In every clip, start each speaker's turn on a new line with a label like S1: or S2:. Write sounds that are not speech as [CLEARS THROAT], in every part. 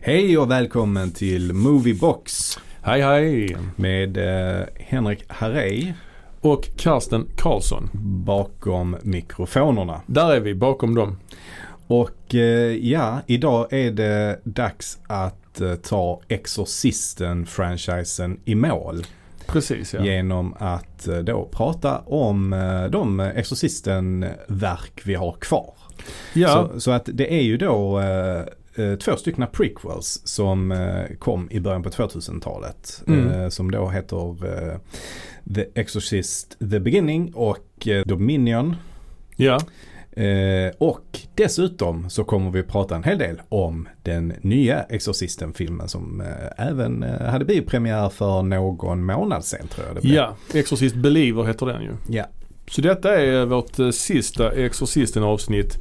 S1: Hej och välkommen till Moviebox
S2: Hej hej!
S1: med eh, Henrik Harrej
S2: Och Karsten Karlsson.
S1: bakom mikrofonerna.
S2: Där är vi bakom dem.
S1: Och eh, ja, idag är det dags att eh, ta Exorcisten-franchisen i mål.
S2: Precis ja.
S1: Genom att eh, då prata om eh, de Exorcisten-verk vi har kvar.
S2: Ja,
S1: Så, så att det är ju då eh, eh, två stycken prequels som eh, kom i början på 2000-talet.
S2: Mm.
S1: Eh, som då heter eh, The Exorcist The Beginning och eh, Dominion.
S2: ja.
S1: Eh, och dessutom så kommer vi prata en hel del om den nya Exorcisten-filmen som eh, även eh, hade biopremiär för någon månad sedan tror jag det blev.
S2: ja. Exorcist Believer heter den ju.
S1: Ja.
S2: Så detta är vårt eh, sista Exorcisten avsnitt.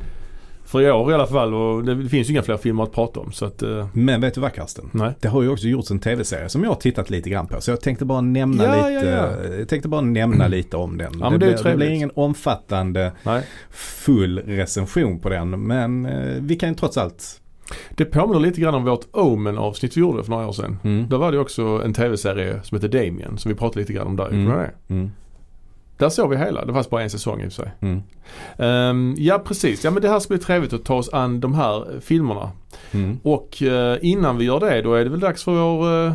S2: För i år i alla fall och det finns ju inga fler filmer att prata om så att eh,
S1: Men vet du vad Karsten?
S2: nej.
S1: Det har ju också gjorts en tv-serie som jag har tittat lite grann på. Så jag tänkte bara nämna,
S2: Ja,
S1: lite,
S2: ja, Mm.
S1: Jag tänkte bara nämna lite om den.
S2: men det är
S1: blir,
S2: ju
S1: det blir
S2: trevligt.
S1: ingen omfattande
S2: nej.
S1: full recension på den. Men eh, vi kan ju trots allt.
S2: Det påminner lite grann om vårt Omen avsnitt vi gjorde för några år sedan.
S1: Mm.
S2: Där var det också en tv-serie som hette Damien som vi pratade lite grann om där.
S1: Mm.
S2: Kommer du ihåg det?
S1: Mm.
S2: Där såg vi hela, det fanns bara en säsong i och för sig.
S1: Mm.
S2: Ehm, ja precis, ja men det här ska bli trevligt att ta oss an de här eh, filmerna.
S1: Mm.
S2: Och eh, innan vi gör det då är det väl dags för vår... eh,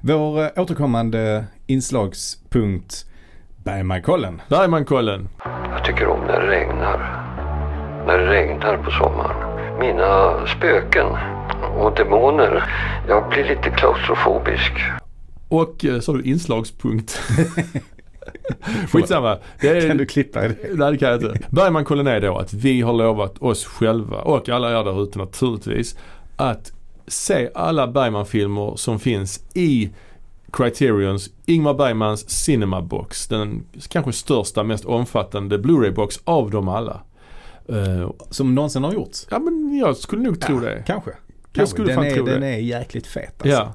S1: Vår eh, återkommande inslagspunkt Bergmankollen.
S2: Bergmankollen.
S3: Jag tycker om när det regnar. När det regnar på sommaren. Mina spöken och demoner. Jag blir lite klaustrofobisk.
S2: Och eh, sa du
S1: [LAUGHS]
S2: inslagspunkt? Skitsamma. Det är,
S1: Kan du klippa det?
S2: Nej det kan jag inte. Bergmankollen är då att vi har lovat oss själva och alla er där ute naturligtvis att se alla Bergman-filmer som finns i Criterions Ingmar Bergmans Cinema Box. Den kanske största, mest omfattande Blu-ray-box av dem alla. Eh,
S1: Som någonsin har gjorts?
S2: ja men jag skulle nog tro det.
S1: Kanske. Kanske.
S2: skulle
S1: den,
S2: fan
S1: är,
S2: tro det.
S1: den är jäkligt fet alltså.
S2: Ja,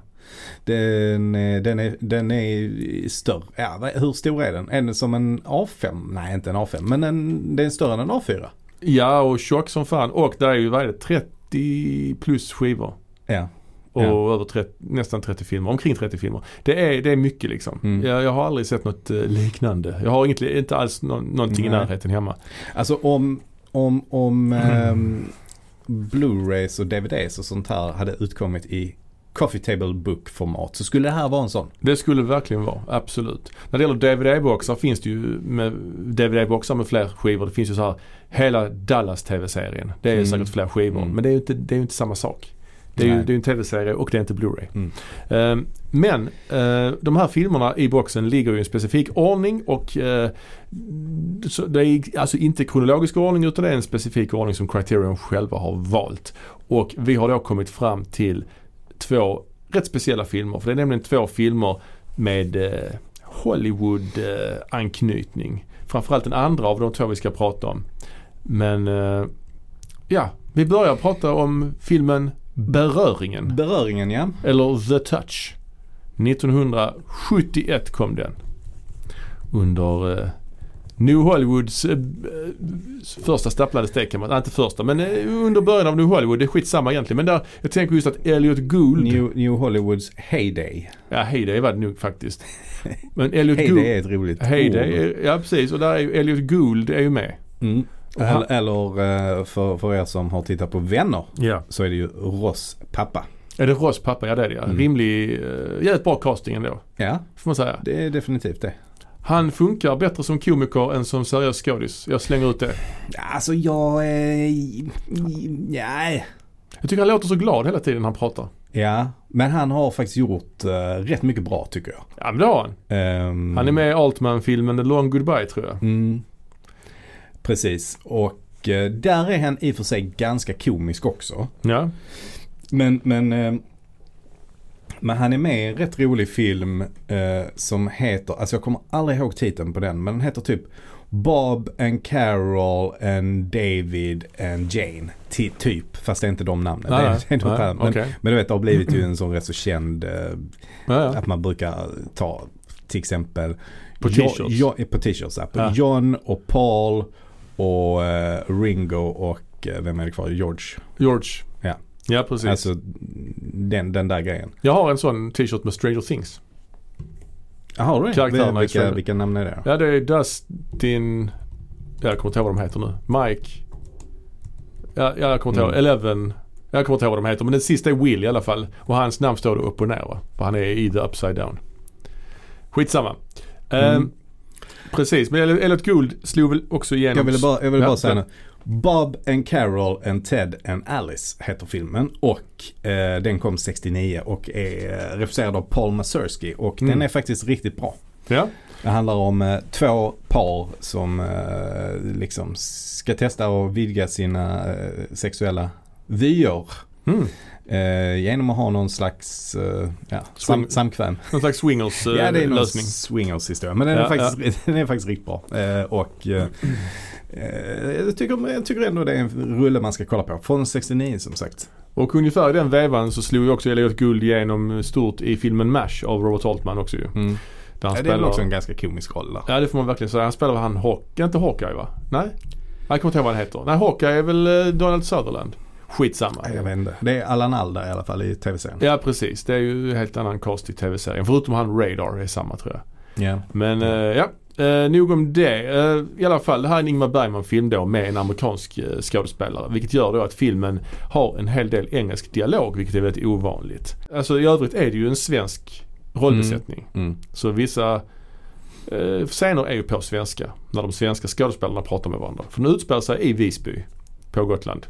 S1: Den, är- den, är, den är större. Ja, vad- hur stor är den? Är den som en A5? Nej, inte en A5. Men en, den är större än en A4.
S2: ja och tjock som fan. Och där är ju, vad är det, 30 plus skivor.
S1: Ja.
S2: Och
S1: Ja.
S2: över 30, nästan 30 filmer, omkring 30 filmer. Det är, det är mycket liksom.
S1: Mm.
S2: Jag, jag har aldrig sett något eh, liknande. Jag har inget, li- inte alls nå, någonting i
S1: Nej.
S2: närheten hemma.
S1: Alltså om, om, om
S2: Mm.
S1: ehm, Blu-rays och DVDs och sånt här hade utkommit i Coffee Table Book-format så skulle det här vara en sån.
S2: Det skulle det verkligen vara, absolut. När det gäller DVD-boxar finns det ju med DVD-boxar med fler skivor. Det finns ju så här hela Dallas TV-serien. Det är ju
S1: Mm.
S2: säkert fler skivor.
S1: Mm.
S2: Men det är ju inte, det är ju inte samma sak. Det är ju
S1: Nej.
S2: det är ju en TV-serie och det är inte Blu-ray.
S1: Mm.
S2: Ehm, men eh, de här filmerna i boxen ligger ju i en specifik ordning och eh, så det är alltså inte kronologisk ordning utan det är en specifik ordning som Criterion själva har valt. Och vi har då kommit fram till två rätt speciella filmer. För det är nämligen två filmer med eh, Hollywood-anknytning. Framförallt den andra av de två vi ska prata om. Men eh, ja, vi börjar prata om filmen Beröringen.
S1: Beröringen ja.
S2: Eller The Touch. 1971 kom den. Under eh, New Hollywoods eh, b- eh, första stapplande steg kan man, nej, inte första men eh, under början av New Hollywood. Det är skitsamma egentligen men där, jag tänker just att Elliot Gould,
S1: New, New Hollywoods Heyday.
S2: ja Heyday var det
S1: [LAUGHS]
S2: nog faktiskt. Men Elliot
S1: Heyday är
S2: Gould,
S1: ett roligt
S2: Heyday,
S1: ord.
S2: är- ja precis och där är ju Elliot Gould är ju med.
S1: Mm.
S2: Och han-
S1: Eller, eller eh, för, för er som har tittat på Vänner
S2: Ja.
S1: så är det ju Ross pappa.
S2: Är det Ross pappa? Ja det är det ja.
S1: Mm.
S2: Rimlig, eh, jävligt bra casting ändå.
S1: Ja,
S2: Får man säga.
S1: det är definitivt det.
S2: Han funkar bättre som komiker än som seriös skådis. Jag slänger ut det.
S1: Alltså jag... Eh, nej.
S2: Jag tycker han låter så glad hela tiden när han pratar.
S1: Ja, men han har faktiskt gjort eh, rätt mycket bra tycker jag.
S2: Ja men det har han.
S1: Ehm,
S2: Han är med i Altman-filmen The Long Goodbye tror jag.
S1: Mm, precis, och eh, där är han i och för sig ganska komisk också.
S2: Ja.
S1: Men, men, eh, men han är med i en rätt rolig film eh, som heter, alltså jag kommer aldrig ihåg titeln på den, men den heter typ Bob and Carol and David and Jane. Ty, typ, fast det är inte de namnen. det är, det är något annat. men,
S2: okej.
S1: men du vet, det har blivit
S2: [CLEARS THROAT]
S1: ju en sån rätt så känd eh,
S2: Ja, ja.
S1: Att man brukar ta till exempel
S2: På
S1: Jo-
S2: t-shirts.
S1: Jo- eh, på t-shirts. ja. På
S2: Ja.
S1: John och Paul och eh, Ringo och eh, vem är det kvar? George.
S2: George.
S1: Ja.
S2: Ja, precis.
S1: Alltså den, den där grejen.
S2: Jag har en sån t-shirt med Stranger Things.
S1: Jaha, har du det?
S2: Karaktärerna
S1: Vil-
S2: i
S1: Vilka,
S2: Stranger-
S1: vilka namn är det då?
S2: Ja, det är Dustin... Ja, jag kommer inte ihåg vad de heter nu. Mike. Ja, ja jag kommer inte ihåg.
S1: Mm.
S2: Eleven. Jag kommer inte ihåg vad de heter. Men den sista är Will i alla fall. Och hans namn står det upp och ner va? För han är i the upside down. Skitsamma.
S1: Mm.
S2: Ehm, precis, men Elliot Gould slog väl också igenom...
S1: Jag ville bara, jag ville
S2: Ja,
S1: bara säga
S2: ja.
S1: nu. Bob and Carol and Ted and Alice heter filmen och eh, den kom 69 och är eh, regisserad av Paul Mazursky och
S2: Mm.
S1: den är faktiskt riktigt bra.
S2: Ja,
S1: Det handlar om eh, två par som eh, liksom ska testa att vidga sina eh, sexuella vyer
S2: mm.
S1: eh, genom att ha någon slags eh, ja, sam-
S2: Swing-
S1: samkväm.
S2: någon slags swingers eh,
S1: [LAUGHS] Ja det är någon
S2: lösning.
S1: swingers-historia. Men den, är
S2: Ja,
S1: faktiskt, [LAUGHS] den är faktiskt riktigt bra. Eh, och eh, eh, jag, tycker, jag tycker ändå det är en rulle man ska kolla på. Från 69 som sagt.
S2: Och ungefär i den vevan så slog ju också Elliot Gould igenom stort i filmen MASH av Robert Altman också ju.
S1: Mm.
S2: Där han
S1: Ja, det är väl
S2: spelar-
S1: också en ganska komisk roll där.
S2: Ja det får man verkligen säga. Han spelar väl han Hawkeye, inte Hawkeye va? Nej? Jag kommer inte ihåg vad han heter. Nej Hawkeye är väl eh, Donald Sutherland. Skitsamma.
S1: Nej, Jag vet inte. Det är Allan Alda i alla fall i tv-serien.
S2: Ja precis. Det är ju helt annan cast i tv-serien. Förutom han Radar är samma tror jag.
S1: Ja.
S2: Men eh, ja. Eh, nog om det. Eh, I alla fall, det här är en Ingmar Bergman-film då med en amerikansk eh, skådespelare. Vilket gör då att filmen har en hel del engelsk dialog, vilket är väldigt ovanligt. Alltså i övrigt är det ju en svensk rollbesättning.
S1: Mm.
S2: Så vissa eh, scener är ju på svenska. När de svenska skådespelarna pratar med varandra. För den utspelar sig i Visby på Gotland.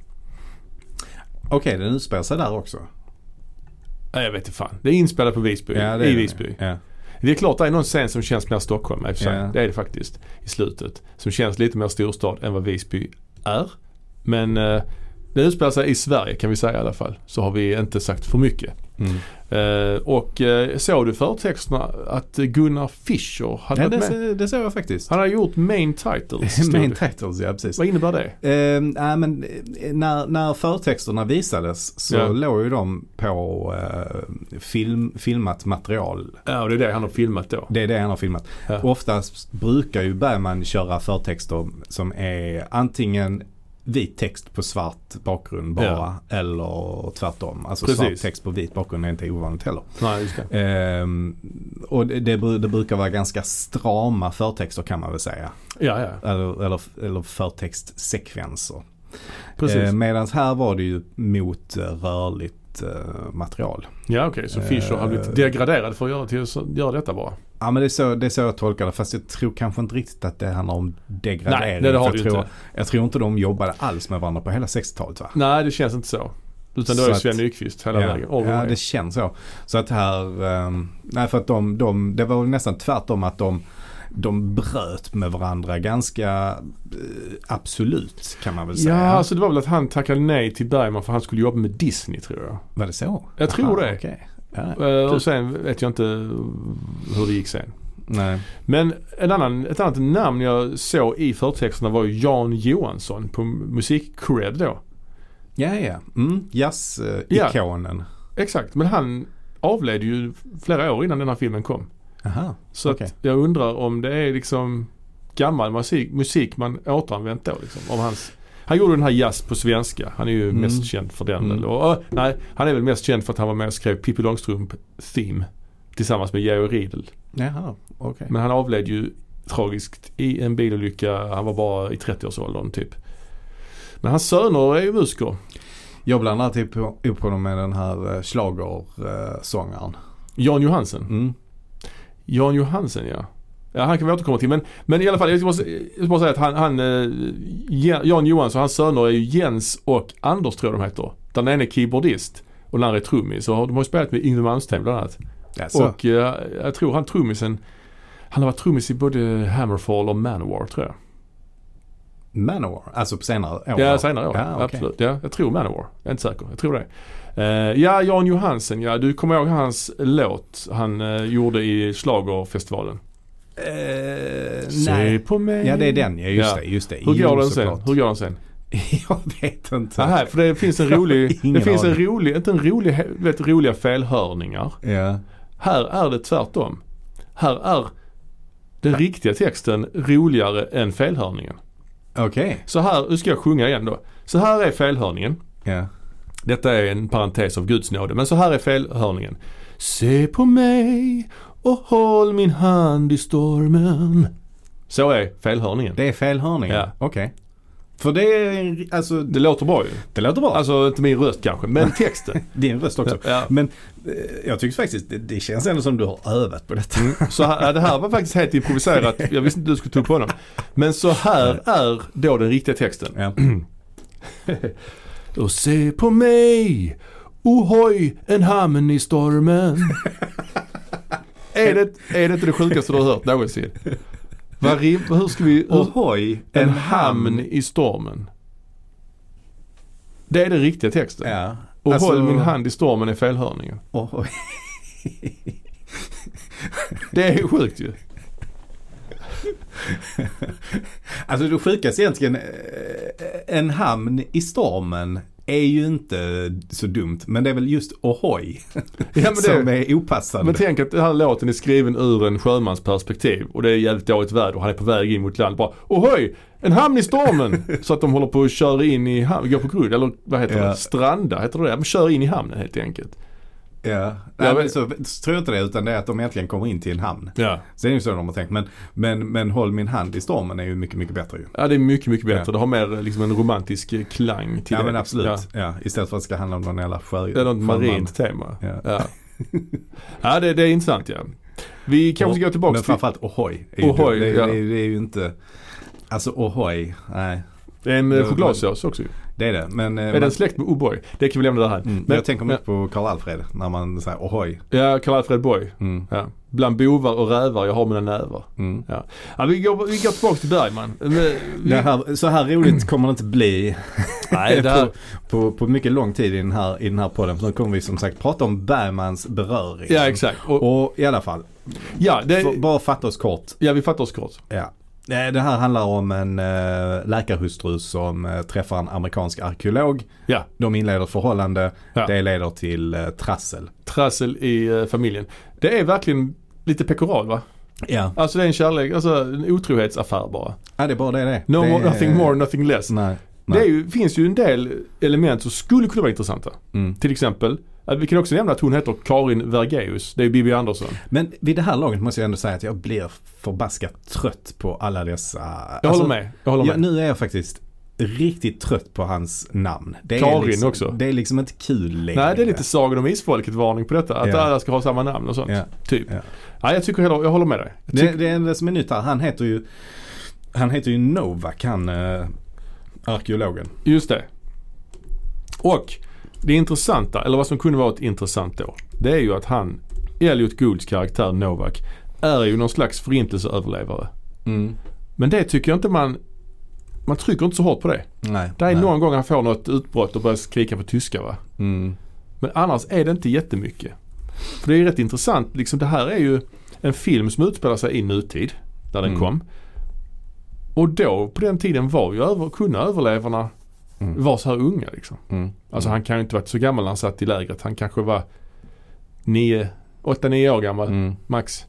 S1: Okej, den utspelar sig där också.
S2: Nej, jag vet inte fan. Det är inspelat på Visby.
S1: det
S2: I
S1: är det.
S2: Visby.
S1: Ja.
S2: Det är klart det är någon scen som känns mer Stockholm i och för sig.
S1: Ja.
S2: Det är det faktiskt. I slutet. Som känns lite mer storstad än vad Visby är. Men eh, den utspelar sig i Sverige kan vi säga i alla fall. Så har vi inte sagt för mycket.
S1: Mm.
S2: Eh, och eh, såg du förtexterna att Gunnar Fischer hade
S1: Ja,
S2: varit
S1: det,
S2: med?
S1: ser- det ser jag faktiskt.
S2: Han har gjort
S1: [LAUGHS]
S2: main titles. stod
S1: Main
S2: det.
S1: titles, ja precis.
S2: Vad innebär det?
S1: Eh, nej, men eh, när, när förtexterna visades så
S2: Ja.
S1: låg ju de på eh, film, filmat material.
S2: Ja, och det är det han har filmat då.
S1: Det är det han har filmat.
S2: Ja.
S1: Oftast brukar ju Bergman köra förtexter som är antingen vit text på svart bakgrund bara eller tvärtom. Alltså svart
S2: Precis.
S1: text på vit bakgrund är inte ovanligt heller.
S2: Nej, just det.
S1: Ehm, och det, det, bru- det brukar vara ganska strama förtexter kan man väl säga.
S2: Ja, ja.
S1: Eller, eller, eller förtextsekvenser.
S2: Precis.
S1: Eh, Medan här var det ju mot eh, rörligt eh, material.
S2: ja, okej. Så Fischer har
S1: eh,
S2: blivit degraderad för att göra, till, så, göra detta bara.
S1: Ja men det är, så, det är så jag tolkar det. Fast jag tror kanske inte riktigt att det handlar om degradering.
S2: Nej, det har
S1: För
S2: du
S1: jag,
S2: ju
S1: tror,
S2: inte.
S1: jag tror inte de jobbade alls med varandra på hela 60-talet va?
S2: Nej, det känns inte så. Utan då är
S1: Så
S2: det
S1: att-
S2: Sven Nykvist hela
S1: Ja,
S2: vägen. All the
S1: ja
S2: way.
S1: det känns så. Så att här, ehm, nej för att de, de, det var väl nästan tvärtom att de, de bröt med varandra ganska eh, absolut kan man väl
S2: ja,
S1: säga.
S2: alltså det var väl att han tackade nej till Bergman för han skulle jobba med Disney tror jag.
S1: Var det så?
S2: Jag tror det.
S1: okej. Ja,
S2: Eh,
S1: Kul.
S2: och sen vet jag inte hur det gick sen.
S1: nej.
S2: Men en annan, ett annat namn jag såg i förtexterna var ju Jan Johansson på musikcred då.
S1: Ja, ja. Mm, Jazz-ikonen.
S2: Exakt, men han avled ju flera år innan den här filmen kom.
S1: Aha.
S2: Så
S1: Okej.
S2: att jag undrar om det är liksom gammal musik, musik man återanvänt då liksom. Av hans, han gjorde den här jazz på svenska. Han är ju
S1: Mm.
S2: mest känd för den
S1: Mm.
S2: väl. Och, ö, nej, han är väl mest känd för att han var med och skrev Pippi Långstrump Theme tillsammans med Georg Riedel.
S1: Jaha, okej.
S2: Men han avled ju tragiskt i en bilolycka. Han var bara i 30-årsåldern typ. Men hans söner är ju musiker.
S1: Jag blandar typ upp honom med den här eh, schlagersångaren.
S2: Jan Johansen.
S1: Mm.
S2: Jan Johansen ja. Ja, han kan vi återkomma till. Men, men i alla fall, jag måste, jag ska bara säga att han, han eh, Ja- Jan Johansson, hans söner är ju Jens och Anders tror jag de heter. Den ene är keyboardist och den andra är trummis. Och de har ju spelat med Yngwie Malmsteen bland annat.
S1: Alltså,
S2: Och eh, jag tror han trummisen, han har varit trummis i både Hammerfall och Manowar tror jag.
S1: Manowar, alltså på senare år.
S2: Ja, senare år.
S1: Ja, okej.
S2: Absolut. Ja, jag tror Manowar. Jag är inte säker. Jag tror det. Eh, ja, Jan Johansen ja. Du kommer ihåg hans låt han eh, gjorde i schlagerfestivalen?
S1: Eh,
S2: Se
S1: nej.
S2: på mig.
S1: Ja, det är den. Ja, just
S2: Ja.
S1: det. Just det.
S2: Hur
S1: Jo,
S2: går den sen?
S1: såklart.
S2: Hur går den sen?
S1: [LAUGHS] Jag vet inte.
S2: Aha, för det finns en
S1: Jag har
S2: rolig, det
S1: [LAUGHS] ingen
S2: finns en
S1: aning.
S2: rolig, inte en rolig, du vet roliga felhörningar.
S1: Ja.
S2: Här är det tvärtom. Här är den riktiga texten roligare än felhörningen.
S1: Okej.
S2: Så här, nu ska jag sjunga igen då. Så här är felhörningen.
S1: Ja.
S2: Detta är en parentes av Guds nåde, men så här är felhörningen. Se på mig och håll min hand i stormen. Så är felhörningen.
S1: Det är felhörningen?
S2: Ja.
S1: Okej. För det är, alltså,
S2: Det låter bra ju.
S1: det låter bra.
S2: Alltså inte min röst
S1: [LAUGHS]
S2: kanske, men texten.
S1: Din röst också.
S2: Ja.
S1: Men eh, jag tycker faktiskt, det, det känns ändå som du har övat på detta.
S2: Så här, ja, det här var faktiskt helt improviserat. Jag visste inte du skulle ta upp honom. Men så här är då den riktiga texten.
S1: [LAUGHS] Ja.
S2: Och se på mig, ohoj, en hamn
S1: [LAUGHS]
S2: i stormen. är, det, är det inte det sjukaste du har hört någonsin? Vad rim, hur ska vi... Hur,
S1: Ohoj,
S2: en hamn i stormen. Det är den riktiga texten.
S1: Ja.
S2: Och
S1: Alltså-
S2: håll min hand i stormen är felhörningen.
S1: Ohoj.
S2: Det är sjukt ju.
S1: Alltså det sjukaste egentligen, eh, en hamn i stormen är ju inte så dumt. Men det är väl just ohoj
S2: [LAUGHS] Ja, men det,
S1: som är opassande.
S2: Men tänk att den här låten är skriven ur en sjömans perspektiv och det är jävligt dåligt väder och han är på väg in mot land. Bara ohoj! En hamn
S1: [LAUGHS]
S2: i stormen! Så att de håller på att köra in i hamnen, går på grund eller vad heter
S1: Ja.
S2: det? Stranda, heter det det? Men kör in i hamnen helt enkelt.
S1: ja. Nej, men
S2: men-
S1: så, så tror jag inte det utan det är att de egentligen kommer in till en hamn.
S2: Ja.
S1: Så det är ju så de har tänkt. Men, men, men håll min hand i stormen är ju mycket, mycket bättre ju.
S2: Ja det är mycket, mycket bättre.
S1: Ja.
S2: Det har mer liksom en romantisk eh, klang till
S1: Ja
S2: det.
S1: men absolut.
S2: Ja.
S1: Ja. Istället för att det ska handla om någon jävla sjöjungfru.
S2: Det är något marint tema.
S1: Ja. [LAUGHS]
S2: Ja, ja det, det är intressant ja. Vi kanske ska gå tillbaka
S1: Men
S2: till...
S1: framförallt ohoj. är ju
S2: Ohoj,
S1: det,
S2: ja.
S1: det, det är ju inte... Alltså ohoj, nej.
S2: Det är en eh,
S1: Ja,
S2: chokladsås också ju.
S1: Det är det. Men, eh,
S2: Är
S1: men,
S2: den släkt med O'boy? Det kan vi lämna därhän.
S1: mm, men jag tänker mycket på Karl-Alfred när man säger ohoj.
S2: Ja, Karl-Alfred Boy.
S1: Mm,
S2: Ja. Bland bovar och rävar jag har mina nävar.
S1: mm.
S2: Ja. Ja, vi, går, vi går tillbaka till Bergman. Men, vi,
S1: Det här, så här roligt kommer det inte bli
S2: [LAUGHS] nej, det här,
S1: på, på, på mycket lång tid i den, här, i den här podden. För nu kommer vi som sagt prata om Bergmans beröring.
S2: ja exakt. Och,
S1: Och i alla fall,
S2: ja,
S1: för,
S2: det,
S1: bara fatta oss kort.
S2: ja, vi fattar oss kort.
S1: Ja. Eh, Det här handlar om en eh, läkarhustru som eh, träffar en amerikansk arkeolog.
S2: Ja,
S1: De inleder ett förhållande.
S2: Ja.
S1: Det leder till eh, trassel.
S2: trassel i eh, familjen. Det är verkligen lite pekoral va?
S1: Ja.
S2: Alltså det är en kärlek, alltså en otrohetsaffär bara.
S1: ja, det är bara det det är.
S2: No
S1: det
S2: more,
S1: är-
S2: nothing more, nothing less.
S1: Nej.
S2: Det är
S1: nej.
S2: ju, finns ju en del element som skulle kunna vara intressanta.
S1: Mm.
S2: Till exempel, eh, vi kan också nämna att hon heter Karin Vergeus. Det är ju Bibi Andersson.
S1: Men vid det här laget måste jag ändå säga att jag blir förbaskat trött på alla dessa.
S2: Jag
S1: Alltså-
S2: håller med. Jag håller
S1: Ja,
S2: med.
S1: nu är jag faktiskt riktigt trött på hans namn. Det är
S2: Karin
S1: liksom,
S2: också.
S1: Det är liksom inte kul längre.
S2: Nej, det är lite Sagan om Isfolket-varning på detta. Att
S1: Ja.
S2: alla ska ha samma namn och sånt.
S1: Ja.
S2: Typ.
S1: Ja.
S2: Nej, jag tycker heller, jag håller med dig. Jag
S1: Det,
S2: tycker,
S1: det enda som är nytt här, han heter ju, han heter ju Novak, han eh, arkeologen.
S2: Just det. Och det intressanta, eller vad som kunde vara ett intressant då. Det är ju att han, Elliot Goulds karaktär Novak, är ju någon slags förintelseöverlevare. Mm. Men det tycker jag inte man, man trycker inte så hårt på det.
S1: Nej.
S2: Det är
S1: nej.
S2: någon gång han får något utbrott och börjar skrika på tyska va.
S1: Mm.
S2: Men annars är det inte jättemycket. För det är ju rätt intressant. Liksom, det här är ju en film som utspelar sig i nutid. När den
S1: Mm.
S2: kom. Och då på den tiden var ju över, kunde överlevarna
S1: Mm.
S2: vara så här unga. Liksom.
S1: Mm.
S2: Alltså han kan ju inte varit så gammal när han satt i lägret. Han kanske var 9, 8-9 år gammal
S1: Mm.
S2: max.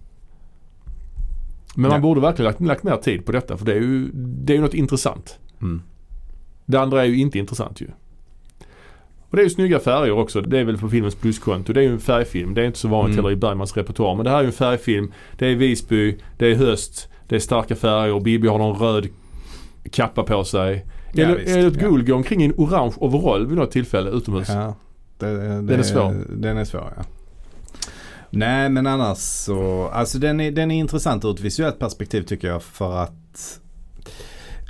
S2: Men man
S1: Ja.
S2: borde verkligen lagt, lagt mer tid på detta för det är ju, det är ju något intressant.
S1: Mm.
S2: Det andra är ju inte intressant ju. Och det är ju snygga färger också. Det är väl på filmens pluskonto. Det är ju en färgfilm. Det är inte så vanligt
S1: Mm.
S2: heller i Bergmans repertoar. Men det här är ju en färgfilm. Det är Visby, det är höst, det är starka färger. Bibi har någon röd kappa på sig.
S1: Ja,
S2: Eller
S1: visst,
S2: är det ett
S1: ja.
S2: gul går omkring i en orange overall vid något tillfälle utomhus.
S1: Ja, det, det,
S2: Den är svår.
S1: Den är svår, ja. Nej, men annars så, alltså den är, den är intressant ur ett visuellt perspektiv tycker jag för att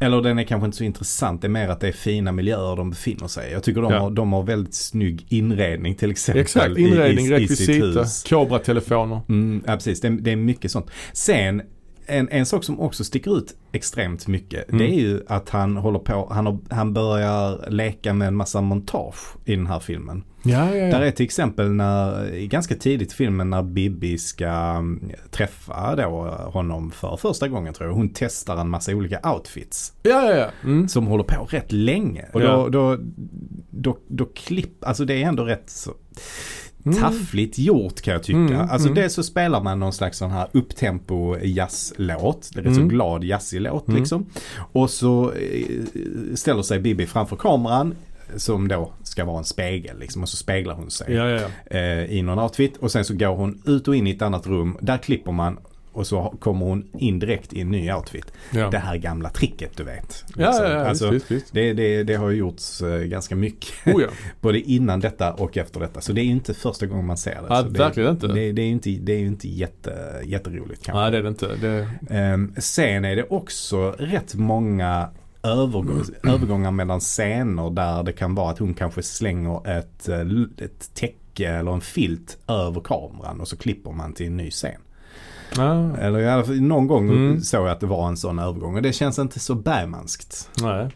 S1: eller den är kanske inte så intressant. Det är mer att det är fina miljöer de befinner sig i. Jag tycker de,
S2: Ja.
S1: har, de har väldigt snygg inredning till exempel.
S2: Exakt,
S1: i- i-
S2: inredning,
S1: i sitt
S2: rekvisita,
S1: hus.
S2: Cobra-telefoner.
S1: Mm, ja, precis. Det, det är mycket sånt. Sen, en, en sak som också sticker ut extremt mycket,
S2: Mm.
S1: det är ju att han håller på, han, har, han börjar leka med en massa montage i den här filmen.
S2: Ja, ja,
S1: Där är till exempel när, i ganska tidigt i filmen när Bibi ska mm, träffa då honom för första gången tror jag. Hon testar en massa olika outfits
S2: Ja, ja, ja. Mm.
S1: som håller på rätt länge. Och
S2: Ja.
S1: då, då, då, då klipp, alltså det är ändå rätt så
S2: Mm.
S1: taffligt gjort kan jag tycka.
S2: Mm,
S1: Alltså
S2: mm.
S1: dels så spelar man någon slags sån här upptempo jazzlåt. Det är rätt så
S2: Mm.
S1: glad jazzig låt
S2: Mm.
S1: liksom. Och så eh, ställer sig Bibi framför kameran. som då ska vara en spegel liksom och så speglar hon sig
S2: Ja, ja, ja.
S1: eh, i någon outfit och sen så går hon ut och in i ett annat rum. Där klipper man och så ha- kommer hon in direkt i en ny outfit.
S2: Ja,
S1: Det här gamla tricket du vet.
S2: ja, ja, ja
S1: Alltså,
S2: visst, visst.
S1: det, det, det har ju gjorts eh, ganska mycket. [LAUGHS]
S2: visst. Oh, ja.
S1: Både innan detta och efter detta. Så det är ju inte första gången man ser det.
S2: Ja,
S1: så det
S2: verkligen inte.
S1: Det, det är ju inte, det är ju inte jätte, jätteroligt kanske.
S2: Nej, det är det inte. Det,
S1: Ehm, sen är det också rätt många övergång, övergångar mellan scener där det kan vara att hon kanske slänger ett, eh, l- ett täcke eller en filt över kameran och så klipper man till en ny scen.
S2: ja,
S1: Eller i alla fall någon gång
S2: Mm.
S1: såg jag att det var en sån övergång och det känns inte så Bergmanskt.
S2: nej.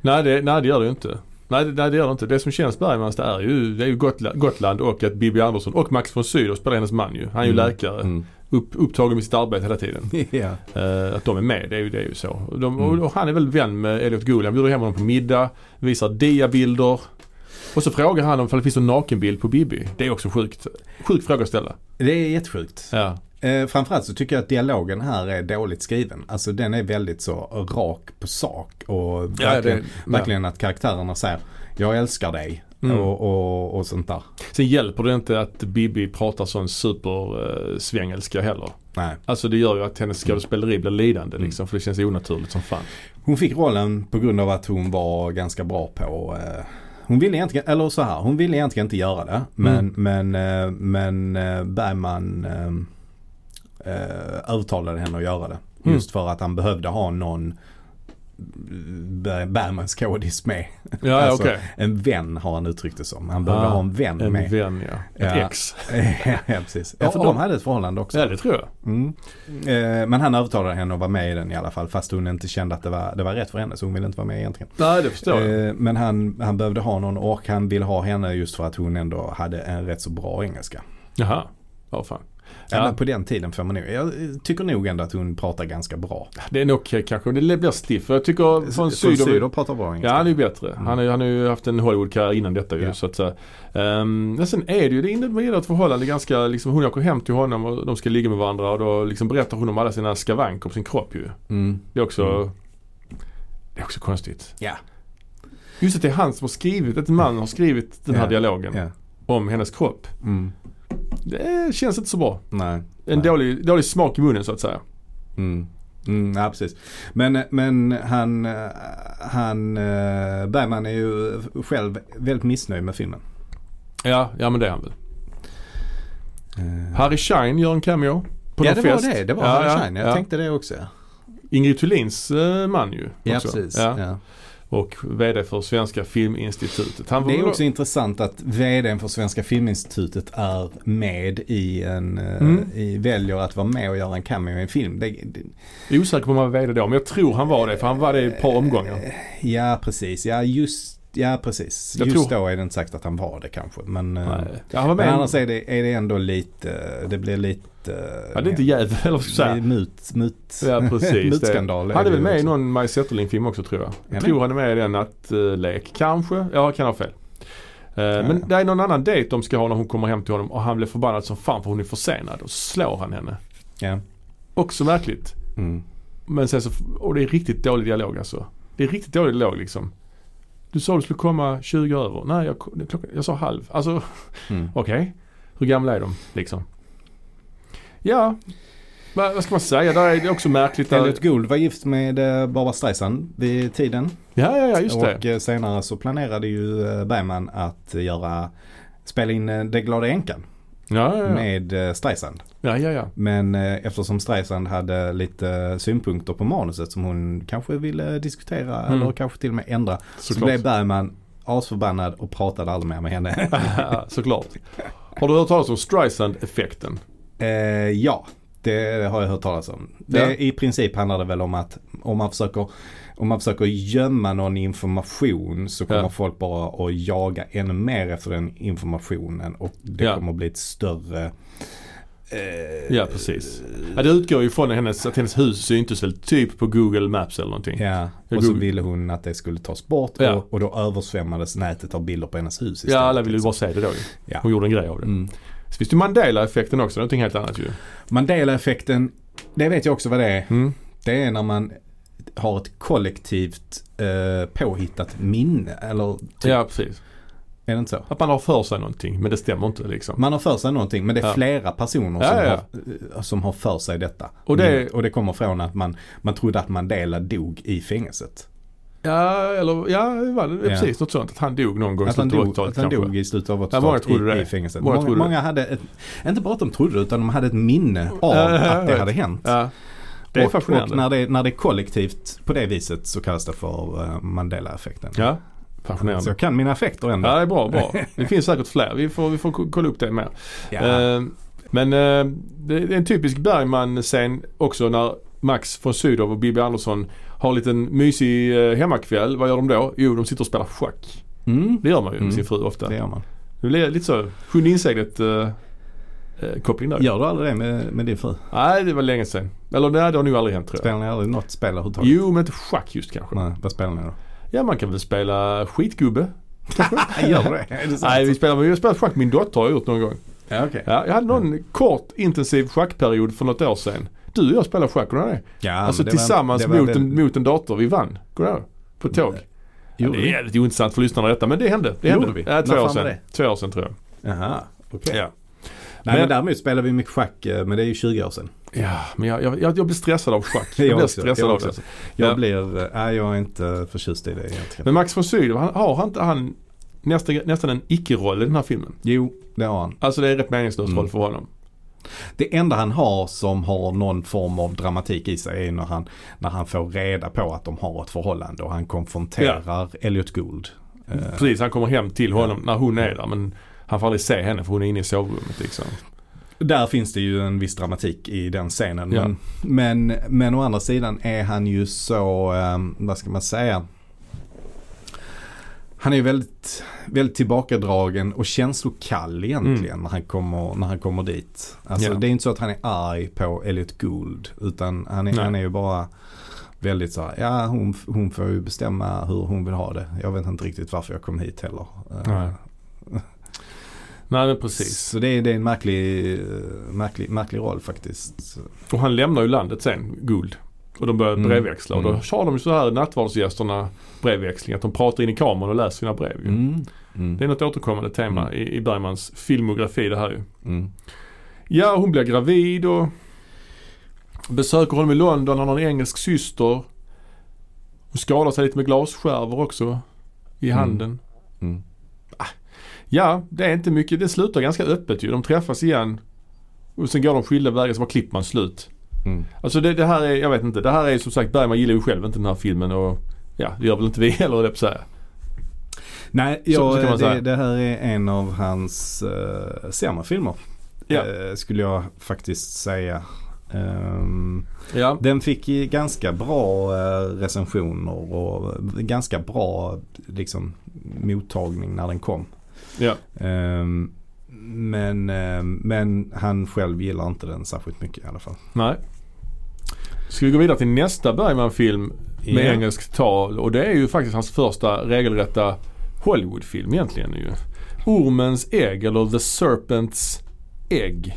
S2: Nej, det, nej, det gör det ju inte. Nej det, nej, det gör det inte. Det som känns Bergmans det är ju, det är ju Gotland, Gotland och att Bibi Andersson och Max von Sydow spelar hennes man ju. Han är ju
S1: Mm.
S2: läkare. Upp, upptagen med sitt arbete hela tiden.
S1: [LAUGHS] ja.
S2: Eh, att de är med, det är ju, det är ju så. Och De,
S1: Mm.
S2: och, och han är väl vän med Elliot Gould. Han bjuder hem honom på middag, visar diabilder. Och så frågar han om det finns någon nakenbild på Bibi. Det är också sjukt. Sjuk fråga att ställa.
S1: Det är jättesjukt.
S2: Ja.
S1: Eh, framförallt så tycker jag att dialogen här är dåligt skriven. Alltså den är väldigt så rak på sak och verkligen,
S2: ja.
S1: verkligen att karaktärerna säger jag älskar dig
S2: Mm.
S1: och, och, och sånt där.
S2: Sen hjälper det inte att Bibi pratar sån supersvängelska heller.
S1: Nej.
S2: Alltså det gör ju att hennes skådespeleri blir lidande liksom för det känns onaturligt som fan.
S1: Hon fick rollen på grund av att hon var ganska bra på eh, hon ville egentligen, eller så här, hon ville egentligen inte göra det. Men,
S2: Mm.
S1: men, eh, men eh, Bergman eh, eh, övertalade henne att göra det.
S2: Mm.
S1: Just för att han behövde ha någon eh, Bergmans skådis med.
S2: Ja,
S1: Alltså,
S2: okej.
S1: En vän har han uttryckt det som. Han behövde
S2: Ah,
S1: ha en vän
S2: En
S1: med.
S2: vän ja. Ett
S1: Ja.
S2: ex.
S1: [LAUGHS] ja, precis. Ja, för
S2: Ja,
S1: de
S2: och-
S1: hade ett förhållande också.
S2: Ja det tror jag.
S1: Mm. Eh, men han övertalade henne att vara med i den i alla fall. Fast hon inte kände att det var, det var rätt för henne. Så hon ville inte vara med egentligen.
S2: Nej det förstår jag.
S1: Eh, men han, han behövde ha någon och han ville ha henne just för att hon ändå hade en rätt så bra engelska.
S2: Jaha. Ja fan.
S1: Ja.
S2: Ja.
S1: men på den tiden får man nog. Jag eh, tycker nog ändå att hon pratar ganska bra.
S2: Det är nog okej kanske. Det blir stiff. Jag tycker från
S1: Sydow
S2: Sydow.
S1: pratar bra
S2: Ja
S1: engelska.
S2: han är ju bättre. Han, är, han har ju haft en Hollywood-karriär innan detta ju
S1: Ja.
S2: så att säga. Ehm, men sen är det ju, det innebär ett förhållande ganska liksom, hon åker hem till honom och de ska ligga med varandra och då liksom berättar hon om alla sina skavanker på sin kropp ju.
S1: Mm.
S2: Det är också,
S1: Mm.
S2: det är också konstigt.
S1: Ja.
S2: Just att det är han som har skrivit, att en man har skrivit den här
S1: Ja,
S2: dialogen
S1: ja.
S2: om hennes kropp.
S1: Mm.
S2: Det känns inte så bra.
S1: Nej.
S2: En
S1: Nej.
S2: dålig, dålig smak i munnen så att säga.
S1: Mm. Mm, ja, precis. Men, men han, eh, han eh, Bergman är ju själv väldigt missnöjd med filmen.
S2: Ja, ja men det är han väl.
S1: Eh,
S2: Harry Schein gör en cameo. På
S1: ja,
S2: någon
S1: det
S2: fest.
S1: var det. Det var
S2: Ja,
S1: Harry
S2: ja,
S1: Schein. Jag
S2: ja.
S1: tänkte det också. Ja,
S2: Ingrid Thulins eh, man ju.
S1: ja
S2: också.
S1: precis.
S2: Ja.
S1: Ja.
S2: Och VD för Svenska Filminstitutet. Han var
S1: Det är
S2: väl-
S1: också intressant att vdn för Svenska Filminstitutet är med i en, eh,
S2: Mm.
S1: i, väljer att vara med och göra en cameo i en film. Det, det,
S2: jag är osäker på om han var VD då men jag tror han var det för han var det i ett par omgångar.
S1: Eh, ja, precis. Ja, just, ja, precis.
S2: Jag
S1: just
S2: tror-
S1: då är det inte sagt att han var det kanske. Men, eh,
S2: Nej. Ja, han var med.
S1: men annars är det, är det ändå lite, det blir lite...
S2: ja, det är inte jävel eller vad ska jag
S1: Det är
S2: säga.
S1: mut, mut,
S2: Ja,
S1: [LAUGHS]
S2: precis.
S1: mutskandal.
S2: Han är väl med i
S1: också.
S2: någon Maj Zetterling-film också tror jag.
S1: men-
S2: Jag tror han är med i den nattlek. Kanske. Ja, jag kan ha fel. Eh, Men
S1: ja.
S2: det är någon annan dejt de ska ha när hon kommer hem till honom och han blir förbannad som fan för hon är försenad och så slår han henne.
S1: Ja.
S2: Också märkligt.
S1: Mm.
S2: Men sen så, och det är riktigt dålig dialog alltså. Det är riktigt dålig dialog liksom. Du sa du skulle komma 20 över. Nej, jag, kom- klockan, jag sa halv. Alltså
S1: Mm.
S2: okej. Hur gamla är de liksom? Ja, vad vad ska man säga? Där är det också märkligt. Där,
S1: Elliot Gould var gift med eh, Barbra Streisand vid tiden.
S2: ja, ja, ja, just det.
S1: Och eh, senare så planerade ju eh, Bergman att göra spela in eh, Det glada änkan
S2: Ja, ja, ja.
S1: med eh, Streisand.
S2: ja, ja, ja.
S1: Men eh, eftersom Streisand hade lite synpunkter på manuset som hon kanske ville diskutera
S2: Mm.
S1: eller kanske till och med ändra. Så,
S2: Såklart.
S1: blev Bergman asförbannad och pratade aldrig mer med henne.
S2: [LAUGHS] Såklart. Har du hört talas om Streisand-effekten?
S1: eh, ja, det har jag hört talas om. Det,
S2: Ja.
S1: I princip handlar det väl om att om man försöker om man försöker gömma någon information så kommer
S2: Ja.
S1: folk bara att jaga ännu mer efter den informationen och det
S2: Ja.
S1: kommer att bli ett större... Eh,
S2: Ja, precis. Ja, det utgår ju från hennes, att hennes hus syntes väl typ på Google Maps eller någonting.
S1: ja.
S2: Jag
S1: Och så
S2: googlade.
S1: ville hon att det skulle tas bort
S2: Ja.
S1: och, och då översvämmades nätet av bilder på hennes hus istället.
S2: Ja, alla ville ju
S1: liksom.
S2: bara se det då ju.
S1: Ja.
S2: Hon gjorde en grej av det.
S1: Mm.
S2: Så finns det ju Mandela-effekten också, någonting helt annat ju.
S1: Mandela-effekten, det vet jag också vad det är.
S2: Mm.
S1: Det är när man har ett kollektivt eh, påhittat minne. Eller typ,
S2: Ja, precis.
S1: är det inte så?
S2: Att man har för sig någonting men det stämmer inte liksom.
S1: Man har för sig någonting men det är
S2: Ja.
S1: flera personer
S2: Ja,
S1: som,
S2: ja,
S1: Har, eh, som har för sig detta.
S2: Och det-
S1: Mm, och det kommer från att man, man trodde att Mandela dog i fängelset.
S2: Ja, eller ja, det var det,
S1: Ja.
S2: precis något sånt. Att han dog någon gång i
S1: Att han,
S2: slutet av
S1: dog,
S2: 80-talet
S1: att han
S2: kanske.
S1: dog i slutet av
S2: Ja, många
S1: 80-talet
S2: trodde
S1: i,
S2: det.
S1: i fängelset.
S2: Många
S1: Många,
S2: trodde
S1: många,
S2: det.
S1: hade ett, inte bara att de trodde utan de hade ett minne av
S2: Ja, ja,
S1: att det
S2: jag
S1: hade
S2: vet.
S1: hänt.
S2: Ja. Det är
S1: och
S2: fascinerande.
S1: och när, det, när det är kollektivt på det viset så kallas det för eh, Mandela-effekten.
S2: Ja,
S1: Så
S2: fascinerande.
S1: jag kan mina effekter ändå.
S2: Ja, det är
S1: [LAUGHS]
S2: bra, bra. Det finns säkert fler. Vi får, vi får ko- kolla upp det mer.
S1: Ja.
S2: Eh, Men eh, det är en typisk Bergman-scen också när Max von Sydow och Bibi Andersson har en liten mysig eh, hemmakväll. Vad gör de då? Jo, de sitter och spelar schack.
S1: Mm,
S2: Det gör man ju
S1: Mm.
S2: med sin fru ofta.
S1: det gör man.
S2: Det blir lite så Sjunde inseglet eh, eh, koppling där.
S1: Gör du aldrig det med, med din fru?
S2: Nej, det var länge sedan. Eller nej, det har nog aldrig hänt tror jag.
S1: Spelar ni aldrig något spel överhuvudtaget?
S2: Jo, men inte schack just kanske.
S1: Nej, vad spelar ni då?
S2: Ja, man kan väl spela skitgubbe. [LAUGHS]
S1: Nej, Gör du det? Är det sant?
S2: Nej, vi spelar, vi har spelat schack. Min dotter har gjort någon gång.
S1: ja, okej.
S2: Ja, jag hade någon kort intensiv schackperiod för något år sedan. Du och jag spelade schack, kommer du ihåg det?
S1: ja,
S2: Alltså
S1: men det var-
S2: tillsammans
S1: det var
S2: mot,
S1: det-
S2: en, mot en dator. Vi vann. Kommer du ihåg? På tåg. Ja,
S1: Gjorde
S2: det är
S1: vi?
S2: jävligt ointressant för lyssnarna detta men det hände. Det
S1: Gjorde
S2: hände.
S1: vi?
S2: Ja, två
S1: När
S2: år
S1: fan var
S2: sedan. Två år sedan tror jag.
S1: Jaha, okej.
S2: Ja.
S1: Nej, men
S2: Men-
S1: däremot spelade vi mycket schack, eh, men det är ju 20 år sedan.
S2: Ja, men jag, jag, jag, jag blir stressad
S1: [LAUGHS]
S2: av schack.
S1: Jag
S2: Jag blir
S1: också,
S2: stressad
S1: jag
S2: av det.
S1: också. Jag
S2: Ja.
S1: blir, eh, nej jag är inte förtjust i det egentligen.
S2: Men Max von Sydow, han, har han inte han nästan, nästan en icke-roll i den här filmen?
S1: Jo, det har han.
S2: Alltså det är en rätt meningslös
S1: Mm.
S2: roll för honom.
S1: Det enda han har som har någon form av dramatik i sig är när han, när han får reda på att de har ett förhållande och han konfronterar Elliot Gould. Eh,
S2: Precis, han kommer hem till honom när hon är där men han får aldrig se henne för hon är inne i sovrummet liksom.
S1: Där finns det ju en viss dramatik i den scenen.
S2: Ja.
S1: Men, men, men å andra sidan är han ju så, eh, vad ska man säga? Han är ju väldigt, väldigt tillbakadragen och känslokall egentligen när, han kommer, när han kommer dit. Alltså,
S2: Mm. Ja.
S1: Det är inte så att han är arg på Elliot Gould utan han är,
S2: Nej.
S1: han är ju bara väldigt så här, ja hon, hon får ju bestämma hur hon vill ha det. Jag vet inte riktigt varför jag kom hit heller. Eh,
S2: Nej. Nej men precis.
S1: Så det är, det är en märklig, eh, märklig, märklig roll faktiskt.
S2: Och han lämnar ju landet sen, Guld. Och de börjar
S1: Mm.
S2: brevväxla och då
S1: Mm.
S2: har de ju så här nattvardsgästerna brevväxling att de pratar in i kameran och läser sina brev ju.
S1: Mm. Mm.
S2: Det är något återkommande tema i, i Bergmans filmografi det här ju.
S1: Mm.
S2: Ja, hon blir gravid och besöker honom i London. Han har en engelsk syster. Hon skadar sig lite med glasskärvor också i
S1: Mm.
S2: handen. Ah.
S1: Mm.
S2: Ja, det är inte mycket. Det slutar ganska öppet ju. De träffas igen och sen går de skilda vägar. Så bara klipper man slut.
S1: Mm.
S2: Alltså det, det här är, jag vet inte. Det här är som sagt, Bergman gillar ju själv inte den här filmen och ja, det gör väl inte vi heller höll jag på att säga.
S1: Nej,
S2: Så-
S1: jag,
S2: så kan man
S1: det,
S2: säga.
S1: det här är en av hans uh, sämre filmer.
S2: Ja.
S1: Eh, skulle jag faktiskt säga. Ehm,
S2: Ja,
S1: den fick ju ganska bra eh, recensioner och ganska bra liksom, mottagning när den kom.
S2: ja.
S1: Ehm, men, eh, men han själv gillar inte den särskilt mycket i alla fall.
S2: Nej. Ska vi gå vidare till nästa Bergman-film med
S1: Ja.
S2: engelskt tal och det är ju faktiskt hans första regelrätta Hollywoodfilm egentligen ju. Ormens ägg eller The Serpent's Egg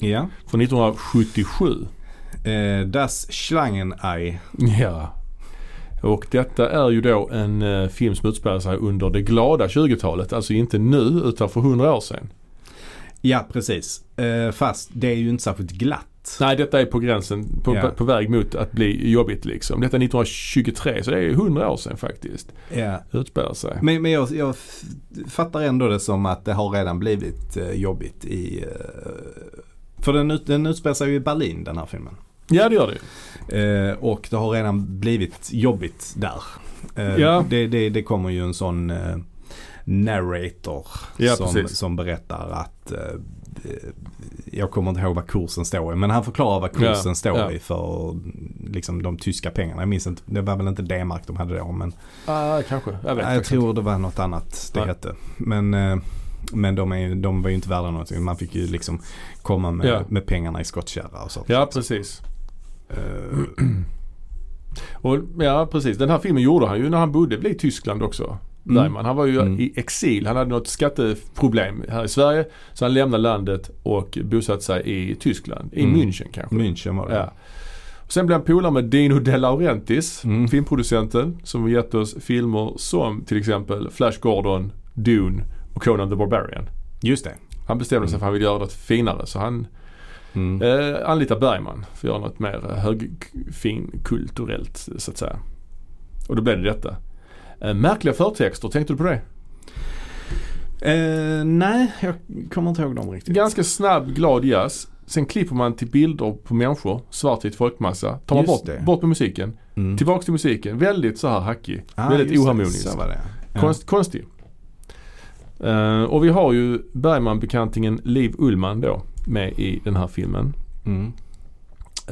S1: Ja.
S2: från 1977.
S1: Eh, das Schlangenei.
S2: Ja. Och detta är ju då en eh, film som utspelar sig under det glada 20-talet. Alltså inte nu utan för 100 år sedan.
S1: Ja, precis. Eh, fast det är ju inte särskilt glatt.
S2: Nej detta är på gränsen, på,
S1: Ja.
S2: på, på väg mot att bli jobbigt liksom. Detta är 1923 så det är ju 100 år sedan faktiskt.
S1: Ja.
S2: Utspelar sig.
S1: Men, men jag, jag f- fattar ändå det som att det har redan blivit eh, jobbigt i... Eh, för den, ut, den utspelar sig ju i Berlin den här filmen.
S2: Ja det gör det ju.
S1: Eh, och det har redan blivit jobbigt där. Eh,
S2: Ja.
S1: det, det, det kommer ju en sån eh, narrator
S2: Ja,
S1: som,
S2: precis.
S1: som berättar att eh, eh, jag kommer inte ihåg vad kursen står i men han förklarar vad kursen
S2: Ja,
S1: står
S2: ja.
S1: i för liksom, de tyska pengarna. Jag minns inte, det var väl inte D-mark de hade då men
S2: Ah, kanske. Jag
S1: Nej,
S2: vet
S1: jag
S2: faktiskt
S1: tror det var något annat det
S2: Ja.
S1: hette. Men, eh, men de, är, ju- de var ju inte värda någonting. Man fick ju liksom komma med,
S2: Ja.
S1: med pengarna i skottkärra och så.
S2: inte. Ja, precis.
S1: Eh,
S2: Och, ja, precis. Den här filmen gjorde han ju när han bodde i Tyskland också.
S1: Mm.
S2: Bergman. Han var ju
S1: Mm.
S2: i exil. Han hade något skatteproblem här i Sverige. Så han lämnade landet och bosatte sig i Tyskland. I
S1: Mm.
S2: München kanske.
S1: München var det.
S2: Ja. Sen blev han polare med Dino De Laurentiis,
S1: Mm.
S2: filmproducenten, som har gett oss filmer som till exempel Flash Gordon, Dune och Conan the Barbarian.
S1: Just det.
S2: Han bestämde sig för att han ville göra något finare så han
S1: Mm.
S2: eh, anlitar Bergman för att göra något mer eh, högfinkulturellt så att säga. Och då blev det detta. Eh, märkliga förtexter, tänkte du på det?
S1: Eh, nej, jag kommer inte ihåg dem riktigt.
S2: Ganska snabb, glad jazz. Sen klipper man till bilder på människor, svartvit folkmassa. Tar man
S1: Just
S2: bort,
S1: det.
S2: bort med musiken.
S1: Mm.
S2: Tillbaks till musiken. Väldigt så här hackig.
S1: Ah,
S2: väldigt
S1: just det.
S2: oharmonisk.
S1: Så var det. Ja.
S2: Konst, Konstig. Eh, och vi har ju Bergman-bekantingen Liv Ullman då med i den här filmen.
S1: Mm.
S2: [LAUGHS]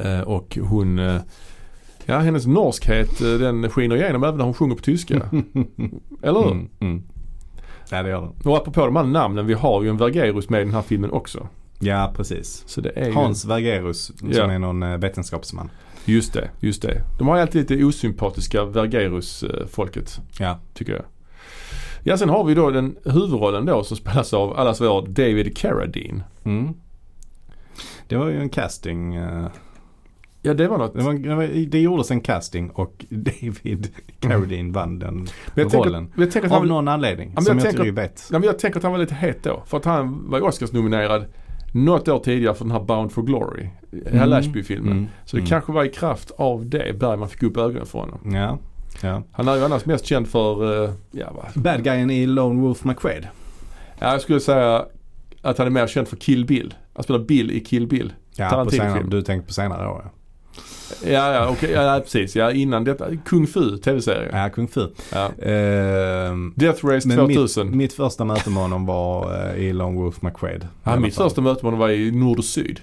S2: Eh, och hon, eh, ja hennes norskhet eh, den skiner igenom även när hon sjunger på tyska. Eller hur?
S1: Mm. Mm. Ja, det gör den.
S2: Och apropå de här namnen, vi har ju en Vergerus med i den här filmen också.
S1: Ja, precis.
S2: Så det är
S1: Hans Vergerus som
S2: Ja.
S1: är någon eh, vetenskapsman.
S2: ju, just det, just det. De har ju alltid lite osympatiska Vergerus-folket,
S1: Ja.
S2: tycker jag. Ja, sen har vi då den huvudrollen då som spelas av allas vår David Carradine.
S1: Mm. Det var ju en casting. eh,
S2: Ja, det var något.
S1: Det, var, det, var, det gjordes en casting och [LAUGHS] David Carradine vann den
S2: Men jag tänker,
S1: rollen.
S2: men jag tänker att han
S1: Av
S2: väl-
S1: någon anledning
S2: men
S1: som
S2: jag
S1: jag
S2: tänker-
S1: inte vet.
S2: Nej, men jag tänker att han var lite het då. För att han var ju Oscars-nominerad något år tidigare för den här Bound for Glory. Hela
S1: Mm.
S2: Ashby-filmen.
S1: Mm.
S2: Så det
S1: Mm.
S2: kanske var i kraft av det Bergman fick upp ögonen för honom.
S1: Ja. ja.
S2: Han är ju annars mest känd för, eh, ja, vad-
S1: Bad guyen i Lone Wolf McQuaid.
S2: ja jag skulle säga att han är mer känd för Kill Bill. Han spelar Bill i Kill Bill.
S1: Ja, på
S2: Tarantino-film.
S1: senare, du tänker på senare år ja.
S2: Ja, ja, okej, ja, ja precis. Ja, innan detta. Kung Fu, tv-serie.
S1: Ja, Kung Fu.
S2: Ja.
S1: Ehm,
S2: Death Race
S1: men
S2: 2000.
S1: mitt, mitt första möte med honom var eh, i Lone Wolf McQuaid. I
S2: ja,
S1: alla
S2: mitt
S1: fall.
S2: första möte med honom var i Nord och Syd.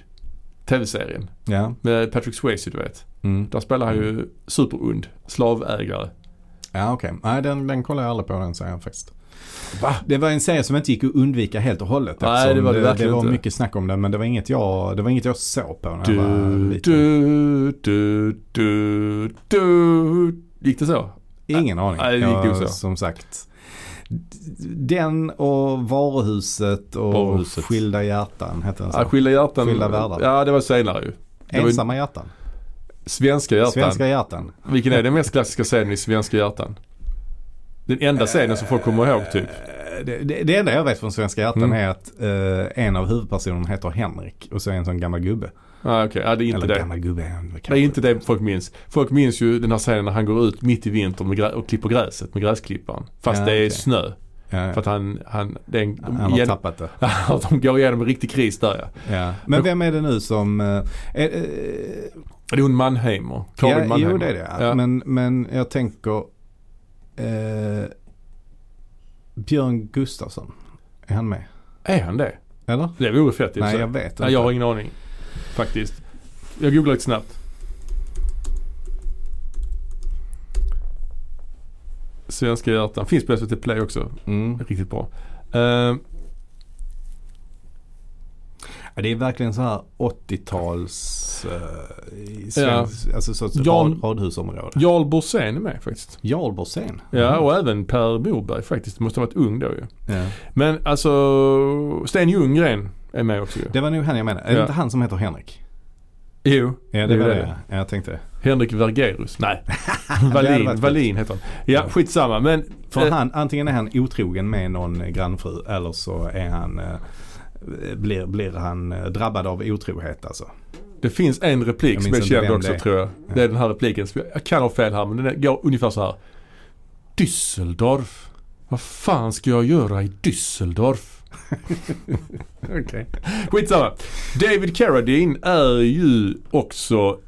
S2: Tv-serien.
S1: Ja.
S2: Med Patrick Swayze, du vet.
S1: Mm.
S2: Där spelar han ju superund, slavägare.
S1: Ja okej. Nej den, den kollar jag aldrig på den serien faktiskt.
S2: Va?
S1: Det var en serie som inte gick att undvika helt och hållet.
S2: Nej,
S1: eftersom
S2: det var det
S1: det
S2: verkligen
S1: var
S2: inte.
S1: mycket snack om den men det var inget jag, det var inget jag såg på när
S2: Du,
S1: jag var liten.
S2: du, du, du, du. Gick det så?
S1: Alltså, Ingen aning.
S2: nej, det gick ju
S1: jag,
S2: så.
S1: Som sagt. Den och Varuhuset och
S2: Varuhuset.
S1: Skilda hjärtan hette den. så.
S2: Ja, skilda hjärtan.
S1: Skilda världar.
S2: Ja, det var senare ju. det var-
S1: Ensamma hjärtan.
S2: Svenska hjärtan.
S1: Svenska hjärtan.
S2: Vilken är den mest klassiska scenen i Svenska hjärtan? Den enda scenen som folk kommer ihåg typ.
S1: Eh, Det, det, det enda jag vet från Svenska hjärtan
S2: Mm.
S1: är att eh, en av huvudpersonerna heter Henrik och så är en sån gammal gubbe.
S2: Ah, okej. Ja, det är inte
S1: Eller
S2: det.
S1: gammal gubbe är han väl
S2: Det är
S1: kanske.
S2: inte det folk minns. Folk minns ju den här scenen när han går ut mitt i vintern med grä- och klipper gräset med gräsklipparen. Fast
S1: Ja,
S2: det är
S1: okej.
S2: snö.
S1: Ja,
S2: För att han, han, det är en,
S1: han har
S2: igen-
S1: tappat det.
S2: [LAUGHS] att de går igenom en riktig kris där ja.
S1: Ja. Men vem är det nu som... eh, är- eh,
S2: Det är hon Mannheimer. Karin
S1: ja,
S2: Mannheimer.
S1: jo det är det.
S2: Ja.
S1: Men, men jag tänker... Eh, Björn Gustafsson. Är han med?
S2: Är han det?
S1: Eller?
S2: Det vore fett i och för
S1: Nej
S2: sig.
S1: jag vet inte.
S2: Nej, jag har ingen aning. Faktiskt. Jag googlar lite snabbt. Svenska hjärtan. Finns på SVT Play också.
S1: Mm.
S2: Riktigt bra. Eh,
S1: Ja, Det är verkligen så här 80-tals... eh, i svensk- Alltså så ett
S2: Jan-
S1: rad, radhusområde.
S2: Jarl Borssén är med faktiskt.
S1: Jarl Borssén.
S2: Ja, och även Per Morberg faktiskt. Måste ha varit ung då ju.
S1: Ja.
S2: Men alltså, Sten Ljunggren är med också ju.
S1: Det var nog han jag menade. Är det
S2: Ja.
S1: inte han som heter Henrik?
S2: Jo,
S1: Ja det,
S2: är
S1: var
S2: det.
S1: det. Ja, jag tänkte det.
S2: Henrik Vergerus. Nej,
S1: [LAUGHS] Det hade varit
S2: Wallin,
S1: fett.
S2: Wallin heter han. Ja, skitsamma. Men
S1: För
S2: eh,
S1: han, antingen är han otrogen med någon eh, grannfru eller så är han, eh, blir, blir han eh, drabbad av otrohet alltså.
S2: Det finns en replik
S1: Jag
S2: som
S1: minns
S2: är
S1: inte
S2: känd
S1: vem
S2: också
S1: det är.
S2: tror jag. Det är den här repliken. som- Jag kan ha fel här men den går ungefär så här. Düsseldorf. Vad fan ska jag göra i Düsseldorf?
S1: Okej.
S2: Skitsamma. David Carradine är ju också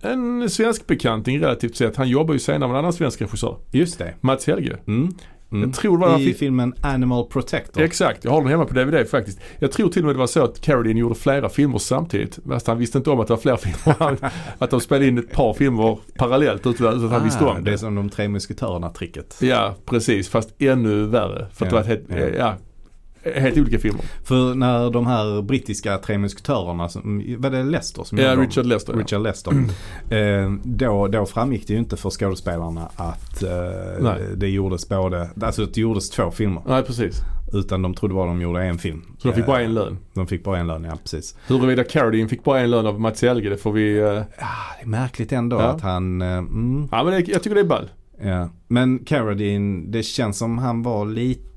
S2: en svensk bekanting relativt sett. Han jobbar ju senare med en annan svensk regissör.
S1: Just det.
S2: Mats Helge.
S1: Mm. Mm.
S2: Jag tror det var han
S1: I
S2: fick-
S1: filmen Animal Protector.
S2: Exakt, jag har den hemma på DVD faktiskt. Jag tror till och med det var så att Carradine gjorde flera filmer samtidigt. Fast han visste inte om att det var flera [LAUGHS] filmer. Han- att de spelade in ett par filmer parallellt utan utan att han visste
S1: Ah,
S2: om
S1: det är
S2: det.
S1: som de tre musketörerna-tricket.
S2: Ja, precis. Fast ännu värre. För att det
S1: Ja,
S2: var helt, ja. helt olika filmer.
S1: För när de här brittiska tre musketörerna, som, var det Lester som
S2: Ja,
S1: gjorde dem?
S2: Richard Mm. Lester. ja.
S1: Mm. Richard Lester. Eh, då, då framgick det ju inte för skådespelarna att eh,
S2: Nej.
S1: det gjordes både, alltså att det gjordes två filmer.
S2: Nej, precis.
S1: Utan de trodde bara de gjorde en film.
S2: Så de fick
S1: Eh,
S2: bara en lön.
S1: de fick bara en lön, ja precis.
S2: Huruvida Carradine fick bara en lön av Mats Helge, det får vi... eh,
S1: Ah, det är märkligt ändå
S2: Ja.
S1: att han... eh, Mm,
S2: Ja men det, jag tycker det är ball.
S1: ja. Men Carradine, det känns som han var lite,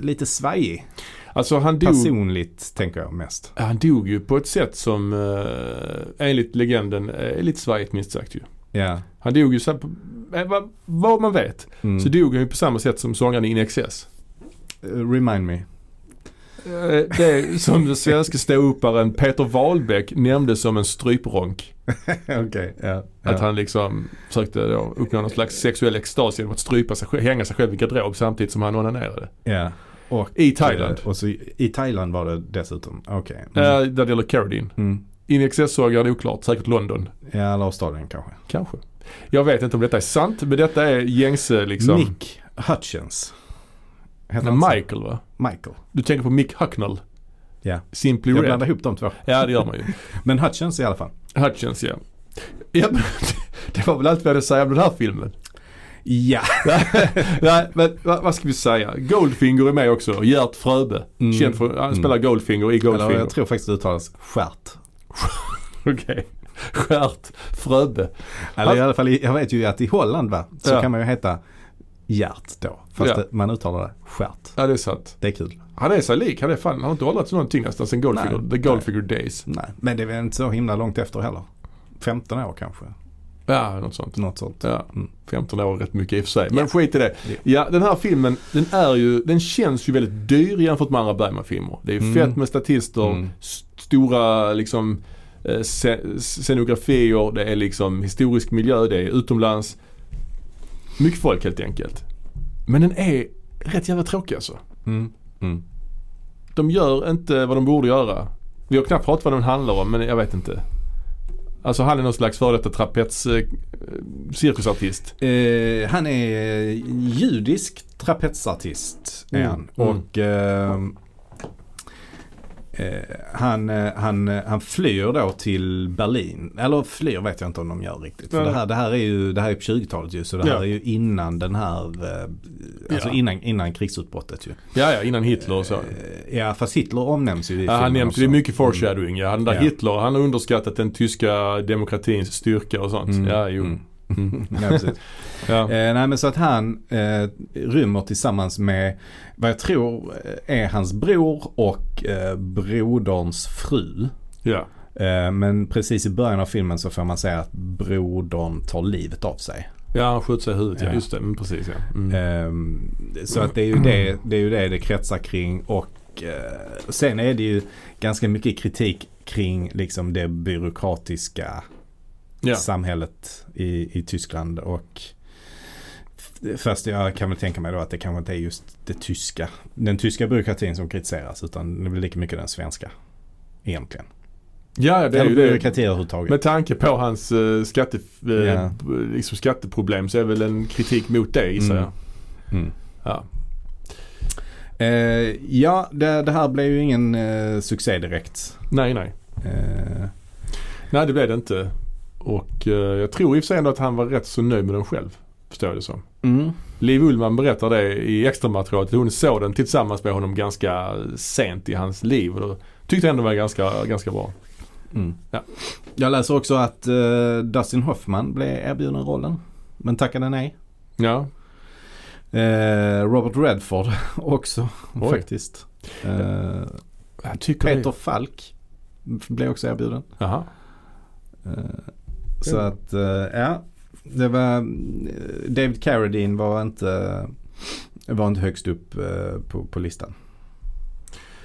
S1: lite svajig.
S2: Alltså han dog,
S1: Personligt tänker jag mest.
S2: han dog ju på ett sätt som eh, enligt legenden eh, är lite svajigt minst sagt ju.
S1: Ja.
S2: Han dog ju så här på, eh, vad, vad man vet
S1: Mm.
S2: så dog han ju på samma sätt som sångaren i In Excess.
S1: Eh, Remind me.
S2: Eh, Det är som den svenske ståupparen Peter Wahlbeck nämnde som en strypronk.
S1: [LAUGHS] Okej, ja. ja.
S2: Att han liksom försökte då uppnå någon slags sexuell extas genom att strypa sig själv, hänga sig själv i garderob samtidigt som han onanerade.
S1: ja. Och,
S2: I Thailand.
S1: eh, Och så, I Thailand var det dessutom. Okej. Mm.
S2: Eh, Där det gäller Carradine.
S1: Mm.
S2: In Excess-sågaren är oklart, säkert London.
S1: Ja, eller Australien kanske.
S2: Kanske. Jag vet inte om detta är sant men detta är gängse liksom.
S1: Nick Hutchins. Heter
S2: Nej,
S1: han så?
S2: Michael va?
S1: Michael.
S2: Du tänker på Mick Hucknall?
S1: Ja.
S2: Simply
S1: Jag
S2: Red?
S1: blandar ihop de [LAUGHS] två.
S2: Ja det gör man ju.
S1: Men Hutchins i alla fall.
S2: Hutchins ja. ja men, det var väl allt vi hade att säga om den här filmen.
S1: Ja.
S2: Nej, men vad, vad ska vi säga? Goldfinger är med också. Gert Fröbe.
S1: Mm.
S2: Känd för, han
S1: Mm.
S2: spelar Goldfinger i
S1: Eller
S2: Goldfinger.
S1: jag tror faktiskt det uttalas skärt.
S2: Okej. [LAUGHS] Gert Fröbe.
S1: Eller i alla fall, i- jag vet ju att i Holland va, så
S2: Ja.
S1: kan man ju heta Gert då. Fast
S2: Ja.
S1: det, man uttalar det skärt.
S2: Ja, det är sant.
S1: Det är kul.
S2: Han är sig lik. Han är fan, han har inte åldrats någonting nästan sen Goldfinger,
S1: Nej.
S2: The Goldfinger Days.
S1: Nej, men det är väl inte så himla långt efter heller. 15 år kanske.
S2: Ja, något sånt.
S1: Något sånt.
S2: Ja,
S1: Mm.
S2: 15 år är rätt mycket i och för sig. Men
S1: Ja.
S2: skit i det.
S1: Ja.
S2: Ja, den här filmen, den är ju, den känns ju väldigt dyr jämfört med andra Bergman-filmer. Det är ju
S1: Mm.
S2: fett med statister,
S1: Mm.
S2: s- stora liksom eh, sce- scenografier, det är liksom historisk miljö, det är utomlands. Mycket folk helt enkelt. Men den är rätt jävla tråkig alltså.
S1: Mm. Mm.
S2: De gör inte vad de borde göra. Vi har knappt pratat vad den handlar om, men jag vet inte. Alltså han är någon slags före detta trapets eh, cirkusartist.
S1: Eh, han är judisk trapetsartist. är
S2: Mm.
S1: han.
S2: Mm.
S1: Och ehm, eh, han, eh, han, eh, han flyr då till Berlin. Eller flyr vet jag inte om de gör riktigt. För
S2: Nej.
S1: det, här, det här är ju det här är på 20-talet ju. Så det här
S2: Ja.
S1: är ju innan den här, eh, alltså
S2: Ja.
S1: innan, innan krigsutbrottet ju.
S2: Ja, ja, innan Hitler och så.
S1: Eh, ja fast Hitler omnämns ju i
S2: Ja, han
S1: filmen
S2: nämns,
S1: också.
S2: det är mycket foreshadowing. Ja. Han där
S1: Ja.
S2: Hitler, han har underskattat den tyska demokratins styrka och sånt.
S1: Mm.
S2: Ja, jo.
S1: Mm.
S2: Mm.
S1: Nej, precis.
S2: Ja.
S1: Eh, nej men så att han eh, rymmer tillsammans med vad jag tror eh, är hans bror och eh, broderns fru.
S2: ja.
S1: Eh, men precis i början av filmen så får man säga att brodern tar livet av sig.
S2: Ja, han sköt sig i huvudet. Ja.
S1: Ja.
S2: Just det, mm, precis ja. Mm.
S1: Eh, så att det är ju det det, är ju det, det kretsar kring och eh, sen är det ju ganska mycket kritik kring liksom det byråkratiska
S2: Ja.
S1: samhället i, i Tyskland. Och f- först jag kan väl tänka mig då att det kanske inte är just det tyska, den tyska byråkratin som kritiseras utan det blir lika mycket den svenska. Egentligen.
S2: ja, ja, det är
S1: Eller
S2: ju det.
S1: byråkrati överhuvudtaget.
S2: Med tanke på hans eh, skatte, eh,
S1: Ja.
S2: b- liksom skatteproblem så är väl en kritik mot det gissar
S1: Mm.
S2: jag.
S1: Mm.
S2: Ja.
S1: Eh, ja, det, det här blev ju ingen eh, succé direkt.
S2: Nej, nej.
S1: Eh,
S2: Nej, det blev det inte. Och eh, jag tror i och för sig ändå att han var rätt så nöjd med den själv. Förstår jag det som.
S1: mm.
S2: Liv Ullman berättar det i extramaterialet. Hon såg den tillsammans med honom ganska sent i hans liv. Och då tyckte jag ändå det var ganska, ganska bra.
S1: Mm.
S2: Ja.
S1: Jag läser också att eh, Dustin Hoffman blev erbjuden rollen. Men tackade nej.
S2: Ja,
S1: Eh, Robert Redford [LAUGHS] också
S2: Oj.
S1: faktiskt. Eh,
S2: jag tycker
S1: Peter Falk blev också erbjuden.
S2: det. Jaha.
S1: Eh, Så att, eh, ja. Det var, eh, David Carradine var inte, var inte högst upp eh, på, på listan.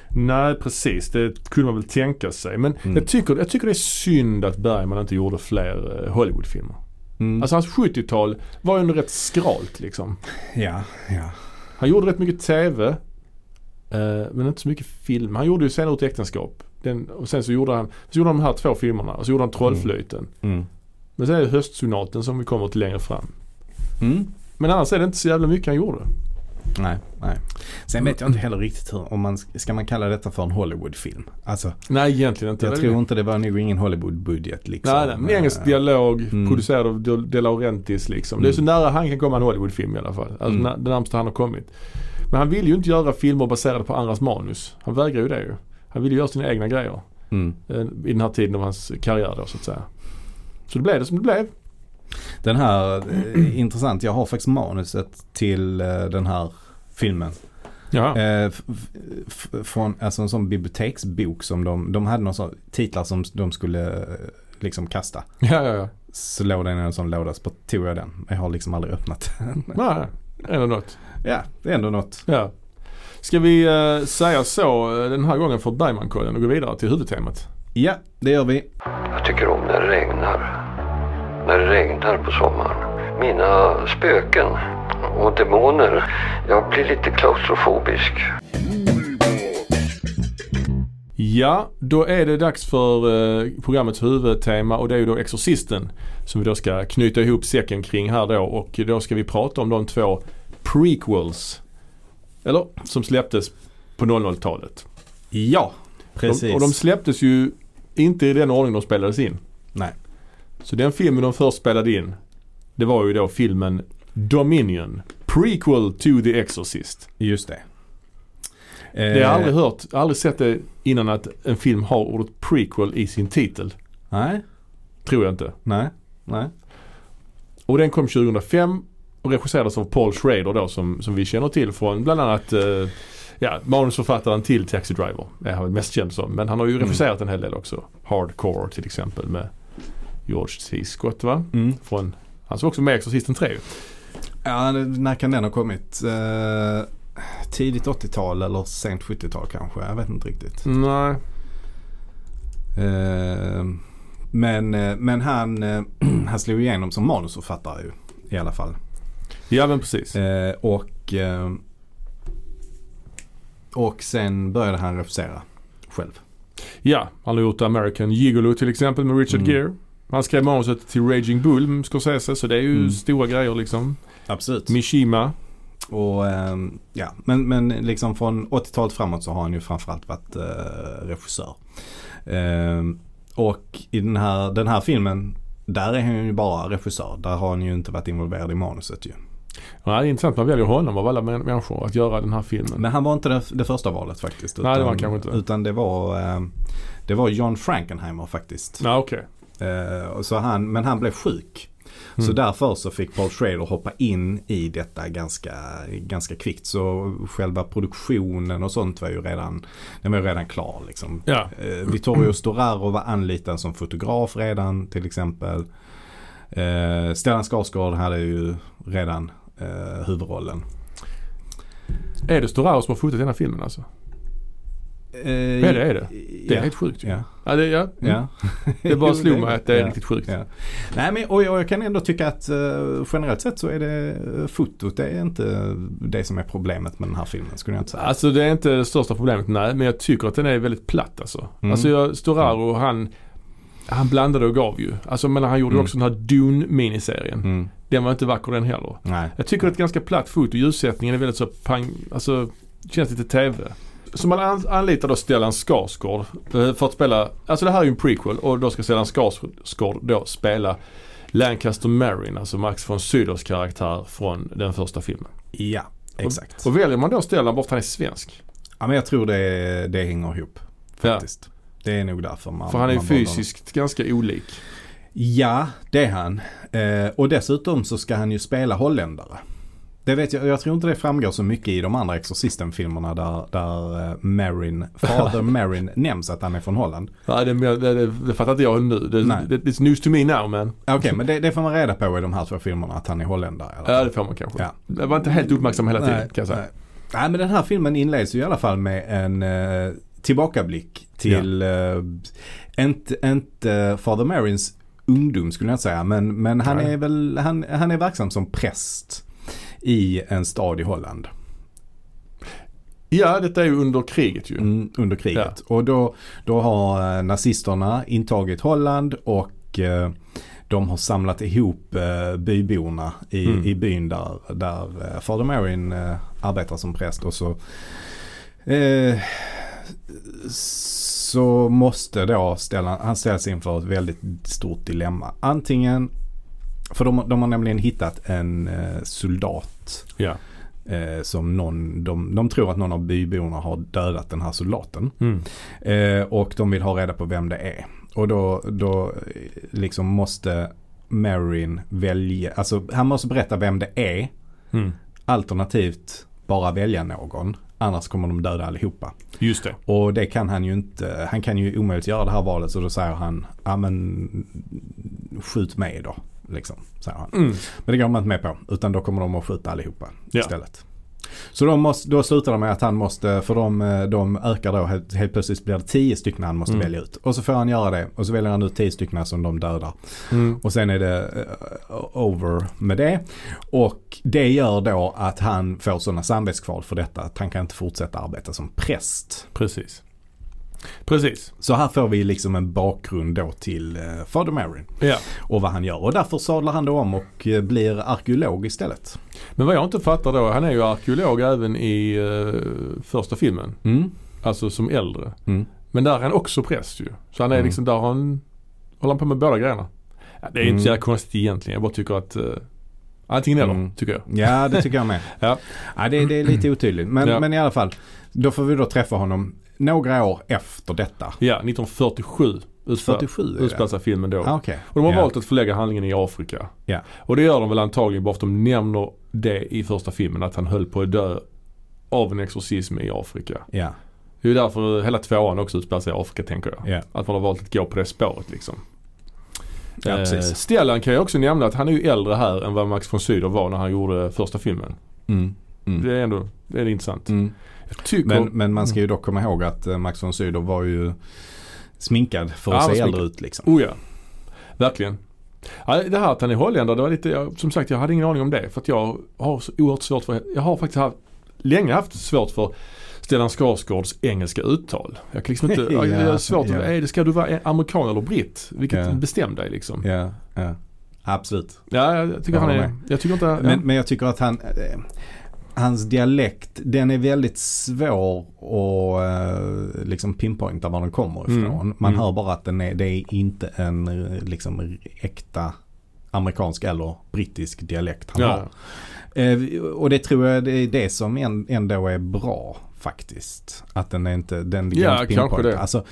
S2: Nej, precis. Det kunde man väl tänka sig. Men
S1: Mm.
S2: jag, tycker, jag tycker det är synd att Bergman inte gjorde fler eh, Hollywoodfilmer.
S1: Mm.
S2: Alltså hans 70-tal var ju ändå rätt skralt liksom.
S1: ja, ja.
S2: Han gjorde rätt mycket TV. eh, Men inte så mycket film. Han gjorde ju senare Ut i äktenskap. Den, och sen så gjorde, han, så gjorde han de här två filmerna. Och så gjorde han Trollflöjten.
S1: Mm.
S2: Men sen är det höstsonaten som vi kommer till längre fram.
S1: Mm.
S2: Men annars är det inte så jävla mycket han gjorde.
S1: Nej, nej. Sen
S2: Mm.
S1: vet jag inte heller riktigt hur, om man, ska man kalla detta för en Hollywoodfilm? Alltså,
S2: Nej egentligen inte.
S1: jag
S2: Det är
S1: tror
S2: det.
S1: inte det var nog ingen Hollywoodbudget liksom.
S2: Nej, Mm. nej. Men engelsk
S1: Eh,
S2: dialog
S1: Mm.
S2: producerad av De, De Laurentiis liksom. Det är så nära han kan komma en Hollywoodfilm i alla fall. Alltså
S1: Mm.
S2: na- det närmsta han har kommit. Men han vill ju inte göra filmer baserade på andras manus. Han vägrar ju det ju. Han vill ju göra sina egna grejer.
S1: Mm.
S2: eh, I den här tiden av hans karriär då så att säga. Så det blev det som det blev.
S1: Den här, eh, intressant, jag har faktiskt manuset till eh, den här filmen.
S2: Ja.
S1: Eh, f- f- från alltså en sån biblioteksbok som de, de hade någon sån titlar som de skulle eh, liksom kasta.
S2: Ja, ja, ja.
S1: Så låg den i en sån låda så tog jag den. Jag har liksom aldrig öppnat [LAUGHS] den.
S2: Nej, ändå något.
S1: ja, det är ändå något.
S2: Ja. Ska vi eh, säga så eh, den här gången för Bergmankollen och gå vidare till huvudtemat?
S1: Ja, det gör vi.
S3: Jag tycker om när det regnar. När det regnar på sommaren. Mina spöken och demoner. Jag blir lite klaustrofobisk.
S2: Ja, då är det dags för eh, programmets huvudtema och det är ju då Exorcisten som vi då ska knyta ihop säcken kring här då och då ska vi prata om de två prequels. Eller? Som släpptes på 00-talet.
S1: Ja,
S2: De,
S1: precis.
S2: och de släpptes ju inte i den ordning de spelades in.
S1: Nej.
S2: Så den filmen de först spelade in det var ju då filmen Dominion. Prequel to The Exorcist.
S1: Just det. Eh,
S2: Det har jag aldrig hört, aldrig sett det innan att en film har ordet prequel i sin titel.
S1: Nej,
S2: Tror jag inte.
S1: nej, nej.
S2: Och den kom 2005 och regisserades av Paul Schrader då som, som vi känner till från bland annat eh, ja, manusförfattaren till Taxi Driver. Det är han väl mest känd som. Men han har ju
S1: Mm.
S2: regisserat en hel del också. Hardcore till exempel med George C. Scott va?
S1: Mm.
S2: Från, han som också var med i Exorcisten 3 ju.
S1: Ja, när kan den ha kommit? Eh, tidigt 80-tal eller sent 70-tal kanske. Jag vet inte riktigt.
S2: Nej.
S1: Eh, men, eh, men han, eh, [CLEARS THROAT] han slog igenom som manusförfattare ju, i alla fall.
S2: Ja men precis.
S1: Eh, och, eh, och sen började han regissera själv.
S2: Ja, han har gjort American Gigolo till exempel med Richard
S1: Mm.
S2: Gere. Han skrev manuset till Raging Bull med Scorsese så det är ju
S1: Mm.
S2: stora grejer liksom.
S1: Absolut.
S2: Mishima.
S1: Och, eh, ja. men, men liksom från 80-talet framåt så har han ju framförallt varit eh, regissör. Eh, och i den här, den här filmen, där är han ju bara regissör. Där har han ju inte varit involverad i manuset ju.
S2: Ja, det är intressant man väljer honom av alla män- människor att göra den här filmen.
S1: Men han var inte det, det första valet faktiskt.
S2: Nej, det var han kanske inte.
S1: Utan det var, eh, det var John Frankenheimer faktiskt.
S2: Ja, okej.
S1: Eh, och så han, men han blev sjuk. Så
S2: Mm.
S1: därför så fick Paul Schrader hoppa in i detta ganska, ganska kvickt. Så själva produktionen och sånt var ju redan, den var ju redan klar. Liksom.
S2: Ja.
S1: Eh, Vittorio Storaro var anlitad som fotograf redan till exempel. Eh, Stellan Skarsgård hade ju redan eh, huvudrollen.
S2: Är det Storaro som har fotat den här filmen alltså?
S1: Eh,
S2: Ja, det är det. Det är
S1: ja.
S2: helt sjukt ju.
S1: Ja.
S2: Ja, det, ja. Mm.
S1: Ja. [LAUGHS]
S2: det bara slog mig att det är
S1: Ja.
S2: riktigt sjukt.
S1: Ja. Nej men och jag, jag kan ändå tycka att eh, generellt sett så är det eh, fotot. Det är inte det som är problemet med den här filmen skulle jag inte säga.
S2: Alltså det är inte det största problemet, nej. Men jag tycker att den är väldigt platt alltså.
S1: Mm.
S2: Alltså jag, Storaro han, han blandade och gav ju. Alltså men han gjorde
S1: Mm.
S2: också den här Dune-miniserien.
S1: Mm.
S2: Den var inte vacker den heller.
S1: Nej.
S2: Jag tycker det är ett ganska platt foto. Ljussättningen är väldigt så pang, alltså känns lite TV. Så man an- anlitar då Stellan Skarsgård eh, för att spela, alltså det här är ju en prequel och då ska Stellan Skarsgård då spela Lancaster Marin, alltså Max von Sydows karaktär från den första filmen.
S1: Ja, exakt.
S2: Och väljer man då Stellan bara för att han är svensk.
S1: Ja, men jag tror det, det hänger ihop
S2: Ja,
S1: faktiskt. Det är nog därför man...
S2: för han är ju
S1: man valde
S2: fysiskt ganska olik.
S1: honom. Ja, det är han. Eh, och dessutom så ska han ju spela holländare. Det vet jag, jag tror inte det framgår så mycket i de andra Exorcisten-filmerna där, där eh, Marin,
S2: [LAUGHS]
S1: Father Marin nämns att han är från Holland.
S2: Ja, det, det, det, det fattar inte jag nu. Det,
S1: Nej.
S2: det, it's news to me now men.
S1: Okej, men det, det får man reda på i de här två filmerna att han är holländare. i alla fall.
S2: Ja, det får man kanske.
S1: Ja.
S2: Jag var inte helt uppmärksam hela tiden
S1: Nej,
S2: kan jag säga.
S1: Nej. nej, men den här filmen inleds ju i alla fall med en eh, tillbakablick till, eh, inte, inte Father Marins ungdom skulle jag inte säga, men, men han
S2: Nej.
S1: är väl, han, han är verksam som präst i en stad i Holland
S2: Ja, detta är ju under kriget ju.
S1: mm, under kriget. Och då, då har eh, nazisterna intagit Holland och eh, de har samlat ihop eh, byborna i,
S2: Mm.
S1: i byn där, där eh, Father Marin eh, arbetar som präst. Och så, eh, så måste då ställa, han ställs inför ett väldigt stort dilemma. Antingen, för de, de har nämligen hittat en eh, soldat
S2: Ja.
S1: Eh, som någon, de, de tror att någon av byborna har dödat den här soldaten.
S2: Mm.
S1: Eh, och de vill ha reda på vem det är. Och då, då eh, liksom måste Marin välja, alltså han måste berätta vem det är.
S2: Mm.
S1: Alternativt bara välja någon. Annars kommer de döda allihopa.
S2: Just det.
S1: Och det kan han ju inte. Han kan ju omöjligt göra det här valet. Så då säger han, ja men skjut mig då. Liksom, säger han.
S2: Mm.
S1: Men det går man inte med på. Utan då kommer de att skjuta allihopa
S2: Ja.
S1: istället. Så då, måste, då slutar de med att han måste, för de, eh, de ökar då helt, helt plötsligt blir det tio stycken han måste
S2: Mm.
S1: välja ut. Och så får han göra det och så väljer han ut tio stycken som de dödar.
S2: Mm.
S1: Och sen är det eh, over med det. Och det gör då att han får sådana samvetskval för detta att han kan inte fortsätta arbeta som präst.
S2: Precis. Precis.
S1: Så här får vi liksom en bakgrund då till eh, Father Marin
S2: Ja.
S1: och vad han gör. Och därför sadlar han då om och eh, blir arkeolog istället.
S2: Men vad jag inte fattar då, han är ju arkeolog även i eh, första filmen.
S1: Mm.
S2: Alltså som äldre.
S1: Mm.
S2: Men där är han också präst ju. Så han är
S1: Mm.
S2: liksom, där har han, håller han på med båda grejerna. Ja, det är ju
S1: Mm.
S2: inte så jävla konstigt egentligen. Jag bara tycker att eh, antingen eller,
S1: Mm.
S2: tycker jag.
S1: Ja, det tycker jag med.
S2: [LAUGHS] Ja.
S1: Ja, det, det är lite otydligt. Men,
S2: Ja.
S1: men i alla fall, då får vi då träffa honom några år efter detta.
S2: Ja, 1947 utspelar
S1: 47 är
S2: utspelar
S1: det.
S2: sig filmen då.
S1: Ah, Okej.
S2: Och de har
S1: Ja.
S2: valt att förlägga handlingen i Afrika.
S1: Ja.
S2: Och det gör de väl antagligen bara för att de nämner det i första filmen att han höll på att dö av en exorcism i Afrika.
S1: Ja,
S2: Det är ju därför hela tvåan också utspelar sig i Afrika tänker jag.
S1: ja.
S2: Att man har valt att gå på det spåret liksom.
S1: Ja, precis.
S2: Eh, Stellan kan jag också nämna att han är ju äldre här än vad Max von Sydow var när han gjorde första filmen.
S1: Mm. Mm.
S2: Det är ändå det är intressant.
S1: Mm.
S2: Jag tycker...
S1: Men, men man ska
S2: Mm.
S1: ju dock komma ihåg att eh, Max von Sydow var ju sminkad för
S2: Ja,
S1: att
S2: han var
S1: se äldre
S2: sminkad.
S1: ut liksom.
S2: Oh ja. Verkligen. Ja, det här att han är holländare, det var lite, jag, som sagt jag hade ingen aning om det. För att jag har så oerhört svårt för, jag har faktiskt haft, länge haft svårt för Stellan Skarsgårds engelska uttal. Jag kan liksom inte, jag, jag
S1: [LAUGHS]
S2: har
S1: Ja,
S2: svårt,
S1: ja.
S2: yeah. är det, ska du vara amerikan eller britt? Vilket
S1: Ja.
S2: bestäm dig liksom.
S1: Ja, ja. Absolut.
S2: Ja, jag tycker
S1: Jag
S2: han
S1: håller
S2: är, jag tycker inte,
S1: Men,
S2: ja.
S1: men jag tycker att han, eh, hans dialekt, den är väldigt svår att eh, liksom pinpointa var den kommer ifrån.
S2: Mm.
S1: Man
S2: Mm.
S1: hör bara att den är, det är inte en eh, liksom äkta amerikansk eller brittisk dialekt han
S2: ja.
S1: har. Eh, och det tror jag det är det som en- ändå är bra faktiskt. Att den är inte, den går
S2: Ja,
S1: inte
S2: kanske
S1: pinpointa.
S2: det.
S1: Alltså,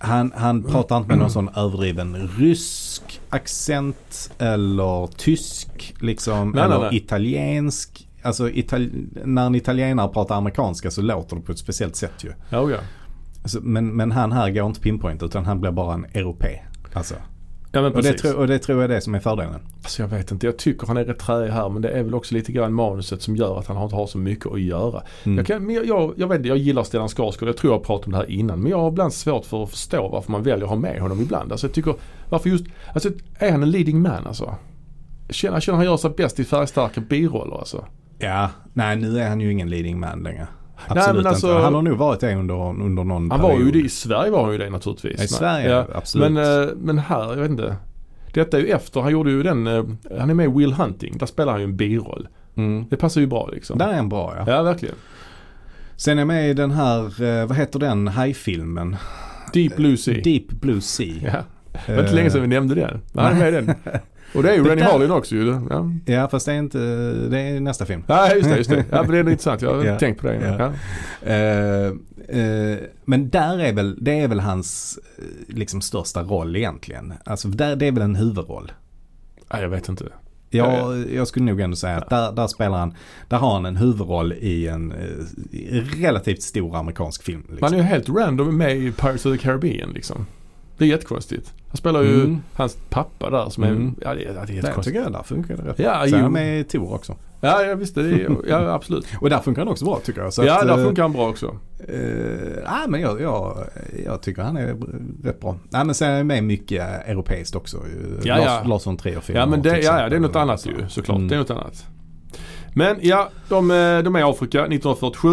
S1: han, han pratar inte med någon sån överdriven rysk accent eller tysk liksom.
S2: Nej, nej,
S1: eller
S2: nej.
S1: italiensk. Alltså itali- när en italienare pratar amerikanska så låter det på ett speciellt sätt ju.
S2: Ja, oh ja.
S1: Alltså, men, men han här går inte pinpoint utan han blir bara en europé. Alltså.
S2: ja men
S1: Och, det
S2: precis.
S1: tror, och det tror jag är det som är fördelen.
S2: Alltså jag vet inte, jag tycker han är rätt träig här men det är väl också lite grann manuset som gör att han inte har så mycket att göra.
S1: Mm.
S2: Jag, kan, men jag, jag, jag vet inte, jag gillar Stellan Skarsgård, jag tror jag har pratat om det här innan. Men jag har ibland svårt för att förstå varför man väljer att ha med honom ibland. Alltså jag tycker, varför just, alltså är han en leading man alltså? Jag känner, jag känner han gör sig bäst i färgstarka biroller alltså.
S1: Ja, nej nu är han ju ingen leading man längre. Absolut
S2: men alltså-
S1: inte. Han har nog varit det under, under någon
S2: Han var
S1: period.
S2: ju det, i Sverige var han ju det naturligtvis.
S1: Ja, I
S2: Men-
S1: Sverige,
S2: ja.
S1: absolut.
S2: Men, eh, men här, jag vet inte. Detta är ju efter, han gjorde ju den, eh, han är med i Will Hunting, där spelar han ju en biroll.
S1: mm.
S2: Det passar ju bra liksom.
S1: Där är en bra ja.
S2: Ja verkligen.
S1: Sen är jag med i den här, eh, vad heter den hajfilmen?
S2: Deep Blue Sea.
S1: Deep Blue Sea.
S2: Ja. Det var inte länge sedan vi nämnde den. Men han är med i den. Och det är ju
S1: Det
S2: Rennie
S1: där-
S2: Harlin också ju. Ja.
S1: Ja fast det är inte, det är nästa film.
S2: ja, just det. Just det. Ja, men det är nog intressant. Jag har
S1: Ja.
S2: inte tänkt på det innan. Ja.
S1: Eh, eh, men där är väl, det är väl hans eh, liksom största roll egentligen. Alltså där, det är väl en huvudroll.
S2: Nej, jag vet inte. Ja,
S1: Jag, jag skulle nog ändå säga att där, där spelar han, där har han en huvudroll i en eh, i relativt stor amerikansk film. Liksom.
S2: Man är ju helt random med i Pirates of the Caribbean liksom. Det är jättekonstigt. Han spelar ju
S1: Mm.
S2: hans pappa där som är...
S1: Mm.
S2: Ja, det, ja, det är
S1: Nej, jag
S2: jättekonstigt.
S1: tycker jag där funkar det rätt.
S2: Ja,
S1: Sen är
S2: jo.
S1: han med i Tor också.
S2: Ja, ja, visst. Det är, ja,
S1: [LAUGHS]
S2: absolut.
S1: Och där funkar han också bra tycker jag. Så
S2: Ja,
S1: att,
S2: där
S1: eh,
S2: funkar han bra också.
S1: Eh, nej, men jag, jag, jag tycker han är rätt bra. Nej, men sen är jag med mycket eh, europeiskt också. Eh,
S2: Ja,
S1: Lars,
S2: ja.
S1: Larsson 3 och 4.
S2: Ja, men det, ja, ja, det är något annat ju såklart.
S1: Mm.
S2: Det är något annat. Men ja, de, eh, de är i Afrika 1947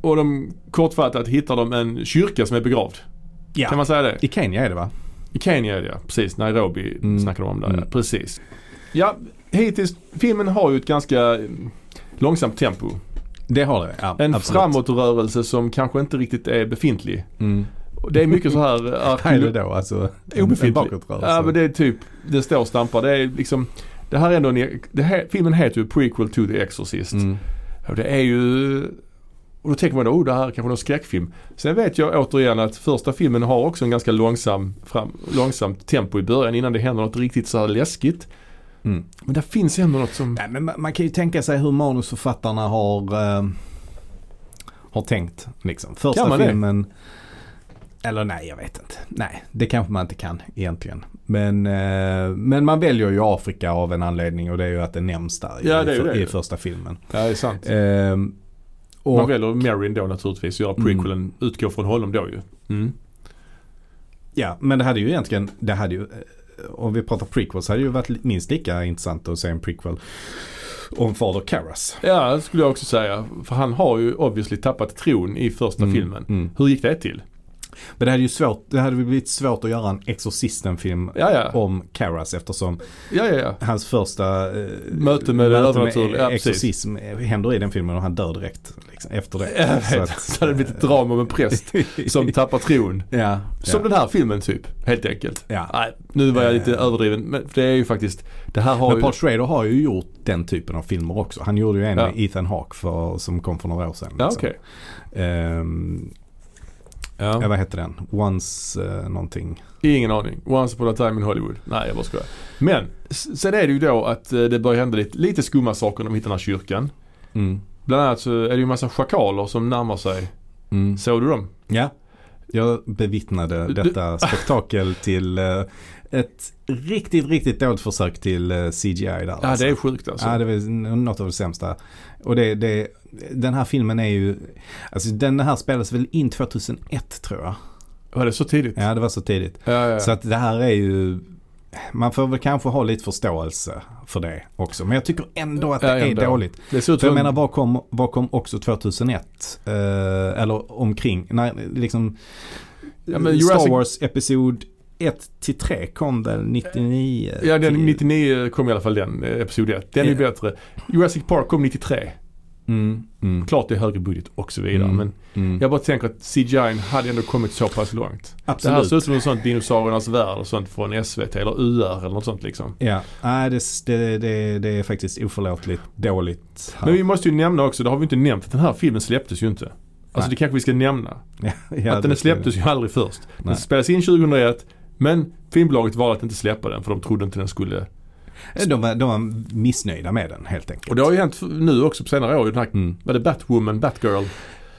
S2: och de kortfattat hittar de en kyrka som är begravd.
S1: Ja.
S2: Kan man säga det?
S1: I Kenya är det va?
S2: I Kenya är det ja. Precis, Nairobi
S1: Mm.
S2: snackade de om där
S1: Mm.
S2: ja. Precis. Ja, hittills, filmen har ju ett ganska eh, långsamt tempo.
S1: Det har det. Ja,
S2: En
S1: absolut.
S2: framåtrörelse som kanske inte riktigt är befintlig.
S1: Mm.
S2: Och Det är mycket så
S1: [LAUGHS]
S2: här... eh,
S1: Vad är det
S2: arkeolo-
S1: då? Alltså, en
S2: Obefintlig.
S1: bakåtrörelse.
S2: Ja men det är typ, den står e- och stampar. Det är liksom, det här är ändå en, det här, filmen heter ju Prequel to the Exorcist.
S1: Mm.
S2: Och det är ju... Och då tänker man då, oh, det här är kanske någon skräckfilm. Sen vet jag återigen att första filmen har också en ganska långsam, fram, långsamt tempo i början innan det händer något riktigt så här läskigt.
S1: Mm.
S2: Men där finns ändå något som...
S1: Nej, men man, man kan ju tänka sig hur manusförfattarna har, eh, har tänkt. Liksom.
S2: Kan
S1: Första
S2: man det?
S1: filmen. Eller nej, jag vet inte. Nej, det kanske man inte kan egentligen. Men, eh, men man väljer ju Afrika av en anledning och det är ju att det nämns där i-
S2: Ja, det är ju det.
S1: i första filmen.
S2: Ja, det är sant.
S1: Ehm, och,
S2: Eh, Man väljer Marin då naturligtvis och göra prequelen, utgå från honom då ju. Mm.
S1: Ja, men det hade ju egentligen, det hade ju, eh, om vi pratar prequels, hade det ju varit li- minst lika intressant att se en prequel om Fader Karras.
S2: Ja, det skulle jag också säga. För han har ju obviously tappat tron i första filmen.
S1: Mm.
S2: Hur gick det till?
S1: Men det hade ju svårt, det hade väl blivit svårt att göra en Exorcisten-film
S2: Ja, ja.
S1: om Karras eftersom
S2: ja, ja, ja.
S1: hans första eh,
S2: Möte med det övernaturliga, ja, precis.
S1: exorcism eh, händer i den filmen och han dör direkt liksom, efter
S2: [LAUGHS]
S1: det.
S2: Jag
S1: Så
S2: vet,
S1: att- eh,
S2: så hade det blivit ett drama om en präst [LAUGHS]
S1: [LAUGHS]
S2: som tappar tron.
S1: ja,
S2: Som
S1: ja.
S2: den här filmen typ, helt enkelt.
S1: Ja.
S2: Nej, nu var jag lite
S1: Eh.
S2: överdriven men för det är ju faktiskt, det här har
S1: Men
S2: ju...
S1: Paul Schrader har ju gjort den typen av filmer också. Han gjorde ju en
S2: Ja.
S1: med Ethan Hawke för, som kom för några år sedan.
S2: ja,
S1: liksom.
S2: okej.
S1: Ehm, Ja,
S2: Ja.
S1: vad heter den? Once eh, någonting.
S2: Ingen aning. Once upon a time in Hollywood. Nej, jag bara skojar. Men, s- sen är det ju då att eh, det börjar hända lite, lite skumma saker när de hittar den här kyrkan. Bland annat så är det ju en massa schakaler som närmar sig.
S1: Mm.
S2: Såg du dem?
S1: Ja, jag bevittnade
S2: Du-
S1: detta spektakel till eh, ett riktigt, riktigt dåligt försök till eh, CGI där.
S2: Ja, det är sjukt alltså.
S1: Ja, det var n- något av det sämsta. Och det, det, den här filmen är ju, alltså den här spelades väl in 2001 tror jag.
S2: Var det så tidigt?
S1: Ja, det var så tidigt.
S2: Ja, ja, ja.
S1: Så att det här är ju, man får väl kanske ha lite förståelse för det också. Men jag tycker ändå att det
S2: Ja,
S1: är
S2: ändå.
S1: dåligt.
S2: det ser ut
S1: För
S2: som
S1: jag menar, vad kom, vad kom också 2001? Eh, eller omkring, nej, liksom
S2: Ja, men
S1: Star
S2: Jurassic-
S1: Wars Episod 1 till 3 kom väl 99?
S2: Ja, den
S1: till-
S2: 99 kom i alla fall den, eh, episod 1. Den är
S1: Ja.
S2: bättre. Jurassic Park kom 93.
S1: Mm, mm,
S2: Klart det är högre budget och så vidare.
S1: Mm.
S2: Men
S1: mm.
S2: jag bara tänker att CGI hade ändå kommit så pass långt. Det här
S1: Absolut.
S2: ser ut som en sån dinosauriernas värld och sånt från SVT eller UR eller något sånt liksom.
S1: Ja, nej det, det, det, det är faktiskt oförlåtligt dåligt. Här.
S2: Men vi måste ju nämna också, det har vi inte nämnt, att den här filmen släpptes ju inte. Alltså
S1: Nej.
S2: det kanske vi ska nämna.
S1: [LAUGHS] ja, ja,
S2: att den släpptes ju aldrig först. Den
S1: Nej.
S2: spelades in 2001 men filmbolaget valde att inte släppa den för de trodde inte den skulle...
S1: Eh, De var, de var missnöjda med den helt enkelt.
S2: Och det har ju hänt nu också på senare år. Den här,
S1: Mm.
S2: Var det Batwoman, Batgirl?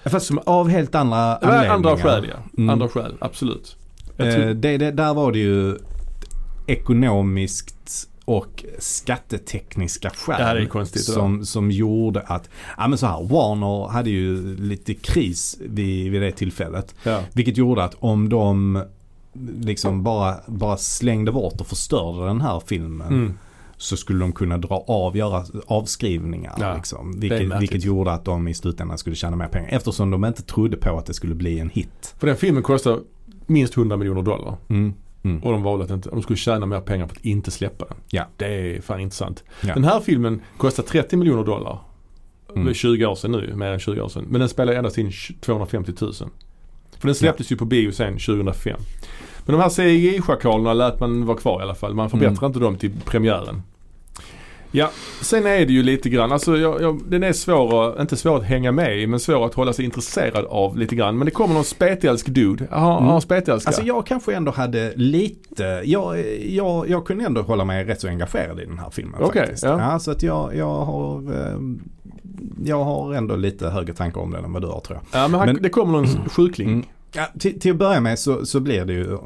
S1: Fast som av helt andra
S2: Det var
S1: anledningar.
S2: andra skäl ja.
S1: Mm.
S2: Andra skäl, absolut. Jag tror-
S1: Eh, det, det, där var det ju ekonomiskt och skattetekniska
S2: Ja, det är
S1: skäl
S2: konstigt, det
S1: som, som gjorde att, ja men så här, Warner hade ju lite kris vid, vid det tillfället.
S2: ja.
S1: Vilket gjorde att om de liksom bara, bara slängde bort och förstörde den här filmen
S2: Mm.
S1: så skulle de kunna dra av, göra avskrivningar.
S2: Ja,
S1: liksom,
S2: det är
S1: vilket,
S2: märkligt.
S1: vilket gjorde att de i slutändan skulle tjäna mer pengar. Eftersom de inte trodde på att det skulle bli en hit.
S2: För den filmen kostar minst 100 miljoner dollar.
S1: Mm.
S2: Och de valde att inte, de skulle tjäna mer pengar på att inte släppa den.
S1: Ja.
S2: Det är fan intressant.
S1: Ja.
S2: Den här filmen kostar 30 miljoner dollar. Det är
S1: Mm.
S2: 20 år sedan nu, mer än 20 år sedan. Men den spelade endast in 250 000. För den släpptes ju på bio sen 2005. Men de här CGI-schakalerna lät man vara kvar i alla fall. Man förbättrar
S1: Mm.
S2: inte dem till premiären. Ja, sen är det ju lite grann, alltså jag, jag, den är svår att, inte svår att hänga med i, men svår att hålla sig intresserad av lite grann. Men det kommer någon spetälsk dude. Har mm.
S1: Mm.
S2: han spetälska?
S1: Alltså jag kanske ändå hade lite, jag, jag, jag kunde ändå hålla mig rätt så engagerad i den här filmen
S2: Okej,
S1: faktiskt.
S2: ja.
S1: så att jag, jag, har, eh, jag har ändå lite högre tankar om den än vad du har tror jag.
S2: Ja, men, han,
S1: Men-
S2: det kommer någon sjukling.
S1: Mm. Ja, till, till att börja med så, så blir det ju eh,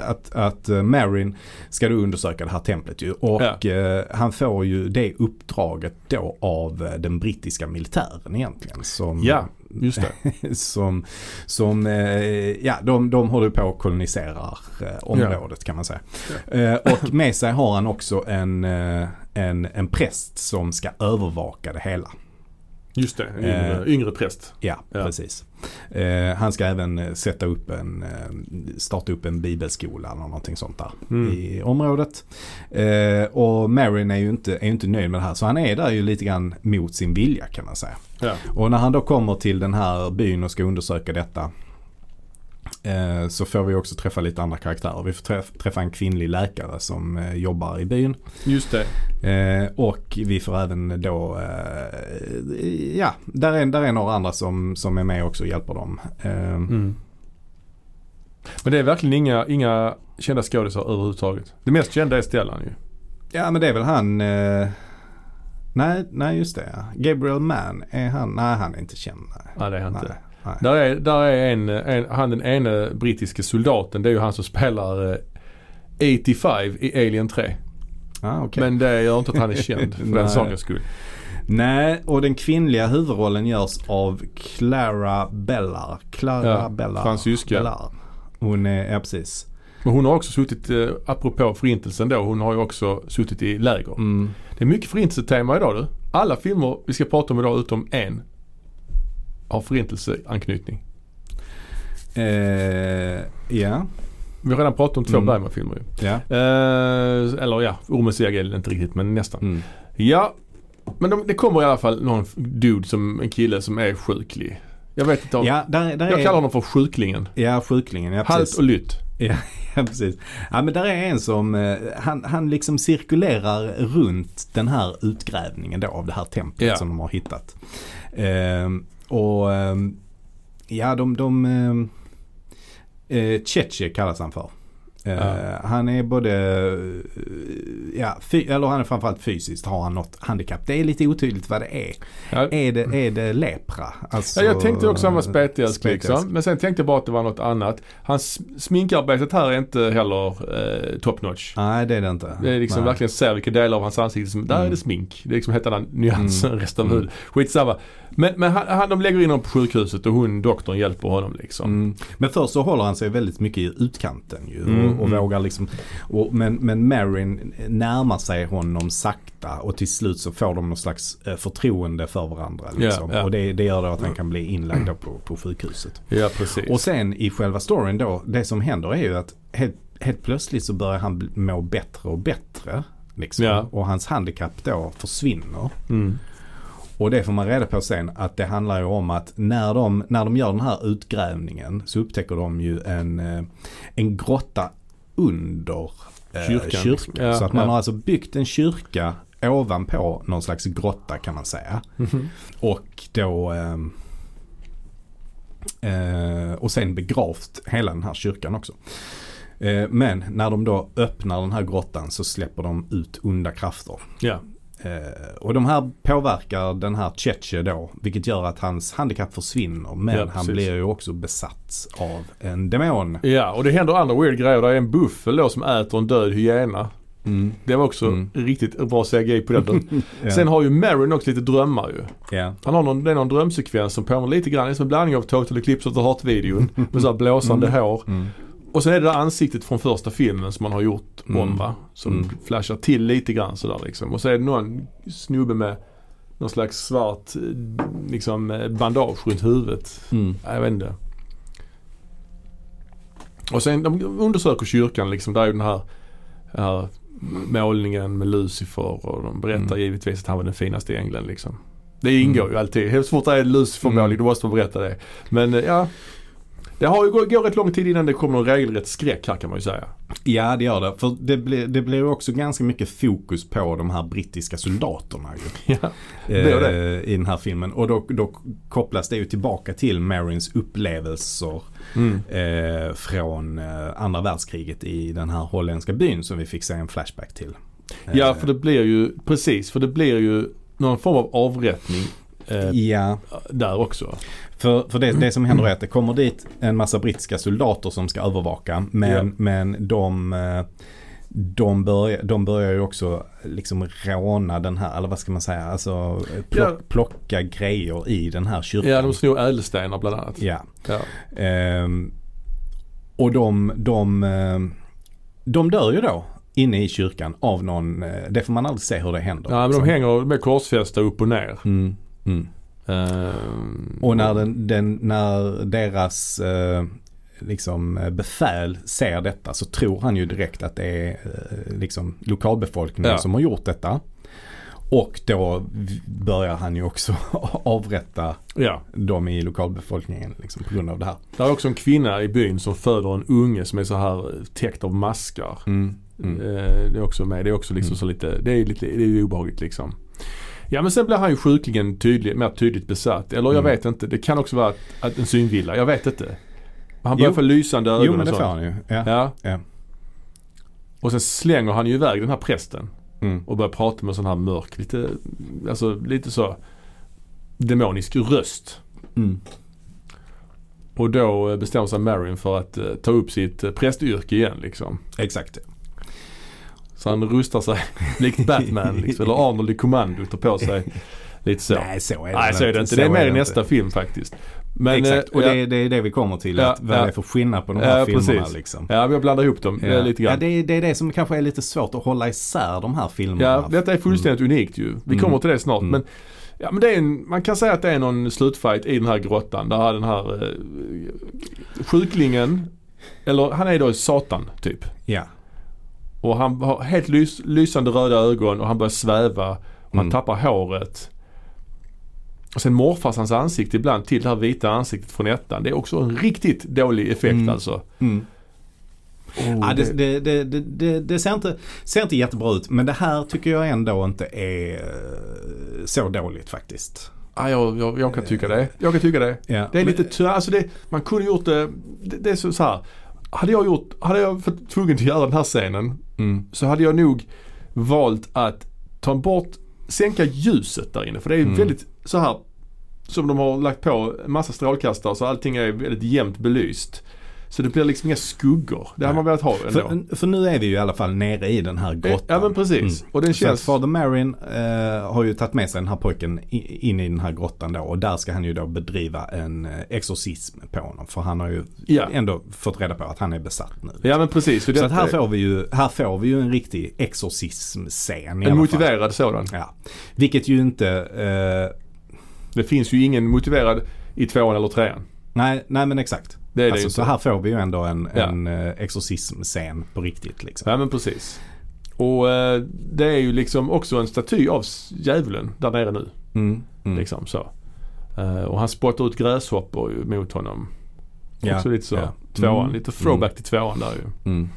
S1: att, att eh, Marin ska då undersöka det här templet ju. Och eh, han får ju det uppdraget då av eh, den brittiska militären egentligen. Som,
S2: Ja, just
S1: [LAUGHS]
S2: det.
S1: som, som eh, ja, de, de håller på och koloniserar eh, området kan man säga. Eh,
S2: [LAUGHS]
S1: och med sig har han också en, eh, en, en präst som ska övervaka det hela.
S2: Just det, en yngre,
S1: Eh.
S2: yngre präst.
S1: Ja,
S2: Ja.
S1: precis. Eh, han ska även eh, sätta upp en, eh, starta upp en bibelskola eller någonting sånt där
S2: Mm.
S1: i området. Eh, och Marin är ju inte, är ju inte nöjd med det här så han är där ju lite grann mot sin vilja kan man säga.
S2: Ja.
S1: Och när han då kommer till den här byn och ska undersöka detta eh, så får vi också träffa lite andra karaktärer. Vi får träff, träffa en kvinnlig läkare som eh, jobbar i byn.
S2: Just det.
S1: Eh, och vi får även då, eh, ja, där är, där är några andra som, som är med också och hjälper dem. Eh,
S2: Mm. Men det är verkligen inga, inga kända skådisar överhuvudtaget. Det mest kända är Stellan ju.
S1: Ja men det är väl han, eh, nej, nej just det. ja. Gabriel Mann, är han, nej han är inte känd. Nej,
S2: Nej det är han inte.
S1: nej, nej.
S2: Där är, där är en, en, han den ene brittiske soldaten. Det är ju han som spelar eh, 85 i Alien 3.
S1: Ah, okej.
S2: Men det gör inte att han är [LAUGHS] känd för
S1: Nej.
S2: den sakens skull.
S1: Nej, och den kvinnliga huvudrollen görs av Clara Bellar. Clara
S2: Ja,
S1: Bellar.
S2: fransyska.
S1: Bellar. Hon är, ja precis.
S2: Men hon har också suttit, eh, apropå förintelsen då, hon har ju också suttit i läger.
S1: Mm.
S2: Det är mycket förintelsetema idag du. Alla filmer vi ska prata om idag utom en har förintelseanknytning.
S1: Eh, ja,
S2: Vi har redan pratat om två
S1: Mm.
S2: Bergman-filmer ju.
S1: ja.
S2: Eh, eller ja, Ormens jägare är det inte riktigt men nästan.
S1: Mm.
S2: Ja, men de, det kommer i alla fall någon dude som, en kille som är sjuklig. Jag vet inte om,
S1: Ja, där, där
S2: jag
S1: är...
S2: kallar honom för sjuklingen.
S1: Ja, sjuklingen. Ja,
S2: Halt
S1: precis.
S2: och lytt.
S1: Ja, [LAUGHS] ja, precis. Ja, men där är en som, eh, han, han liksom cirkulerar runt den här utgrävningen då av det här templet
S2: Ja.
S1: som de har hittat. Ehm, och ehm, ja, de, de ehm, eh, Cheche kallas han för. Eh,
S2: Ja.
S1: Han är både, eh, ja, fy, eller han är framförallt fysiskt har han något handikapp. Det är lite otydligt vad det är.
S2: Ja.
S1: Är det, är det lepra? Alltså,
S2: Ja, jag tänkte också att han var spetälsk
S1: spetälsk.
S2: liksom. Men sen tänkte jag bara att det var något annat. Hans sminkarbetet här är inte heller eh, top notch.
S1: Nej, det är det inte.
S2: Det är liksom
S1: Nej. Mm.
S2: verkligen ser vilka delar av hans ansikte som, där är det smink. Det är liksom helt annan nyans än resten av huvudet. Skitsamma. Men, men han, han, de lägger in honom på sjukhuset och hon, doktorn, hjälper honom liksom.
S1: Mm. Men först så håller han sig väldigt mycket i utkanten ju.
S2: Mm,
S1: Och, och
S2: mm.
S1: vågar liksom. Och, men, men Marin närmar sig honom sakta och till slut så får de någon slags eh, förtroende för varandra. Liksom.
S2: ja. Mm.
S1: Och det, det gör då att han kan bli inlagd då på, på sjukhuset.
S2: Ja, precis.
S1: Och sen i själva storyn då, det som händer är ju att helt, helt plötsligt så börjar han bli- må bättre och bättre. Liksom.
S2: Ja.
S1: Och hans handikapp då försvinner.
S2: mm.
S1: Och det får man reda på sen att det handlar ju om att när de, när de gör den här utgrävningen så upptäcker de ju en, eh, en grotta under eh,
S2: Kyrkan.
S1: kyrkan.
S2: Ja,
S1: så att man
S2: ja.
S1: har alltså byggt en kyrka ovanpå någon slags grotta kan man säga. Och då ehm, eh, och sen begravt hela den här kyrkan också. Eh, men när de då öppnar den här grottan så släpper de ut onda krafter.
S2: Ja.
S1: Eh, och de här påverkar den här Cheche då, vilket gör att hans handikapp försvinner. Men
S2: Ja,
S1: han
S2: precis.
S1: blir ju också besatt av en demon.
S2: ja, och det händer andra weird grejer. Det är en buffel då som äter en död hyena. Det var också
S1: Mm.
S2: riktigt bra CGI på den.
S1: [LAUGHS] Ja.
S2: Sen har ju Marin också lite drömmar ju.
S1: Ja.
S2: Han har någon, det är någon drömsekvens som påminner lite grann, det är som en blandning av Total Eclipse of the Heart-videon. Med så här blåsande hår.
S1: Mm.
S2: Och sen är det där ansiktet från första filmen som man har gjort om
S1: Mm.
S2: va? Som
S1: Mm.
S2: flashar till lite grann sådär liksom. Och så är det någon snubbe med någon slags svart eh, liksom eh, bandage runt huvudet.
S1: Mm.
S2: Ja, Jag vet inte. Och sen de undersöker kyrkan liksom. Där är ju den här, den här målningen med Lucifer och de berättar
S1: Mm.
S2: givetvis att han var den finaste ängeln liksom. Det ingår ju alltid. Helt fort det är Lucifer-målning
S1: Mm.
S2: då måste man berätta det. Men eh, ja. Det har ju gått, går rätt lång tid innan det kommer någon regelrätt skräck här kan man ju säga.
S1: ja, det gör det. För det blir, det blir också ganska mycket fokus på de här brittiska soldaterna ju.
S2: [LAUGHS] Ja.
S1: eh,
S2: Det och
S1: i den här filmen. Och då, då kopplas det ju tillbaka till Marins upplevelser
S2: Mm.
S1: eh, från eh, andra världskriget i den här holländska byn som vi fick se en flashback till.
S2: ja,
S1: Eh,
S2: för det blir ju, precis, för det blir ju någon form av avrättning eh,
S1: ja.
S2: där också.
S1: För, för det, det som händer är att det kommer dit en massa brittiska soldater som ska övervaka. Men,
S2: Ja.
S1: men de, eh, de, börjar, de börjar ju också liksom råna den här, eller vad ska man säga, alltså plock,
S2: Ja.
S1: plocka grejer i den här kyrkan.
S2: Ja, de snor ädelstenar bland annat.
S1: Ja.
S2: Ja.
S1: Ehm, och de, de, ehm, de dör ju då inne i kyrkan av någon, eh, det får man aldrig se hur det händer.
S2: Ja, men
S1: liksom.
S2: de hänger med korsfästa upp och ner.
S1: Mm, mm.
S2: Ehm,
S1: Och när, den, den, när deras eh, liksom, eh, befäl ser detta så tror han ju direkt att det är eh, liksom, lokalbefolkningen
S2: Ja.
S1: som har gjort detta. Och då v- börjar han ju också [LAUGHS] avrätta
S2: Ja.
S1: dem i lokalbefolkningen liksom, på grund av det här.
S2: Det är också en kvinna i byn som föder en unge som är så här täckt av maskar.
S1: Mm. Mm.
S2: Eh, Det är också med. Det är också liksom så lite, det är lite, det är ju obehagligt liksom. Ja men sen blir han ju sjukligen tydlig, mer tydligt besatt. Eller jag
S1: Mm.
S2: vet inte, det kan också vara att, att en synvilla, jag vet inte. Men Han börjar
S1: Jo.
S2: få lysande ögon
S1: Jo men
S2: och
S1: det
S2: sånt.
S1: får han ju. Ja.
S2: Ja.
S1: Ja.
S2: Och sen slänger han ju iväg den här prästen
S1: Mm.
S2: och börjar prata med en sån här mörk, lite, alltså lite så demonisk röst.
S1: Mm.
S2: Och då eh, bestämmer sig Marion för att eh, ta upp sitt eh, prästyrke igen liksom.
S1: Exakt.
S2: Så han rustar sig [LAUGHS] likt Batman liksom, eller Arnold i kommando tar
S1: [LAUGHS]
S2: på sig lite så.
S1: Nej så är det
S2: Nej,
S1: väl
S2: så är det inte. Det är
S1: Så
S2: med i
S1: inte.
S2: nästa film faktiskt. Men,
S1: Exakt,
S2: eh,
S1: och
S2: ja,
S1: det, är- det är det vi kommer till.
S2: Ja,
S1: att vad
S2: ja.
S1: det är för skillnad på de här
S2: Ja,
S1: filmerna
S2: precis.
S1: liksom.
S2: ja, men jag blandar ihop dem eh, lite
S1: Ja,
S2: grann.
S1: det, är, det är det som kanske är lite svårt att hålla isär de här filmerna.
S2: Ja, detta är fullständigt unikt ju. Vi
S1: Mm.
S2: kommer till det snart.
S1: Mm.
S2: Men, ja, men det är en, man kan säga att det är någon slutfight i den här grottan. Där den här eh, sjuklingen, eller han är då Satan typ.
S1: Ja.
S2: Och han har helt lys, lysande röda ögon och han börjar sväva och han
S1: Mm.
S2: tappar håret. Och sen morfas hans ansikte ibland till det här vita ansiktet från ettan. Det är också en riktigt dålig effekt
S1: Mm.
S2: alltså.
S1: Mm.
S2: Och
S1: Ja, det, det, det, det, det, det ser, inte, ser inte jättebra ut men det här tycker jag ändå inte är eh, så dåligt faktiskt.
S2: Ja, Ah, jag, jag, jag kan tycka det. Jag kan tycka det.
S1: Ja.
S2: Det är
S1: Men-
S2: lite tö- alltså det, man kunde gjort det, det, det är så, så här. Hade jag gjort, hade jag varit tvungen att göra den här scenen
S1: Mm.
S2: så hade jag nog valt att ta bort, sänka ljuset där inne. För det är
S1: Mm.
S2: väldigt så här som de har lagt på en massa strålkastare så allting är väldigt jämnt belyst. Så det blir liksom inga skuggor. Det hade man velat ha ändå.
S1: För, för nu är vi ju i alla fall nere i den här grottan.
S2: ja men precis. Och den
S1: Så att
S2: känns...
S1: Father Marin eh, har ju tagit med sig den här pojken i- in i den här grottan då och där ska han ju då bedriva en eh, exorcism på honom. För han har ju
S2: Ja.
S1: ändå fått reda på att han är besatt nu.
S2: ja men precis.
S1: Så att här
S2: detta är
S1: får vi ju, här får vi ju en riktig exorcism-scen i alla
S2: en
S1: fall.
S2: motiverad sådan.
S1: Ja. Vilket ju inte, eh,
S2: Det finns ju ingen motiverad i tvåan eller trean.
S1: nej, nej men exakt.
S2: Det är det
S1: alltså,
S2: ju
S1: så
S2: inte.
S1: här får vi ju ändå en,
S2: Ja.
S1: en eh, exorcism-scen på riktigt liksom.
S2: Ja men precis. Och eh, det är ju liksom också en staty av s- djävulen där nere nu.
S1: Mm, mm.
S2: Liksom så. Eh, och han spottar ut gräshoppor ju mot honom.
S1: Ja,
S2: Också lite så.
S1: ja.
S2: Tvåan,
S1: Mm,
S2: lite throwback till tvåan där ju.
S1: Mm.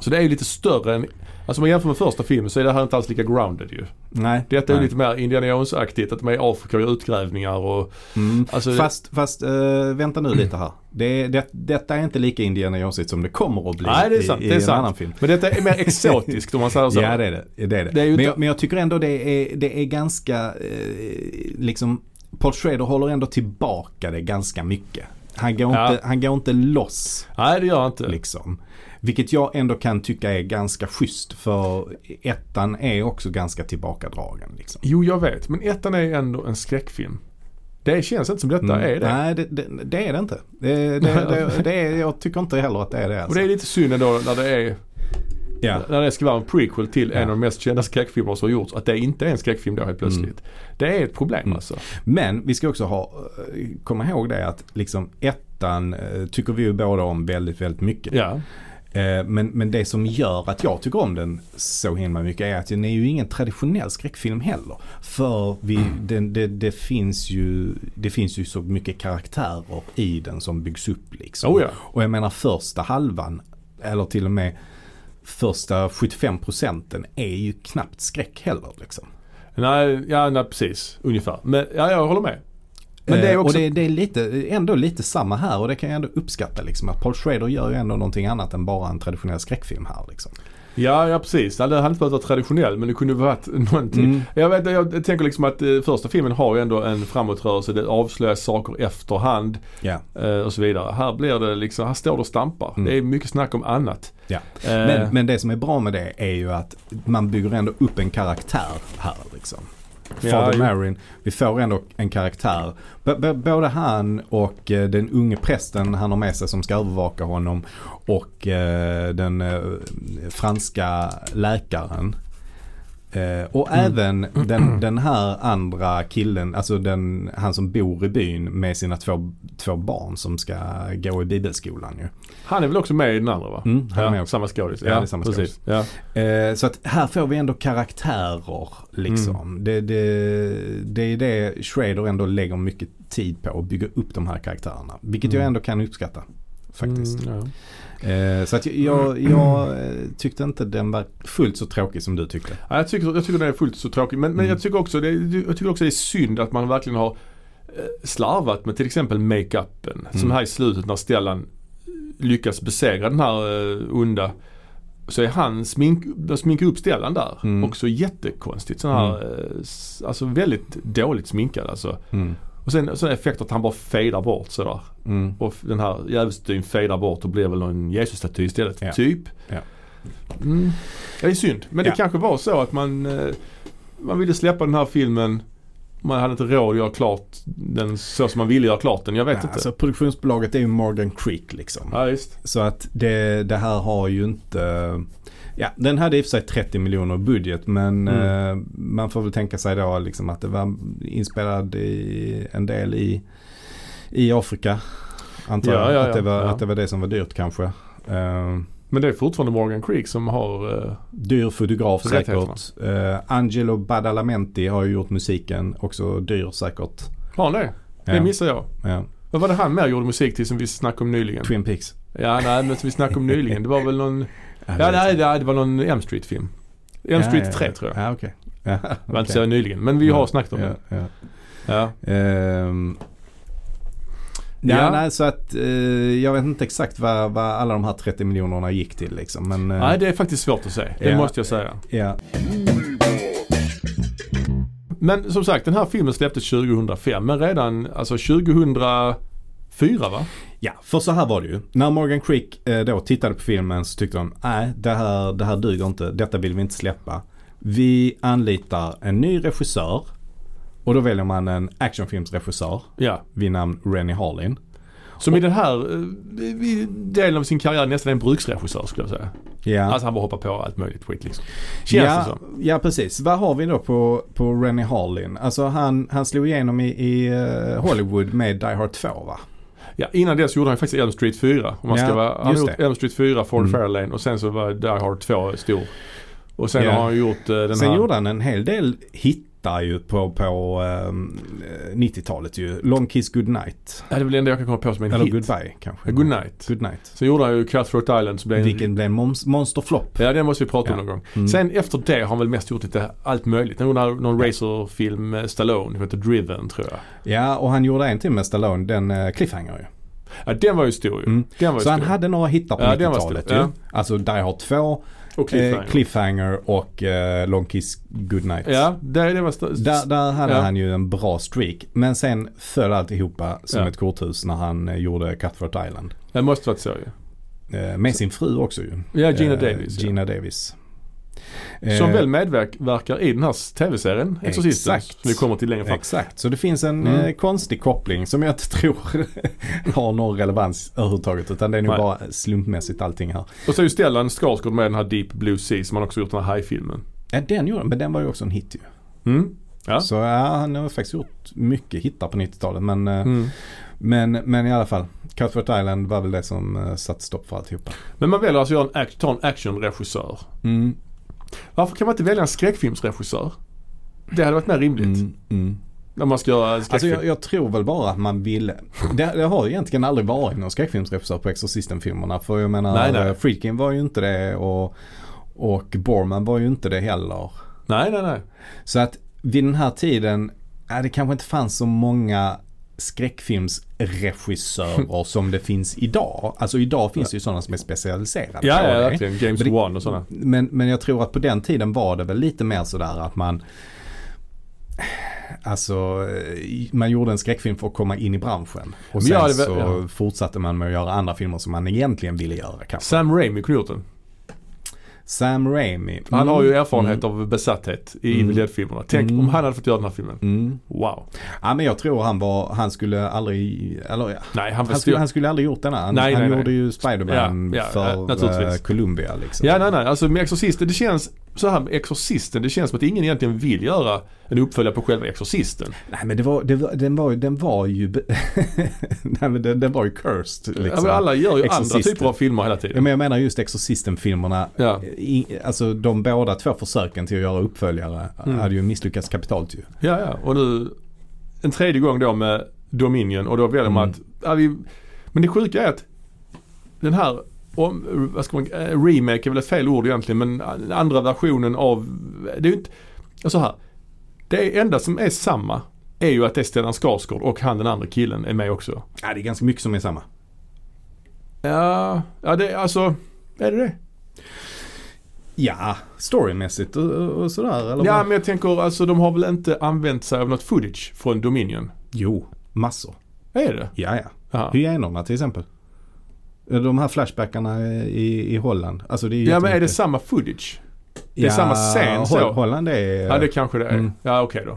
S2: Så det är ju lite större än, alltså om man jämför med första filmen så är det här inte alls lika grounded ju.
S1: Nej.
S2: Detta är ju
S1: nej.
S2: lite mer Indiana Jones-aktigt, att de är i Afrika och gör utgrävningar och
S1: Mm.
S2: alltså det-
S1: Fast, fast eh, vänta nu lite här. Det, är- det, detta är inte lika Indiana Jones som det kommer att bli
S2: Nej det är sant,
S1: i, i
S2: det är
S1: en
S2: sant.
S1: annan film.
S2: Men detta
S1: [LAUGHS]
S2: är mer exotiskt om man säger så.
S1: Ja det är det. det, är det.
S2: Det är ju
S1: men,
S2: inte-
S1: jag, men jag tycker ändå det är, det är ganska, eh, liksom, Paul Schrader håller ändå tillbaka det ganska mycket. Han går,
S2: Ja.
S1: inte, han går inte loss
S2: Nej det gör jag inte.
S1: liksom. Vilket jag ändå kan tycka är ganska schysst för ettan är också ganska tillbakadragen. Liksom.
S2: Jo jag vet, men ettan är ju ändå en skräckfilm. Det känns inte som detta
S1: Mm.
S2: är det.
S1: Nej det, det, det är det inte. Det, det, det, det är, jag tycker inte heller att det är det.
S2: Och
S1: Alltså.
S2: det är lite synd ändå när det är,
S1: ja.
S2: när det ska vara en prequel till en
S1: Ja.
S2: av de mest kända skräckfilmer som har gjorts. Att det inte är en skräckfilm då helt plötsligt.
S1: Mm.
S2: Det är ett problem alltså.
S1: Men vi ska också ha, eh, komma ihåg det att liksom ettan eh, tycker vi ju båda om väldigt, väldigt mycket.
S2: Ja.
S1: Eh, Men, men det som gör att jag tycker om den så himla mycket är att den är ju ingen traditionell skräckfilm heller. För vi, den, det, det, finns ju, det finns ju så mycket karaktärer i den som byggs upp liksom.
S2: Oh ja.
S1: Och jag menar första halvan, eller till och med första 75 procenten är ju knappt skräck heller liksom.
S2: Nej, ja, nej precis. Ungefär. Men ja, jag håller med. Men det är
S1: Eh,
S2: också...
S1: Och det, är- det är lite, ändå lite samma här och det kan jag ändå uppskatta liksom. Att Paul Schrader gör ju ändå någonting annat än bara en traditionell skräckfilm här liksom.
S2: Ja, ja precis. Nej, Det hade inte behövt vara traditionell men det kunde varit någonting.
S1: Mm.
S2: Jag, vet, jag tänker liksom att eh, första filmen har ju ändå en framåtrörelse. Det avslöjas saker efterhand
S1: Ja.
S2: eh, och så vidare. Här blir det liksom, här står det och stampar.
S1: Mm.
S2: Det är mycket snack om annat.
S1: Ja.
S2: Eh,
S1: Men, men det som är bra med det är ju att man bygger ändå upp en karaktär här liksom.
S2: Ja,
S1: Father
S2: ju.
S1: Marin, vi får ändå en karaktär. B- b- både han och eh, den unge prästen han har med sig som ska övervaka honom och eh, den eh, franska läkaren Eh, och
S2: Mm. [CLEARS THROAT]
S1: även den, den här andra killen, alltså den, han som bor i byn med sina två, två barn som ska gå i bibelskolan ju.
S2: Han är väl också med i den andra va?
S1: Mm, han är med
S2: ja,
S1: också.
S2: samma skådis.
S1: Ja, det är samma
S2: precis. Ja.
S1: Eh, så att här får vi ändå karaktärer liksom.
S2: Mm.
S1: Det, det, det är det Schrader ändå lägger mycket tid på att bygga upp de här karaktärerna. Vilket jag
S2: Mm.
S1: ändå kan uppskatta faktiskt.
S2: Mm, ja.
S1: Eh, så att jag, jag eh, tyckte inte den var fullt så tråkig som du tyckte.
S2: Ja, jag, tycker, jag tycker den är fullt så tråkig. Men, men
S1: Mm.
S2: jag, tycker också, det, jag tycker också det är synd att man verkligen har eh, slarvat med till exempel makeupen. Som
S1: Mm.
S2: här i slutet när Stellan lyckas besegra den här eh, onda. Så är han smink, de sminkar upp Stellan där.
S1: Mm.
S2: Också jättekonstigt. Sån här, eh, s- alltså väldigt dåligt sminkad alltså.
S1: Mm.
S2: Och sen sån effekt att han bara fejdar bort sådär.
S1: Mm.
S2: Och den här djävulstatyn fejdar bort och blir väl en Jesusstaty istället.
S1: Ja.
S2: Typ.
S1: Ja.
S2: Mm. Det är synd. Men
S1: Ja.
S2: det kanske var så att man, eh, man ville släppa den här filmen. Man hade inte råd att göra klart den så som man ville göra klart den. Jag vet
S1: Ja,
S2: inte.
S1: Alltså, produktionsbolaget är ju Morgan Creek liksom.
S2: Ja, just.
S1: Så att det, det här har ju inte... Ja, den hade i och för sig 30 miljoner i budget men
S2: Mm.
S1: eh, man får väl tänka sig då liksom att det var inspelad i, en del i, i Afrika. Antar jag.
S2: Ja, ja, ja.
S1: att, det var,
S2: Ja.
S1: att det var det som var dyrt kanske. Eh,
S2: Men det är fortfarande Morgan Creek som har... eh,
S1: dyr fotograf
S2: Rättigheterna.
S1: säkert. Eh, Angelo Badalamenti har ju gjort musiken. Också dyr säkert.
S2: Har han det? Det
S1: Ja,
S2: missar jag.
S1: ja.
S2: Vad var det han mer gjorde musik till som vi snackade om nyligen?
S1: Twin Peaks.
S2: Ja, nej men som vi snackade om nyligen. Det var
S1: [LAUGHS]
S2: väl någon... Ja, nej, det det var någon M Street-film. M Street 3 tror jag.
S1: Ja, okej. [LAUGHS] Ja,
S2: Det var inte så
S1: okej.
S2: nyligen. Men vi har snackat om
S1: ja,
S2: det.
S1: ja.
S2: Ja.
S1: Ehm, ja,
S2: Ja.
S1: Nej, så att eh, jag vet inte exakt vad, vad alla de här 30 miljonerna gick till liksom. Men, eh,
S2: Nej, det är faktiskt svårt att säga. Det
S1: Ja.
S2: måste jag säga.
S1: ja.
S2: Men som sagt, den här filmen släpptes 2005. Men redan alltså 2004 va?
S1: ja, för så här var det ju. När Morgan Creek eh, då tittade på filmen så tyckte de nej det här, det här duger inte, detta vill vi inte släppa. Vi anlitar en ny regissör och då väljer man en actionfilmsregissör
S2: Ja.
S1: vid namn Rennie Harlin.
S2: Som i den här eh, i delen av sin karriär nästan är en bruksregissör skulle jag säga.
S1: Ja.
S2: Alltså han bara hoppar på allt möjligt skit liksom. Känns
S1: ja,
S2: det som.
S1: Ja, precis. Vad har vi då på, på Rennie Harlin? Alltså han, han slog igenom i, i eh, Hollywood med Die Hard 2 va?
S2: Ja, innan dess gjorde han faktiskt Elm Street 4. Om man
S1: Ja,
S2: ska vara, han har
S1: just
S2: gjort
S1: det.
S2: Elm Street 4, Ford
S1: Mm.
S2: Fairlane och sen så var Die Hard 2 stor. Och sen
S1: Ja.
S2: har han gjort eh, den
S1: Sen
S2: här.
S1: gjorde han en hel del hittar ju på, på ehm, 90-talet ju. Long Kiss Goodnight.
S2: Ja, det är väl det enda jag kan komma på som en
S1: Eller
S2: hit.
S1: Goodbye kanske.
S2: Ja, Goodnight.
S1: Goodnight.
S2: Sen gjorde han ju Cutthroat Island som blev en
S1: Vilken blev en moms- monsterflopp.
S2: Ja, den måste vi prata om
S1: Ja.
S2: någon gång.
S1: Mm.
S2: Sen efter det har han väl mest gjort lite allt möjligt. Han gjorde någon racerfilm med Stallone som heter Driven tror jag.
S1: Ja, och han gjorde en till med Stallone, den eh, Cliffhanger ju.
S2: Ja, den var ju stor ju.
S1: Mm.
S2: Den var ju
S1: Så han
S2: stor.
S1: hade några hittar på
S2: Ja, den var
S1: 90-talet ju.
S2: stor. Ja.
S1: Alltså Die Hard 2,
S2: Och
S1: Cliffhanger,
S2: Cliffhanger.
S1: eh, cliffhanger och eh, Long Kiss Goodnight.
S2: Ja, det, det var st-
S1: Där, där hade
S2: Ja.
S1: han ju en bra streak. Men sen föll alltihopa som
S2: Ja.
S1: ett korthus när han eh, gjorde Cutthroat Island.
S2: Det måste varit så ju.
S1: Eh, Med sin fru också ju.
S2: Ja, Gina
S1: Eh,
S2: Davis.
S1: Gina Davis.
S2: ja.
S1: Eh,
S2: Som väl medverkar i den här tv-serien, Exorcisten,
S1: Exakt.
S2: som vi kommer till längre fram.
S1: Exakt, eh, så det finns en
S2: Mm.
S1: eh, konstig koppling som jag inte [LAUGHS] tror har någon relevans överhuvudtaget. Utan det är nog
S2: Nej.
S1: bara slumpmässigt allting här.
S2: Och så är ju Stellan Skarsgård med i den här Deep Blue Sea som han också gjort den här High-filmen.
S1: Ja, den gjorde men den var ju också en hit ju.
S2: Mm. Ja.
S1: Så ja, han har faktiskt gjort mycket hittar på 90-talet. Men, eh,
S2: Mm.
S1: men, men i alla fall, Cutthroat Island var väl det som eh, satte stopp för alltihopa.
S2: Men man väljer alltså att göra en act- ta en actionregissör.
S1: Mm.
S2: Varför kan man inte välja en skräckfilmsregissör? Det hade varit mer rimligt.
S1: Mm, mm.
S2: När man ska göra en
S1: Alltså
S2: skräckfilm.
S1: jag, jag tror väl bara att man ville. Det, det har ju egentligen aldrig varit någon skräckfilmsregissör på Exorcisten-filmerna. För jag menar,
S2: Nej, nej.
S1: eh, Friedkin var ju inte det och, och Borman var ju inte det heller.
S2: Nej, nej, nej.
S1: Så att vid den här tiden, ja, det kanske inte fanns så många
S2: [LAUGHS]
S1: skräckfilmsregissörer som det finns idag. Alltså idag finns det ju sådana som är specialiserade
S2: Ja,
S1: på
S2: ja,
S1: det.
S2: verkligen. James
S1: Men det-
S2: Wan och sådana.
S1: Men, men jag tror att på den tiden var det väl lite mer sådär att man Alltså eh, man gjorde en skräckfilm för att komma in i branschen. Och
S2: Men
S1: sen
S2: jag hade väl-
S1: så
S2: ja.
S1: fortsatte man med att göra andra filmer som man egentligen ville göra kanske.
S2: Sam Raimi kunde gjort den.
S1: Sam Raimi.
S2: Han
S1: Mm.
S2: har ju erfarenhet av besatthet i Evil Dead-filmerna. Tänk om han hade fått göra den här filmen.
S1: Mm.
S2: Wow.
S1: Ja men jag tror han var, han skulle aldrig, eller ja.
S2: Nej, han
S1: Han skulle,
S2: förstår.
S1: han skulle aldrig gjort den här. Han,
S2: Nej,
S1: han
S2: nej, nej.
S1: gjorde ju Spiderman
S2: Ja, ja, ja,
S1: för eh,
S2: naturligtvis.
S1: Columbia liksom.
S2: Ja, nej, nej. Alltså med Exorcisten, det känns så här med Exorcisten, det känns som att ingen egentligen vill göra en uppföljare på själva Exorcisten.
S1: Nej men det var, det var, den, var, ju- den var ju... be- [LAUGHS] Nej men den, den var ju cursed
S2: Ja,
S1: liksom.
S2: men alla gör ju andra
S1: Exorcisten.
S2: typer av filmer hela
S1: Ja,
S2: tiden.
S1: men jag menar just Exorcisten-filmerna.
S2: Ja.
S1: I- Alltså de båda två försöken till att göra uppföljare
S2: Mm.
S1: hade ju misslyckats kapitalt ju.
S2: Ja, ja. Och nu en tredje gång då med Dominion och då väljer man
S1: Mm.
S2: att... Ja, vi, men det sjuka är att den här, om, vad ska man, eh, remake är väl ett fel ord egentligen men den andra versionen av, det är ju inte, ja, så här. Det enda som är samma är ju att det är Stellan Skarsgård och han den andra killen är med också.
S1: Ja det är ganska mycket som är samma.
S2: Ja, ja det är alltså, är det det?
S1: Ja, storymässigt och, och sådär. Eller
S2: Ja
S1: vad?
S2: men jag tänker alltså de har väl inte använt sig av något footage från Dominion?
S1: Jo, massor.
S2: Är det?
S1: Ja, ja.
S2: Ja.
S1: Hyenorna till exempel. De här flashbackarna i, i Holland. Alltså det är
S2: Ja men är det
S1: jättemycket.
S2: samma footage? det är samma scen, så?
S1: Hol- Holland är...
S2: Ja det kanske det är.
S1: Mm.
S2: Ja okej då.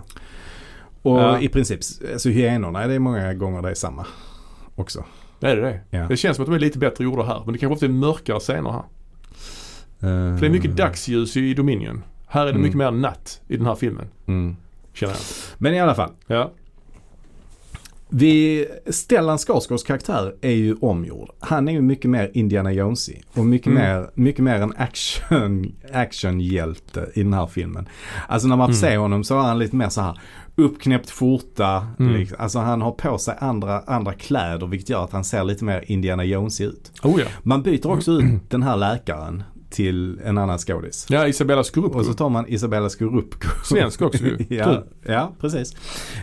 S1: och
S2: Ja.
S1: i princip, alltså hyenorna det är många gånger det är samma också.
S2: Är det det?
S1: Ja.
S2: Det känns som att de är lite bättre gjorda här. Men det kanske ofta är mörkare scener här. För det är mycket dagsljus i Dominion. Här är det
S1: Mm.
S2: mycket mer natt i den här filmen.
S1: Mm.
S2: Känner jag.
S1: Men i alla fall.
S2: Ja.
S1: Vi, Stellan Skarsgårds karaktär är ju omgjord. Han är ju mycket mer Indiana Jonesy och mycket,
S2: Mm.
S1: mer, mycket mer en action, actionhjälte i den här filmen. Alltså när man
S2: Mm.
S1: ser honom så är han lite mer så här uppknäppt skjorta.
S2: Mm.
S1: Liksom. Alltså han har på sig andra, andra kläder vilket gör att han ser lite mer Indiana Jonesy ut.
S2: Oh ja.
S1: Man byter också
S2: [CLEARS THROAT]
S1: ut den här läkaren till en annan skådis.
S2: Ja, Isabella Scorupco.
S1: Och så tar man Isabella Scorupco.
S2: Svensk också ju.
S1: [LAUGHS] ja,
S2: Du.
S1: ja, precis.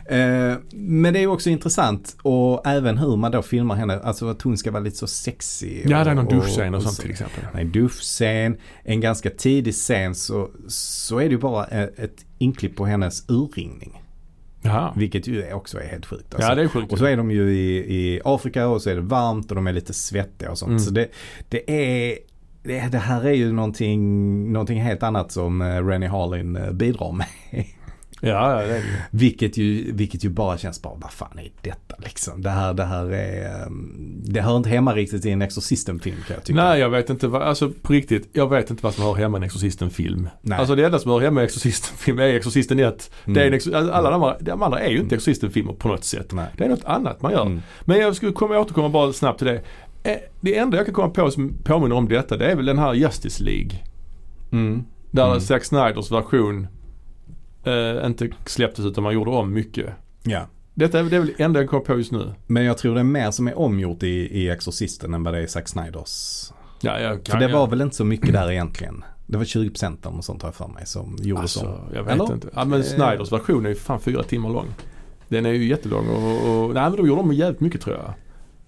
S1: Eh, men det är ju också intressant och även hur man då filmar henne. Alltså att hon ska vara lite så sexig.
S2: Ja, det är någon
S1: och-
S2: duschscen och sånt
S1: så-
S2: till exempel.
S1: Nej, duschscen. En ganska tidig scen så, så är det ju bara e- ett inklipp på hennes urringning.
S2: Jaha.
S1: Vilket ju är- också är helt sjukt. Alltså.
S2: Ja, det är sjukt.
S1: Och så är de ju i, i Afrika och så är det varmt och de är lite svettiga och sånt.
S2: Mm.
S1: Så det, det är det, det här är ju någonting, någonting helt annat som eh, Rennie Harlin eh, bidrar med. [LAUGHS]
S2: Ja, ja, det är det ju.
S1: Vilket ju, vilket ju bara känns bara, vad fan är detta liksom? Det här, det här är, ehm, det hör inte hemma riktigt i en Exorcisten-film kan jag tycka.
S2: Nej, jag vet inte vad, alltså på riktigt, jag vet inte vad som hör hemma i en Exorcisten-film.
S1: Nej. Mm.
S2: Alltså det enda som hör hemma i en Exorcisten-film är Exorcisten 1. Det är en exor- alltså, alla de andra, de andra är ju inte Exorcisten-filmer på något sätt.
S1: Nej.
S2: Det är något annat man gör.
S1: Mm.
S2: Men jag skulle komma, återkomma bara snabbt till det. Eh, Det enda jag kan komma på som påminner om detta, det är väl den här Justice League.
S1: Mm.
S2: Där Zack Snyders version eh, inte släpptes utan man gjorde om mycket.
S1: Ja.
S2: Detta är, det är väl det enda jag kan komma på just nu.
S1: Men jag tror det är mer som är omgjort i, i Exorcisten än vad det är i Zack Snyders.
S2: Ja, jag
S1: För
S2: kan,
S1: det var
S2: jag,
S1: väl inte så mycket där egentligen. Det var 20% eller något sånt har jag för mig som gjordes om.
S2: alltså, jag vet
S1: Eller?
S2: inte. Ja, men Snyders version är ju fan fyra timmar lång. Den är ju jättelång och, och nej men de gjorde om jävligt mycket tror jag.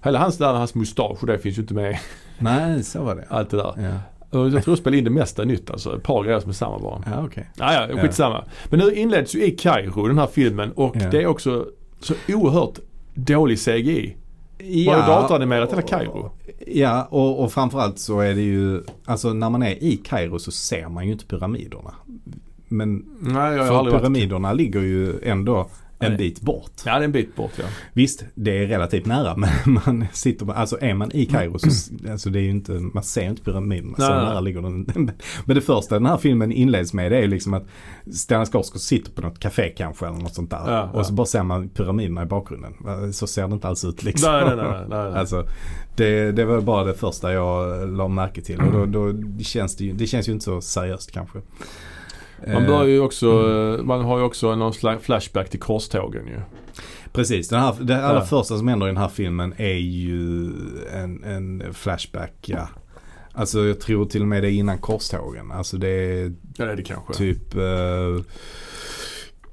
S2: Hela hans där, hans mustasch och det finns ju inte med i
S1: Nej, så var det.
S2: allt det där.
S1: Ja,
S2: Och jag tror de spelade in det mesta nytt alltså. Ett par grejer som är samma bara.
S1: ja okej.
S2: Ja, ja, skitsamma. Men nu inleds ju i Kairo den här filmen och
S1: Ja.
S2: det är också så oerhört dålig CGI. Var det datoranimerat hela Kairo?
S1: Ja, och, och framförallt så är det ju, alltså när man är i Kairo så ser man ju inte pyramiderna. Men
S2: Nej, jag har
S1: För
S2: aldrig varit...
S1: pyramiderna ligger ju ändå en
S2: Nej.
S1: bit bort.
S2: Ja, det är en bit bort ja.
S1: Visst, det är relativt nära [LAUGHS] men man sitter, alltså är man i Kairo så alltså det är ju inte, man ser ju inte pyramiderna så
S2: Mm. Nej, nej.
S1: nära ligger den. [LAUGHS] Men det första den här filmen inleds med det är ju liksom att Stellan Skarsgård sitter på något café kanske eller något sånt där.
S2: Ja,
S1: och så
S2: ja.
S1: bara ser man pyramiderna i bakgrunden. Så ser det inte alls ut liksom.
S2: Nej, nej, nej. nej, nej.
S1: [LAUGHS] Alltså, det, det var bara det första jag la märke till och då, då känns det ju, det känns ju inte så seriöst kanske.
S2: Man
S1: Eh, mm.
S2: bör ju också, eh, man har ju också någon slags flashback till korstågen ju.
S1: Precis, den här, det allra
S2: Ja.
S1: första som händer i den här filmen är ju en, en flashback. Ja. Alltså jag tror till och med det är innan korstågen. Alltså det är
S2: Ja, det är det kanske.
S1: typ eh,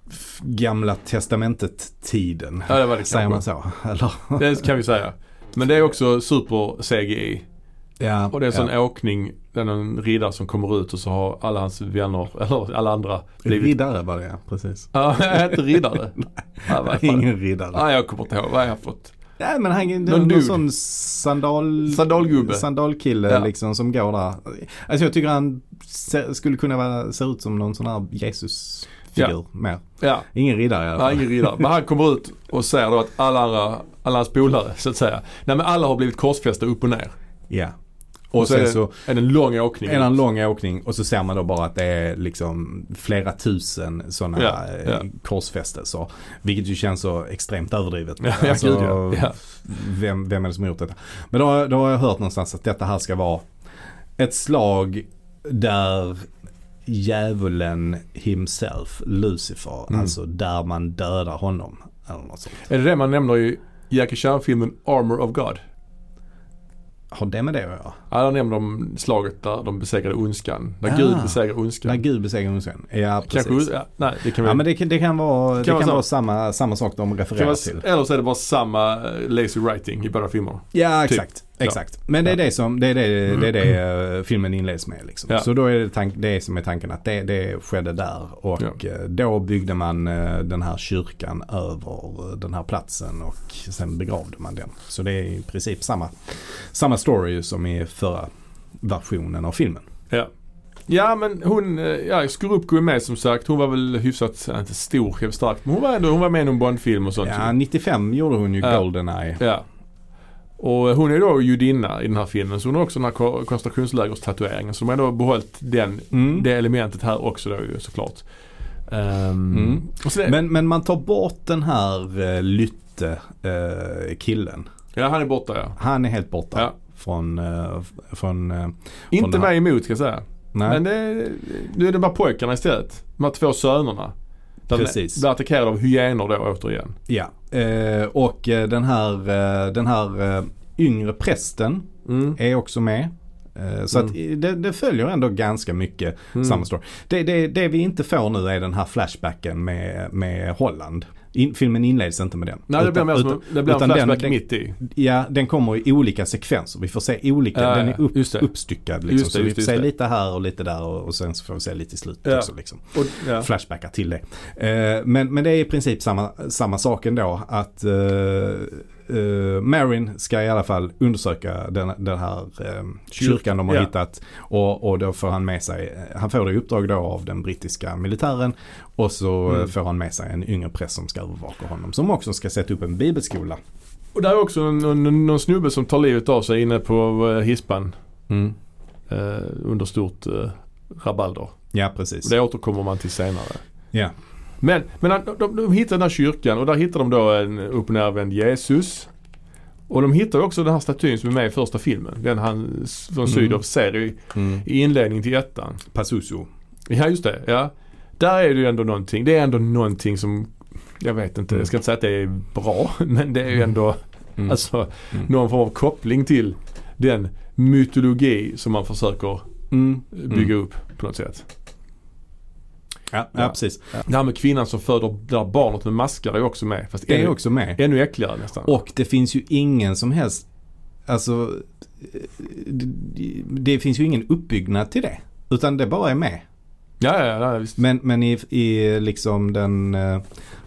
S1: f- gamla testamentet-tiden.
S2: Ja, det var det
S1: Säger man
S2: kanske.
S1: så? Eller?
S2: Det kan vi säga. Men det är också super-CGI.
S1: Ja,
S2: Och det är en sån
S1: ja.
S2: åkning, det är någon riddare som kommer ut och så har alla hans vänner, [LAUGHS] eller alla andra, blivit...
S1: Riddare var det ja, precis.
S2: Ja, [LAUGHS] jag är
S1: [LAUGHS]
S2: inte riddare. Ja, vad fan.
S1: Ingen riddare.
S2: Nej, jag kommer inte ihåg. Vad har jag fått?
S1: Nej men han, någon,
S2: Någon
S1: någon,
S2: dude.
S1: sån sandal...
S2: Sandalgubbe.
S1: Sandalkille
S2: Ja.
S1: liksom som går där. Alltså jag tycker han se, skulle kunna vara, se ut som någon sån här Jesus-figur
S2: Ja.
S1: mer.
S2: Ja,
S1: Ingen riddare i alla
S2: Nej,
S1: fall.
S2: ingen riddare. Men han kommer ut och säger då att alla andra, alla hans polare så att säga. Nej men alla har blivit korsfästa upp och ner.
S1: Ja. Och sen
S2: är
S1: så
S2: det är det en lång åkning.
S1: är det en lång åkning och så ser man då bara att det är liksom flera tusen sådana
S2: Ja,
S1: ja,
S2: ja.
S1: korsfästelser. Vilket ju känns så extremt överdrivet. Alltså,
S2: Ja, ja, gud, ja. Ja.
S1: Vem, vem är det som har gjort detta? Men då, har- då har jag hört någonstans att detta här ska vara ett slag där djävulen himself, Lucifer,
S2: Mm.
S1: alltså där man dödar honom. Eller något sånt.
S2: Är det det man nämner i Jackie Chan-filmen Armor of God?
S1: Har det med det att göra?
S2: Ja, där nämner de slaget där de besegrade ondskan. Där
S1: Ah.
S2: Gud besegrar
S1: När
S2: ondskan.
S1: Gud besegrar ondskapen? Ja, precis.
S2: Kanske, ja, nej, det kan vi
S1: Ja men det, kan- det kan vara, det kan
S2: vara
S1: vara samma, samma sak de refererar
S2: kan vara,
S1: till.
S2: Eller så är det bara samma eh, lazy writing i båda filmerna.
S1: Ja
S2: Typ.
S1: exakt. exakt. Men det är det som det är det, det, är det eh, filmen inleds med. Liksom.
S2: Mm. Ja.
S1: Så då är det, tank, det som är tanken att det, det skedde där. Och
S2: Ja.
S1: eh, då byggde man eh, den här kyrkan över eh, den här platsen och sen begravde man den. Så det är i princip samma, samma story som i förra versionen av filmen.
S2: Ja. Ja men hon, eh, ja Skorupko är med som sagt. Hon var väl hyfsat, eh, inte stor, kanske stark, men hon var ändå, hon var med i någon Bondfilm och sånt.
S1: Ja, 95 gjorde hon ju
S2: Ja.
S1: Goldeneye.
S2: ja. Och eh, hon är då judinna i den här filmen så hon har också den här ko- koncentrationslägerstatueringen. Så de har då behållit den,
S1: Mm.
S2: det elementet här också då ju såklart. Ehm,
S1: Mm.
S2: och sen är,
S1: Men, men man tar bort den här eh, Lytte eh, killen.
S2: ja han är borta ja.
S1: Han är helt borta
S2: Ja.
S1: från, eh, f- från eh,
S2: Inte
S1: den här-
S2: mig emot ska jag säga.
S1: nej.
S2: Men det, nu är det bara pojkarna istället. De här två sönerna. Där de
S1: Precis.
S2: Blir attackerade av hyenor då återigen.
S1: Ja, eh, och eh, den här, eh, den här eh, yngre prästen
S2: Mm.
S1: är också med. Eh, Så att eh, det, det följer ändå ganska mycket
S2: Mm.
S1: samma story. Det, det, det vi inte får nu är den här flashbacken med, med Holland. In, filmen inleds inte med den.
S2: Nej det blir
S1: Utan-
S2: mer som
S1: utan-
S2: det blir en
S1: utan
S2: flashback
S1: den,
S2: mitt i.
S1: den, Ja, den kommer i olika sekvenser. Vi får se olika,
S2: Ja,
S1: den
S2: ja,
S1: är upp,
S2: just det.
S1: uppstyckad. Liksom.
S2: Just det,
S1: så vi
S2: just
S1: får
S2: det,
S1: se
S2: just det.
S1: lite här och lite där och, och sen så får vi se lite i slutet
S2: Ja.
S1: också. Liksom
S2: Och, ja.
S1: flashbackar till det. Eh, men, men det är i princip samma, samma sak ändå. Att eh, eh, Marin ska i alla fall undersöka den, den här eh, kyrkan de har
S2: Ja.
S1: hittat. Och, och då får han med sig, han får det i uppdrag då av den brittiska militären. Och så eh,
S2: Mm.
S1: får han med sig en yngre präst som ska övervaka honom. Som också ska sätta upp en bibelskola.
S2: och där är också någon, någon, någon snubbe som tar livet av sig inne på eh, hispan eh, under stort eh, rabalder.
S1: Ja, precis.
S2: Det återkommer man till senare.
S1: Ja.
S2: Men, men han- de, de, de hittar den här kyrkan och där hittar de då en uppnärvänd Jesus. Och de hittar ju också den här statyn som är med i första filmen. Den han s- från
S1: Mm.
S2: Sydow ser i,
S1: Mm.
S2: i inledningen till ettan.
S1: Pazuzu.
S2: Ja just det, ja. Där är det ju ändå någonting. Det är ändå någonting som, jag vet inte, jag ska inte säga att det är bra. [LAUGHS] Men det är ju ändå
S1: Mm.
S2: alltså,
S1: Mm.
S2: någon form av koppling till den mytologi som man försöker
S1: Mm.
S2: bygga upp på något sätt.
S1: Ja, ja, precis.
S2: Det här med kvinnan som föder det där barnet med maskar är också med. Fast
S1: Det är
S2: ännu,
S1: också med.
S2: ännu äckligare nästan.
S1: Och det finns ju ingen som helst, alltså det, det finns ju ingen uppbyggnad till det. Utan det bara är med.
S2: ja, ja, ja, visst.
S1: Men, men i, i liksom den eh,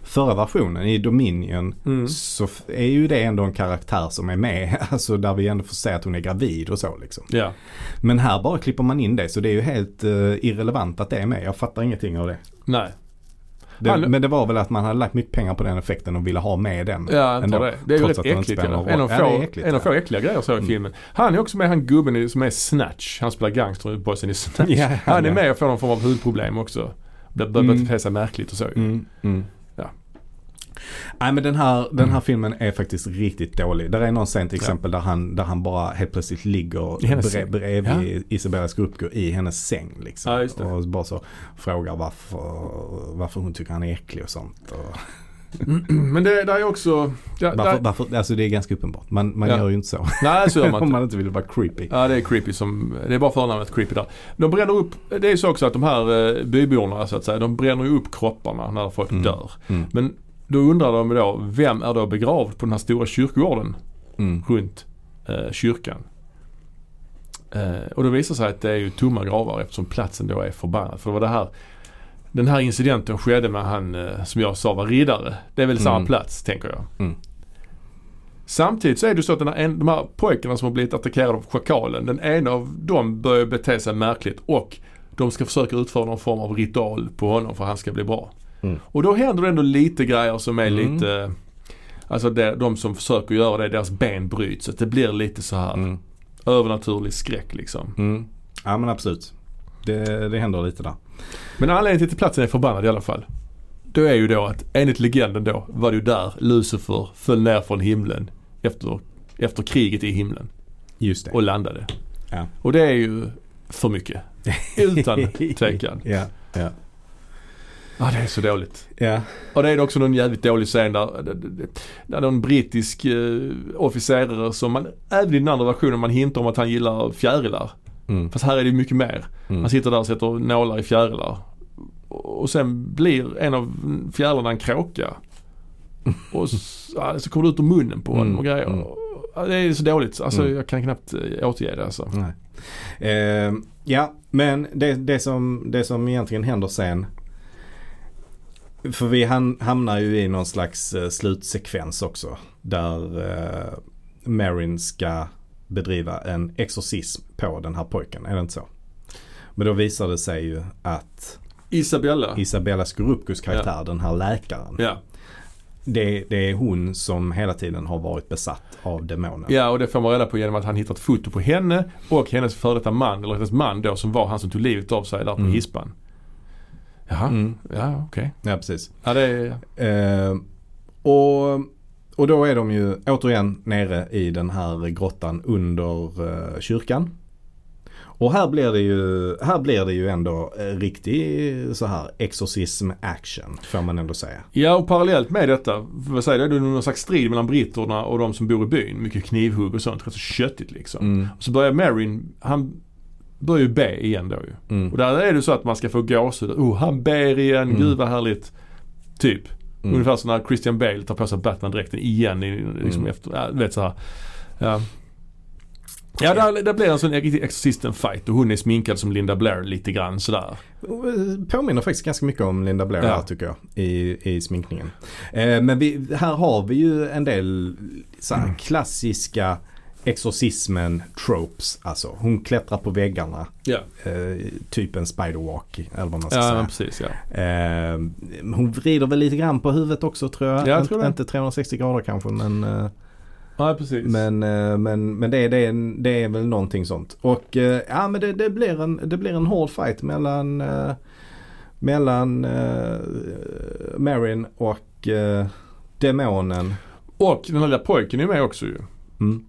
S1: förra versionen, i Dominion,
S2: Mm.
S1: så f- är ju det ändå en karaktär som är med. [LAUGHS] Alltså där vi ändå får se att hon är gravid och så liksom.
S2: Ja.
S1: Men här bara klipper man in det så det är ju helt eh, irrelevant att det är med. Jag fattar ingenting av det.
S2: Nej.
S1: det
S2: Han-
S1: men det var väl att man hade lagt mycket pengar på den effekten och ville ha med den.
S2: Ja, jag antar
S1: ändå,
S2: det. Det är ju
S1: trots
S2: rätt
S1: att den inte
S2: äckligt.
S1: spelar någon
S2: eller?
S1: roll. Ja, det är
S2: En av få,
S1: äckligt,
S2: en av
S1: ja. Mm.
S2: få äckliga grejer så i filmen. Han är också med, han gubben i- som är Snatch. Han spelar gangsterbossen i
S1: [LAUGHS]
S2: Snatch.
S1: Ja,
S2: han är
S1: ja.
S2: med och får någon form av hudproblem också. Bör- Börjar
S1: Mm.
S2: bete sig märkligt och så.
S1: Mm, mm.
S2: Ja.
S1: Nej men den här, den här
S2: Mm.
S1: filmen är faktiskt riktigt dålig. Där är någon scen till exempel där, han, där han bara helt plötsligt ligger
S2: I hennes
S1: bre,
S2: säng.
S1: bredvid Isabella Scorupco i hennes säng. Liksom.
S2: Ja, just det.
S1: Och bara så frågar varför, varför hon tycker han är äcklig och sånt. Och
S2: [CLEARS THROAT] Men det, där är också... Ja,
S1: varför,
S2: där,
S1: varför, alltså det är ganska uppenbart. Man, man
S2: Ja.
S1: gör ju inte så. [LAUGHS]
S2: nej, så gör man
S1: Om
S2: inte.
S1: man inte vill vara creepy.
S2: Ja, det är creepy som... Det är bara förnamnet creepy där. De bränner upp... Det är ju så också att de här eh, byborna så att säga, de bränner ju upp kropparna när folk
S1: Mm.
S2: dör.
S1: Mm,
S2: Men då undrar de då, vem är då begravd på den här stora kyrkogården?
S1: mm,
S2: runt eh, kyrkan. Eh, och det visar sig att det är ju tomma gravar eftersom platsen då är förbannad. För det var det här, den här incidenten skedde med han eh, som jag sa var riddare. Det är väl samma
S1: Mm.
S2: plats tänker jag.
S1: Mm.
S2: Samtidigt så är det så att den här, en, de här pojkarna som har blivit attackerade av schakalen, den ena av dem börjar bete sig märkligt och de ska försöka utföra någon form av ritual på honom för att han ska bli bra.
S1: Mm.
S2: Och då händer det ändå lite grejer som är
S1: Mm.
S2: lite Alltså det, de som försöker göra det, deras ben bryts. Så att det blir lite så här
S1: mm.
S2: övernaturlig skräck liksom.
S1: Mm. Ja men absolut. Det, det händer lite där.
S2: Men anledningen till att platsen är förbannad i alla fall. Det är ju då att enligt legenden då var det ju där Lucifer föll ner från himlen efter, efter kriget i himlen
S1: Just det.
S2: och landade.
S1: Ja.
S2: Och det är ju för mycket. Utan tvekan.
S1: Ja. Ja.
S2: Ja, det är så dåligt.
S1: Ja.
S2: Och det är också någon jävligt dålig scen där, där någon brittisk eh, officerare som man, även i den andra versionen, man hintar om att han gillar fjärilar.
S1: Mm.
S2: Fast här är det mycket mer.
S1: Mm.
S2: Han sitter där och sätter nålar i fjärilar. Och sen blir en av fjärilarna
S1: [LAUGHS]
S2: en kråka. Och så, ja, så kommer det ut ur munnen på honom
S1: Mm,
S2: och grejer.
S1: mm.
S2: Ja, Det är så dåligt. Alltså
S1: Mm.
S2: jag kan knappt eh, återge det alltså.
S1: Nej. Eh, ja, men det, det, som, det som egentligen händer sen. För vi ham- hamnar ju i någon slags eh, slutsekvens också. Där eh, Marin ska bedriva en exorcism på den här pojken. Är det inte så? Men då visar det sig ju att
S2: Isabella.
S1: Isabella Scorupcos karaktär, den här läkaren.
S2: Ja.
S1: Det, det är hon som hela tiden har varit besatt av demonen.
S2: ja, och det får man reda på genom att han hittar ett foto på henne och hennes före detta man, eller hennes man då, som var han som tog livet av sig där på
S1: Mm.
S2: hispan. Jaha,
S1: Mm.
S2: ja okej.
S1: Ja, precis.
S2: Ja, det är...
S1: Eh, och, och då är de ju återigen nere i den här grottan under eh, kyrkan. Och här blir det ju, här blir det ju ändå eh, riktig så här exorcism action får man ändå säga.
S2: Ja, och parallellt med detta, vad säger du, det är någon slags strid mellan britterna och de som bor i byn. Mycket knivhugg och sånt, rätt så köttigt liksom.
S1: Mm.
S2: Och så börjar Marin, han börjar ju be igen då ju.
S1: Mm.
S2: Och där är det så att man ska få gåshud. Oh, han ber igen,
S1: Mm.
S2: gud vad härligt. Typ.
S1: Mm.
S2: Ungefär som när Christian Bale tar på sig Batman-dräkten igen i, liksom
S1: Mm.
S2: efter, ja, du vet så här. Ja. Ja, där, där blir en sån riktig Exorcisten-fight och hon är sminkad som Linda Blair lite grann sådär.
S1: Och, eh, Påminner faktiskt ganska mycket om Linda Blair
S2: Ja.
S1: här tycker jag i, i sminkningen. Eh, men vi, här har vi ju en del så här, klassiska exorcismen tropes. Alltså hon klättrar på väggarna.
S2: Ja,
S1: eh, typ en spiderwalk eller vad man ska
S2: ja men
S1: säga.
S2: precis ja.
S1: Eh, hon vrider väl lite grann på huvudet också tror jag.
S2: Ja, jag
S1: Inte-
S2: tror det.
S1: Inte 360 grader kanske men, eh,
S2: Ja, precis.
S1: men, eh, men, men det, det, är- det är väl någonting sånt. Och eh, ja men det, det, blir en, det blir en hård fight mellan, eh, mellan eh, Marin och eh, demonen.
S2: Och den här lilla pojken är med också ju.
S1: Mm.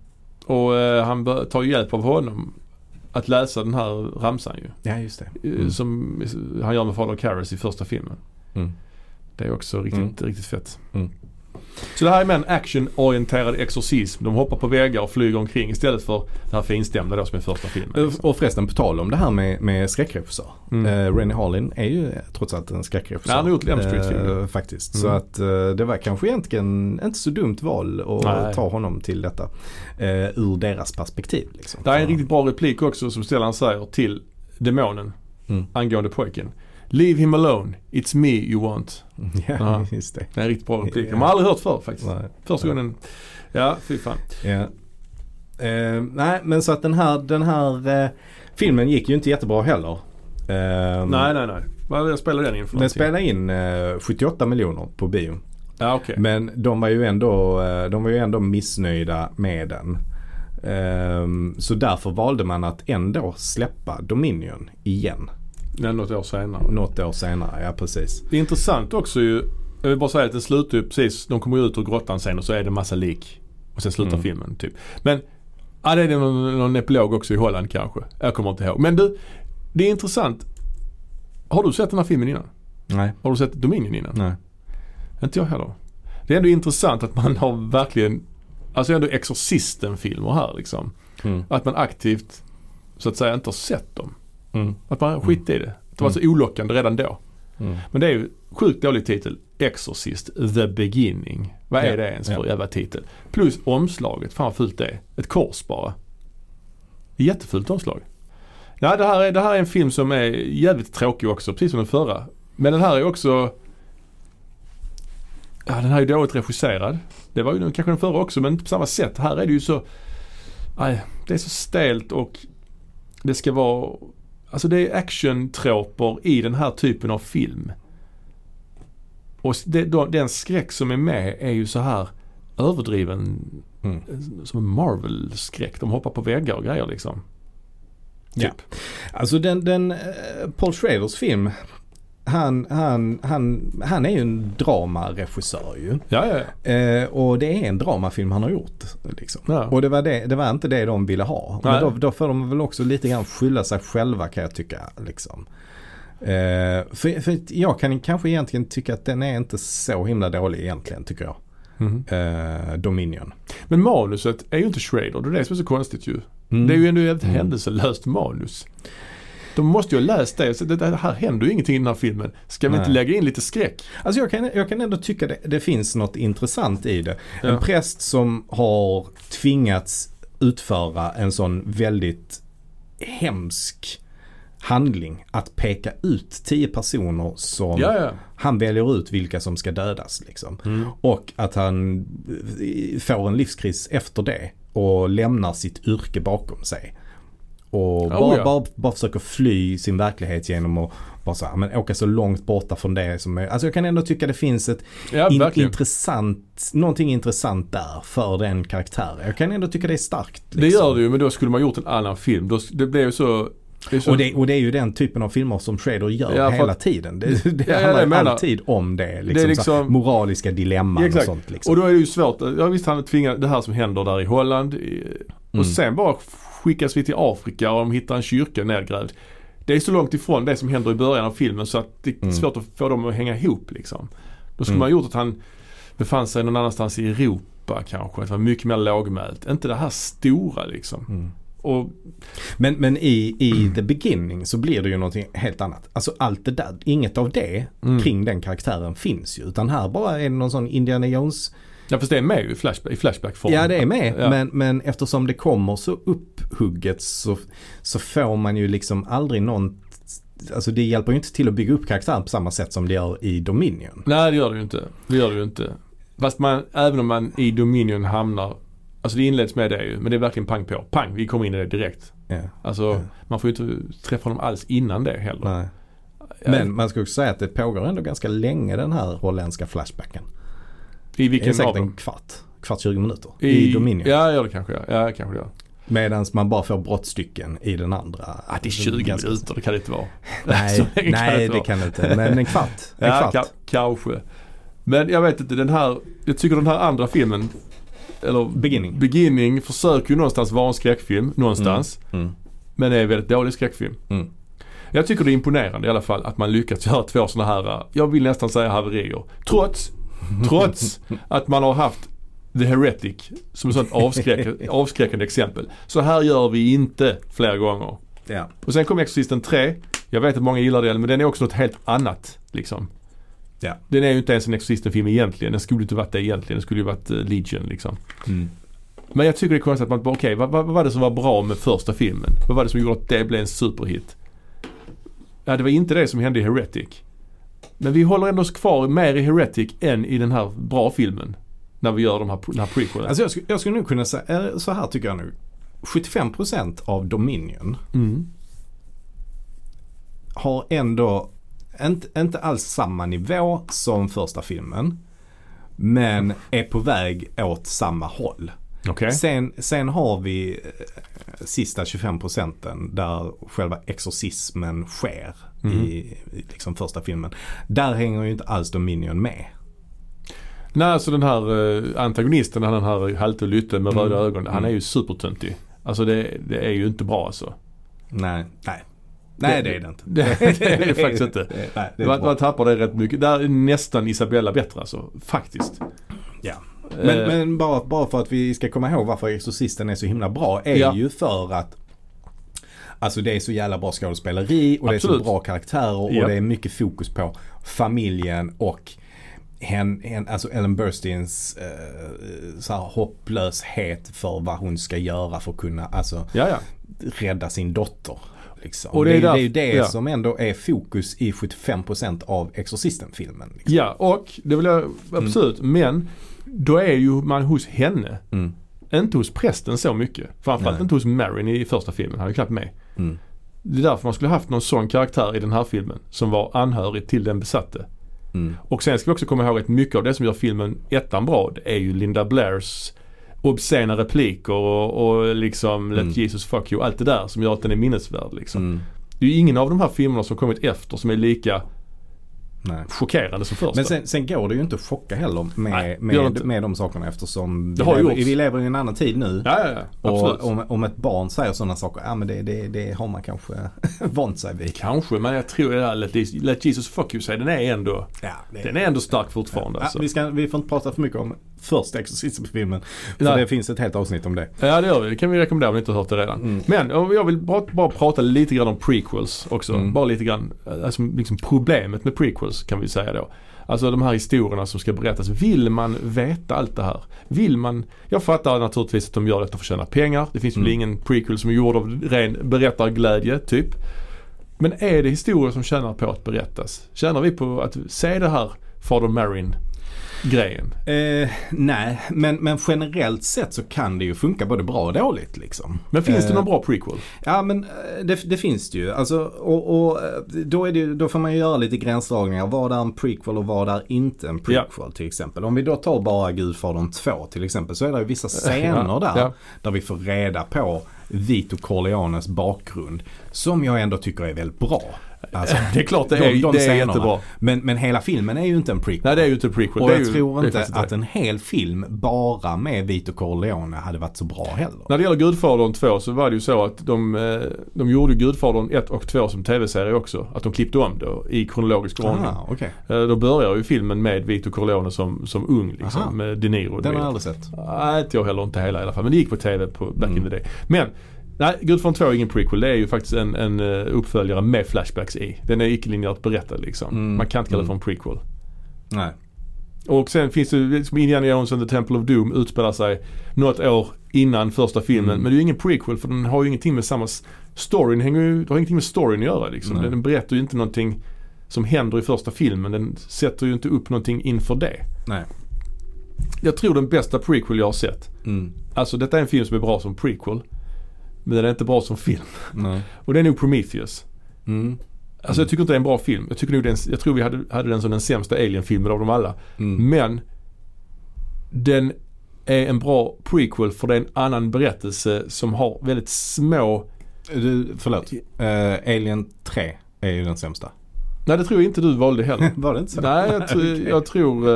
S2: Och eh, han bör- tar ju hjälp av honom att läsa den här ramsan ju.
S1: Ja just det.
S2: Eh,
S1: Mm.
S2: Som eh, han gör med Father Karras i första filmen.
S1: Mm.
S2: Det är också riktigt,
S1: Mm.
S2: riktigt fett.
S1: Mm.
S2: Så det här är med en actionorienterad exorcism. De hoppar på väggar och flyger omkring istället för det här finstämda då som är första filmen.
S1: Och- Och förresten på tal om det här med, med skräckregissör.
S2: Liksom. Mm.
S1: Eh, Rennie Harlin är ju trots allt en skräckregissör.
S2: Ja, han har gjort Elm Street-filmer.
S1: eh, Faktiskt.
S2: Mm.
S1: Så att eh, det var kanske egentligen inte så dumt val att
S2: Nej.
S1: ta honom till detta. Eh, ur deras perspektiv. Liksom.
S2: Det här är en riktigt bra replik också som Stellan säger till demonen
S1: Mm.
S2: angående pojken. Leave him alone, it's me you want.
S1: [LAUGHS] Ja,
S2: Ja.
S1: just det.
S2: Det är en riktigt bra replik.
S1: Ja.
S2: De har aldrig hört förr faktiskt.
S1: Nej.
S2: Första
S1: Ja.
S2: gången. Ja, fy fan.
S1: Ja. Eh, nej, men så att den här, den här eh, filmen gick ju inte jättebra heller. Eh,
S2: Nej, nej, nej. Vad jag spelade den in för
S1: Den
S2: någonting?
S1: spelade in eh, 78 miljoner på bio.
S2: Ja, okej.
S1: Men de var ju ändå, eh, de var ju ändå missnöjda med den. Ehm, Så därför valde man att ändå släppa Dominion igen.
S2: Nej, Något år senare.
S1: Något år senare, ja precis.
S2: Det är intressant också ju. Jag vill bara säga att den slutar ju precis. De kommer ju ut ur grottan sen och så är det massa lik. Och sen slutar
S1: Mm.
S2: filmen typ. Men, ja det är det någon, någon epilog också i Holland kanske. Jag kommer inte ihåg. Men du, det är intressant. Har du sett den här filmen innan?
S1: Nej.
S2: Har du sett Dominion innan?
S1: Nej.
S2: Inte jag heller. Det är ändå intressant att man har verkligen, alltså ändå Exorcisten-filmer här liksom.
S1: Mm.
S2: Att man aktivt, så att säga, inte har sett dem.
S1: Mm.
S2: Att man skit i det. Det var så olockande redan då.
S1: Mm.
S2: Men det är ju sjukt dålig titel. Exorcist the beginning. Vad är
S1: Ja,
S2: det ens för
S1: ja.
S2: jävla titel? Plus omslaget. Fan vad fult det är. Ett kors bara. Jättefult omslag. Nej, det här, är, det här är en film som är jävligt tråkig också. Precis som den förra. Men den här är också... Ja, den här är dåligt regisserad. Det var ju den, kanske den förra också men inte på samma sätt. Här är det ju så... Nej, det är så stelt och det ska vara... Alltså det är actiontroper i den här typen av film. Och s- det, då- den skräck som är med är ju så här överdriven eh,
S1: Mm.
S2: som en Marvel-skräck. De hoppar på väggar och grejer liksom. Typ.
S1: Ja. Alltså den, den eh, Paul Schraders film. Han, han, han, han är ju en dramaregissör ju.
S2: Ja, ja, ja.
S1: Eh, och det är en dramafilm han har gjort. Liksom.
S2: Ja.
S1: Och det var, det, det var inte det de ville ha. Men
S2: Nej.
S1: då, då får de väl också lite grann skylla sig själva kan jag tycka. Liksom. Eh, för, för att jag kan kanske egentligen tycka att den är inte så himla dålig egentligen tycker jag.
S2: Mhm.
S1: Eh, Dominion.
S2: Men manuset är ju inte Schrader. Det är det som är så konstigt ju.
S1: Mm.
S2: Det är ju ändå ett
S1: Mm.
S2: händelselöst manus. De måste ju ha läst det. Så det det här händer ju ingenting i den här filmen. Ska vi
S1: Nej.
S2: inte lägga in lite skräck?
S1: Alltså jag kan, jag kan ändå tycka det, det finns något intressant i det.
S2: Ja.
S1: En präst som har tvingats utföra en sån väldigt hemsk handling. Att peka ut tio personer som
S2: Ja, Mm. ja.
S1: han väljer ut vilka som ska dödas. Liksom. Och att han eh, får en livskris efter det och lämnar sitt yrke bakom sig. Och bara,
S2: ja.
S1: bara, bara försöker fly sin verklighet genom att bara så här, men åka så långt borta från det som är. Alltså jag kan ändå tycka det finns ett
S2: Ja,
S1: in,
S2: verkligen.
S1: intressant, någonting intressant där för den karaktären. Jag kan ändå tycka det är starkt. Liksom.
S2: Det gör det ju men då skulle man gjort en annan film. Då, det blev ju så... Det är så
S1: Och det, och det är ju den typen av filmer som Shredder gör
S2: Ja, för
S1: hela
S2: att-
S1: tiden. Det, det
S2: Ja, ja,
S1: handlar
S2: jag
S1: ju
S2: menar-
S1: alltid om det. Liksom,
S2: Det är
S1: så här,
S2: liksom-
S1: moraliska dilemman och
S2: Exakt.
S1: sånt. Liksom.
S2: Och då är det ju svårt. Ja visst han är tvingad, det här som händer där i Holland. i- Och
S1: Mm.
S2: sen bara skickas vi till Afrika och de hittar en kyrka nedgrävd. Det är så långt ifrån det som händer i början av filmen så att det
S1: Mm.
S2: är svårt att få dem att hänga ihop liksom. Då skulle man ha gjort att han befann sig någon annanstans i Europa kanske. Att det var mycket mer lågmält. Inte det här stora liksom.
S1: Mm.
S2: Och
S1: Men, men i, i the beginning så blir det ju någonting helt annat. Alltså allt det där, inget av det
S2: Mm.
S1: kring den karaktären finns ju. Utan här bara är det någon sån Indiana Jones.
S2: ja, fast det är med ju i flashback, i flashback-form.
S1: Ja det är med.
S2: Ja.
S1: Men, men eftersom det kommer så upphugget så, så får man ju liksom aldrig någon Alltså det hjälper ju inte till att bygga upp karaktären på samma sätt som det gör i Dominion.
S2: Nej det gör det ju inte. Det gör det ju inte. Fast man, även om man i Dominion hamnar, alltså det inleds med det ju, men det är verkligen pang på. Pang, vi kommer in i det direkt.
S1: Ja,
S2: Alltså man får ju inte träffa dem alls innan det heller.
S1: nej.
S2: Ja,
S1: Men man ska också säga att det pågår ändå ganska länge den här holländska flashbacken.
S2: I
S1: Det är
S2: vilken av
S1: säkert en
S2: dem?
S1: kvart, kvart 20 minuter i, Dominion.
S2: Ja, ja det kanske jag. Ja, kanske det gör.
S1: Medan man bara får brottstycken i den andra.
S2: Ah, det är 20
S1: Ganska-
S2: minuter, det kan det inte vara. [LAUGHS] Så
S1: Nej,
S2: länge kan det
S1: nej
S2: inte
S1: det
S2: vara.
S1: kan det inte. Men en
S2: [LAUGHS]
S1: kvart. En
S2: ja,
S1: kvart.
S2: ka- kanske. Men jag vet inte, den här, jag tycker den här andra filmen, eller
S1: Beginning.
S2: Beginning försöker ju någonstans vara en skräckfilm, någonstans.
S1: Mm.
S2: Men det är en väldigt dålig skräckfilm.
S1: Mm.
S2: Jag tycker det är imponerande i alla fall att man lyckats göra två sådana här, eh, jag vill nästan säga haverier. Trots,
S1: [LAUGHS]
S2: trots att man har haft The Heretic som ett
S1: [LAUGHS]
S2: sånt avskräck, avskräckande exempel. Så här gör vi inte fler gånger.
S1: Ja.
S2: Och sen kom Exorcisten 3. Jag vet att många gillar den men den är också något helt annat liksom.
S1: Ja.
S2: Den är ju inte ens en Exorcisten-film egentligen. Den skulle inte varit det egentligen. Den skulle ju varit eh, Legion liksom.
S1: Mm.
S2: Men jag tycker det är konstigt att man bara, okej vad, vad, vad var det som var bra med första filmen? Vad var det som gjorde att det blev en superhit? Ja, det var inte det som hände i Heretic. Men vi håller ändå oss kvar mer i Heretic än i den här bra filmen. När vi gör de här, den här prequelen.
S1: Alltså jag, skulle, jag skulle nog kunna säga, eh, så här tycker jag nu. 75% av Dominion
S2: mm.
S1: har ändå inte, inte alls samma nivå som första filmen. Men är på väg åt samma håll.
S2: Okej.
S1: Sen, sen har vi eh, sista 25 procenten där själva exorcismen sker i, i liksom första filmen. Där hänger ju inte alls Dominion med.
S2: Nej, alltså den här eh, antagonisten, han den här halte och lytte med röda
S1: Mm.
S2: ögon. Han är ju supertöntig. Alltså det, det är ju inte bra alltså.
S1: Nej, nej. Nej det, är det inte.
S2: [LAUGHS] Det, det är det faktiskt inte.
S1: Det- Nej, det är
S2: Man,
S1: inte bra.
S2: man tappar det rätt mycket. Där är nästan Isabella bättre alltså. Faktiskt.
S1: Ja. Men,
S2: Eh.
S1: men bara, bara för att vi ska komma ihåg varför Exorcisten är så himla bra är
S2: Ja.
S1: ju för att Alltså det är så jävla bra skådespeleri och det är
S2: Absolut.
S1: så bra karaktärer och
S2: Ja.
S1: det är mycket fokus på familjen och hen, hen, alltså Ellen Burstins eh, så här hopplöshet för vad hon ska göra för att kunna alltså,
S2: Ja, ja.
S1: rädda sin dotter. Liksom.
S2: Och
S1: Och
S2: det
S1: det, är, det,
S2: är
S1: är
S2: därför-
S1: ju det
S2: ja.
S1: som ändå är fokus i 75% av Exorcisten-filmen. Liksom.
S2: Ja, och det vill
S1: Mm.
S2: jag absolut. Men då är ju man hos henne.
S1: Mm.
S2: Inte hos prästen så mycket. Framförallt
S1: Nej.
S2: inte hos Marin i första filmen. Han är ju knappt med.
S1: Mm.
S2: Det är därför man skulle haft någon sån karaktär i den här filmen. Som var anhörig till den besatte.
S1: Mm.
S2: Och sen ska vi också komma ihåg att mycket av det som gör filmen ettan bra det är ju Linda Blairs obscena repliker och, och liksom
S1: Mm.
S2: Let Jesus fuck you. Allt det där som gör att den är minnesvärd liksom.
S1: Mm.
S2: Det är ju ingen av de här filmerna som kommit efter som är lika Mm.
S1: Nej.
S2: chockerande som första.
S1: Men sen, sen går det ju inte att chocka heller med,
S2: Nej, det gör det
S1: med,
S2: inte.
S1: med de sakerna eftersom vi
S2: Det har ju
S1: lever,
S2: gjorts.
S1: vi lever i en annan tid nu.
S2: ja, ja, ja. Absolut.
S1: Och om, om ett barn säger sådana saker, ja men det, det, det har man kanske [LAUGHS] vant sig vid.
S2: Kanske, men jag tror det där Let, Let Jesus fuck you säger, den är ändå,
S1: Ja, det,
S2: den är ändå stark fortfarande.
S1: Ja,
S2: Alltså.
S1: vi, ska, vi får inte prata för mycket om första Exorcisten-filmen. För
S2: Nej.
S1: det finns ett helt avsnitt om det.
S2: Ja det gör vi. Det kan vi rekommendera om ni inte har hört det redan.
S1: Mm.
S2: Men och jag vill bara, bara prata lite grann om prequels också.
S1: Mm.
S2: Bara lite grann. Alltså liksom problemet med prequels kan vi säga då. Alltså de här historierna som ska berättas. Vill man veta allt det här? Vill man? Jag fattar naturligtvis att de gör detta för att tjäna pengar. Det finns väl
S1: Mm.
S2: ingen prequel som är gjord av ren berättarglädje typ. Men är det historier som tjänar på att berättas? Tjänar vi på att se det här Father Marin grejen?
S1: Eh, nej, men, men generellt sett så kan det ju funka både bra och dåligt liksom.
S2: Men finns det
S1: Eh,
S2: någon bra prequel?
S1: Ja men eh, det, det finns det ju. Alltså, och, och eh, då, är det, ju- då får man ju göra lite gränsdragningar. Vad är en prequel och vad är inte en prequel till exempel. Om vi då tar bara Gudfadern 2 till exempel så är det ju vissa scener
S2: [LAUGHS] Ja,
S1: där.
S2: ja.
S1: Där vi får reda på Vito Corleones bakgrund. Som jag ändå tycker är väldigt bra. Alltså,
S2: [LAUGHS] Det är klart det är, det är
S1: scenerna.
S2: jättebra.
S1: Men, men hela filmen är ju inte en prequel.
S2: Nej det är ju inte prequel.
S1: och
S2: det är
S1: jag
S2: ju,
S1: tror
S2: det är
S1: inte
S2: faktiskt
S1: att en hel film bara med Vito Corleone hade varit så bra heller.
S2: När det gäller Gudfadern 2 så var det ju så att de, eh, de gjorde Gudfadern 1 och 2 som tv-serie också. Att de klippte om det i kronologisk ordning.
S1: Ah, okej.
S2: Eh, Då börjar ju filmen med Vito Corleone som, som ung
S1: Aha.
S2: liksom. Med De Niro. och
S1: Den har
S2: Vito.
S1: jag aldrig sett.
S2: Nej, inte jag heller. Inte hela i alla fall. Men det gick på TV på back in
S1: Mm.
S2: the day. Men, nej, Gudfadern 2 är ingen prequel. Det är ju faktiskt en, en eh, uppföljare med flashbacks i. Den är icke-linjärt berättad liksom.
S1: Mm.
S2: Man kan inte kalla det
S1: Mm.
S2: för en prequel.
S1: Nej.
S2: Och sen finns det ju liksom Indiana Jones and the Temple of Doom utspelar sig något år innan första filmen.
S1: Mm.
S2: Men det är ju ingen prequel för den har ju ingenting med samma... s- Storyn hänger ju, det har ingenting med storyn att göra liksom.
S1: Nej.
S2: Den, den berättar ju inte någonting som händer i första filmen. Den sätter ju inte upp någonting inför det.
S1: Nej.
S2: Jag tror den bästa prequel jag har sett.
S1: Mm.
S2: Alltså detta är en film som är bra som prequel. Men den är inte bra som film.
S1: Nej.
S2: Och det är nog Prometheus.
S1: Mm.
S2: Alltså jag tycker inte det är en bra film. Jag, tycker nog den, jag tror vi hade, hade den som den sämsta Alien-filmen av dem alla.
S1: Mm.
S2: Men den är en bra prequel för det är en annan berättelse som har väldigt små...
S1: Du, förlåt. Eh, Alien 3 är ju den sämsta.
S2: Nej det tror jag inte du
S1: [LAUGHS]
S2: valde heller.
S1: Var det inte så?
S2: Nej
S1: [LAUGHS]
S2: jag, tr- jag tror...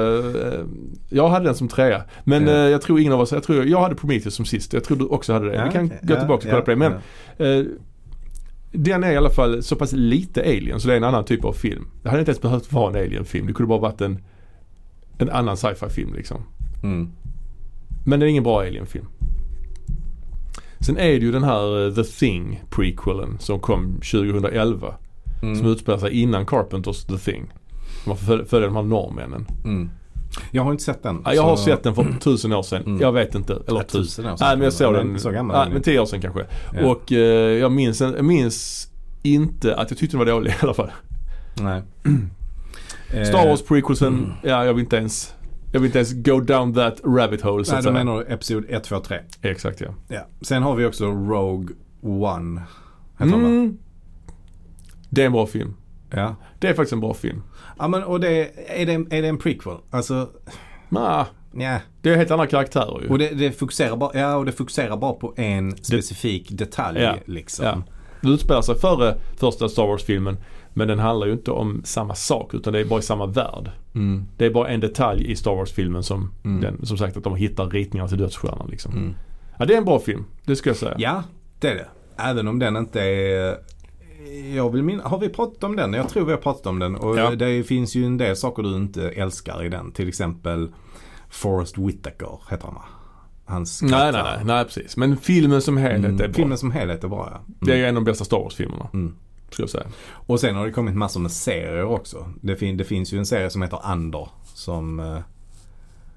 S2: eh, jag hade den som trea. Men
S1: Ja.
S2: eh, jag tror ingen av oss... Jag, tror, jag hade Prometheus som sist. Jag tror du också hade det.
S1: Ja,
S2: Vi kan
S1: okej.
S2: gå
S1: Ja,
S2: tillbaka och kolla
S1: ja,
S2: på det. Men
S1: ja.
S2: eh, den är i alla fall så pass lite alien så det är en annan typ av film. Det hade inte ens behövt vara en alien-film. Det kunde bara varit en, en annan sci-fi film liksom.
S1: Mm.
S2: Men det är ingen bra Alien-film. Sen är det ju den här eh, The Thing prequelen som kom 2011.
S1: Mm.
S2: Som utspelar sig innan Carpenters The Thing. Man föl- följer de här norrmännen.
S1: Mm. Jag har inte sett den.
S2: Ja, jag har
S1: så-
S2: sett
S1: [CLEARS THROAT]
S2: den för tusen år
S1: Alltså-
S2: sedan.
S1: Mm.
S2: Jag vet inte. Eller
S1: Ja,
S2: tusen.
S1: tusen år sedan.
S2: Nej men jag såg
S1: Men
S2: den.
S1: så gammal är
S2: Nej
S1: den
S2: men
S1: inte.
S2: tio år sedan kanske.
S1: Ja.
S2: Och eh, jag minns, en- jag minns inte att jag tyckte den var dålig [LAUGHS] i alla fall.
S1: Nej.
S2: [CLEARS THROAT]
S1: Eh,
S2: Star Wars prequelsen,
S1: mm.
S2: ja jag vill inte ens, jag vill inte ens go down that rabbit hole så
S1: Nej,
S2: att
S1: då
S2: säga.
S1: menar Mm. du Episod 1, 2, 3.
S2: Exakt ja.
S1: Ja. Sen har vi också Rogue One. Heter den va?
S2: Mm. Det är en bra film.
S1: Ja.
S2: Det är faktiskt en bra film.
S1: ja, men och det är, det, en- är det en prequel? Alltså,
S2: Nah,
S1: nja.
S2: det är helt andra karaktärer ju.
S1: Och det, det, fokuserar bara, ja, och det fokuserar bara på en specifik detalj
S2: Ja.
S1: liksom.
S2: ja. Det utspelar sig före första Star Wars-filmen. Men den handlar ju inte om samma sak utan det är bara i samma värld.
S1: Mm.
S2: Det är bara en detalj i Star Wars-filmen som,
S1: Mm.
S2: den, som sagt att de hittar ritningar till Dödsstjärnan liksom.
S1: Mm.
S2: Ja, det är en bra film. Det ska jag säga.
S1: Ja, det är det. Även om den inte är... Jag vill min... Har vi pratat om den? Jag tror vi har pratat om den. Och
S2: Ja.
S1: det finns ju en del saker du inte älskar i den. Till exempel Forrest Whitaker heter han va? Hans
S2: Nej, nej,
S1: karaktär.
S2: nej, nej, precis. Men filmen som helhet är bra.
S1: Mm. Filmen som helhet är bra ja. Mm.
S2: Det är ju en av de bästa Star Wars-filmerna.
S1: Mm.
S2: Ska jag säga.
S1: Och sen har det kommit massor med serier också. Det, fin- det finns ju en serie som heter Under. Som... Eh,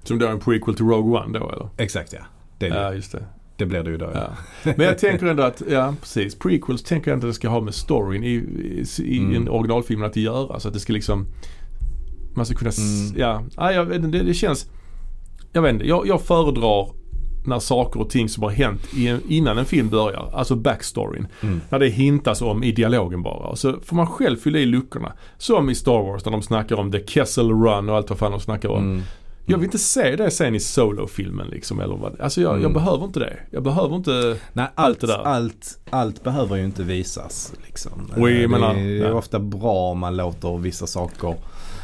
S2: Som då är en prequel till Rogue One då eller?
S1: exakt ja. Det, är det.
S2: Ja, just det.
S1: det blir det ju då. Ja.
S2: Ja. Men jag tänker ändå att, ja precis, prequels tänker jag inte att det ska ha med storyn i, i, i
S1: Mm.
S2: en originalfilmen att göra. Så att det ska liksom, man ska kunna, s-
S1: Mm.
S2: ja, nej, jag, vet inte, det, det känns, jag vet inte, jag, jag föredrar när saker och ting som har hänt i en, innan en film börjar, alltså backstoryn.
S1: Mm.
S2: När det hintas om i dialogen bara. Och så får man själv fylla i luckorna. Som i Star Wars när de snackar om The Kessel Run och allt vad fan de snackar om.
S1: Mm.
S2: Jag vill inte se det sen i Solo-filmen liksom. Eller vad. Alltså jag, jag
S1: Mm.
S2: behöver inte det. Jag behöver inte...
S1: Nej,
S2: Allt
S1: allt,
S2: det
S1: allt,
S2: där.
S1: allt, behöver ju inte visas. Liksom.
S2: Och jag
S1: Eh, det
S2: menar,
S1: är, det
S2: nej.
S1: är ofta bra om man låter vissa saker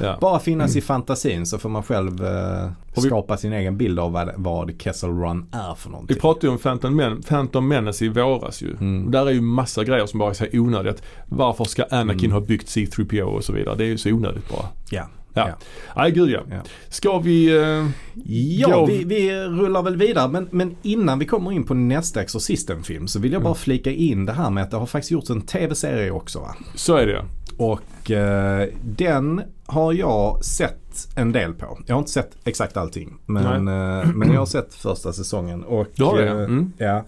S2: Ja.
S1: bara finnas i fantasin så får man själv eh,
S2: vi-
S1: skapa sin egen bild av vad, vad Kessel Run är för
S2: Vi
S1: någonting.
S2: pratade ju om Phantom, Men Phantom Menace i våras ju.
S1: Mm.
S2: Där är ju massa grejer som bara är så här onödigt. Varför ska Anakin
S1: Mm.
S2: ha byggt C3PO och så vidare. Det är ju så onödigt bara.
S1: Ja.
S2: Ja.
S1: Ja.
S2: Nej gud ja.
S1: Ja.
S2: Ska vi... Eh,
S1: Ja,
S2: Jag-
S1: vi, vi rullar väl vidare. Men, men innan vi kommer in på nästa Exorcisten-film så vill jag
S2: Mm.
S1: bara flika in det här med att det har faktiskt gjorts en tv-serie också. Va?
S2: så är det
S1: Och eh, den har jag sett en del på. Jag har inte sett exakt allting. Men, eh, men jag har sett första säsongen. Och,
S2: Du har det, ja.
S1: eh,
S2: Mm.
S1: ja.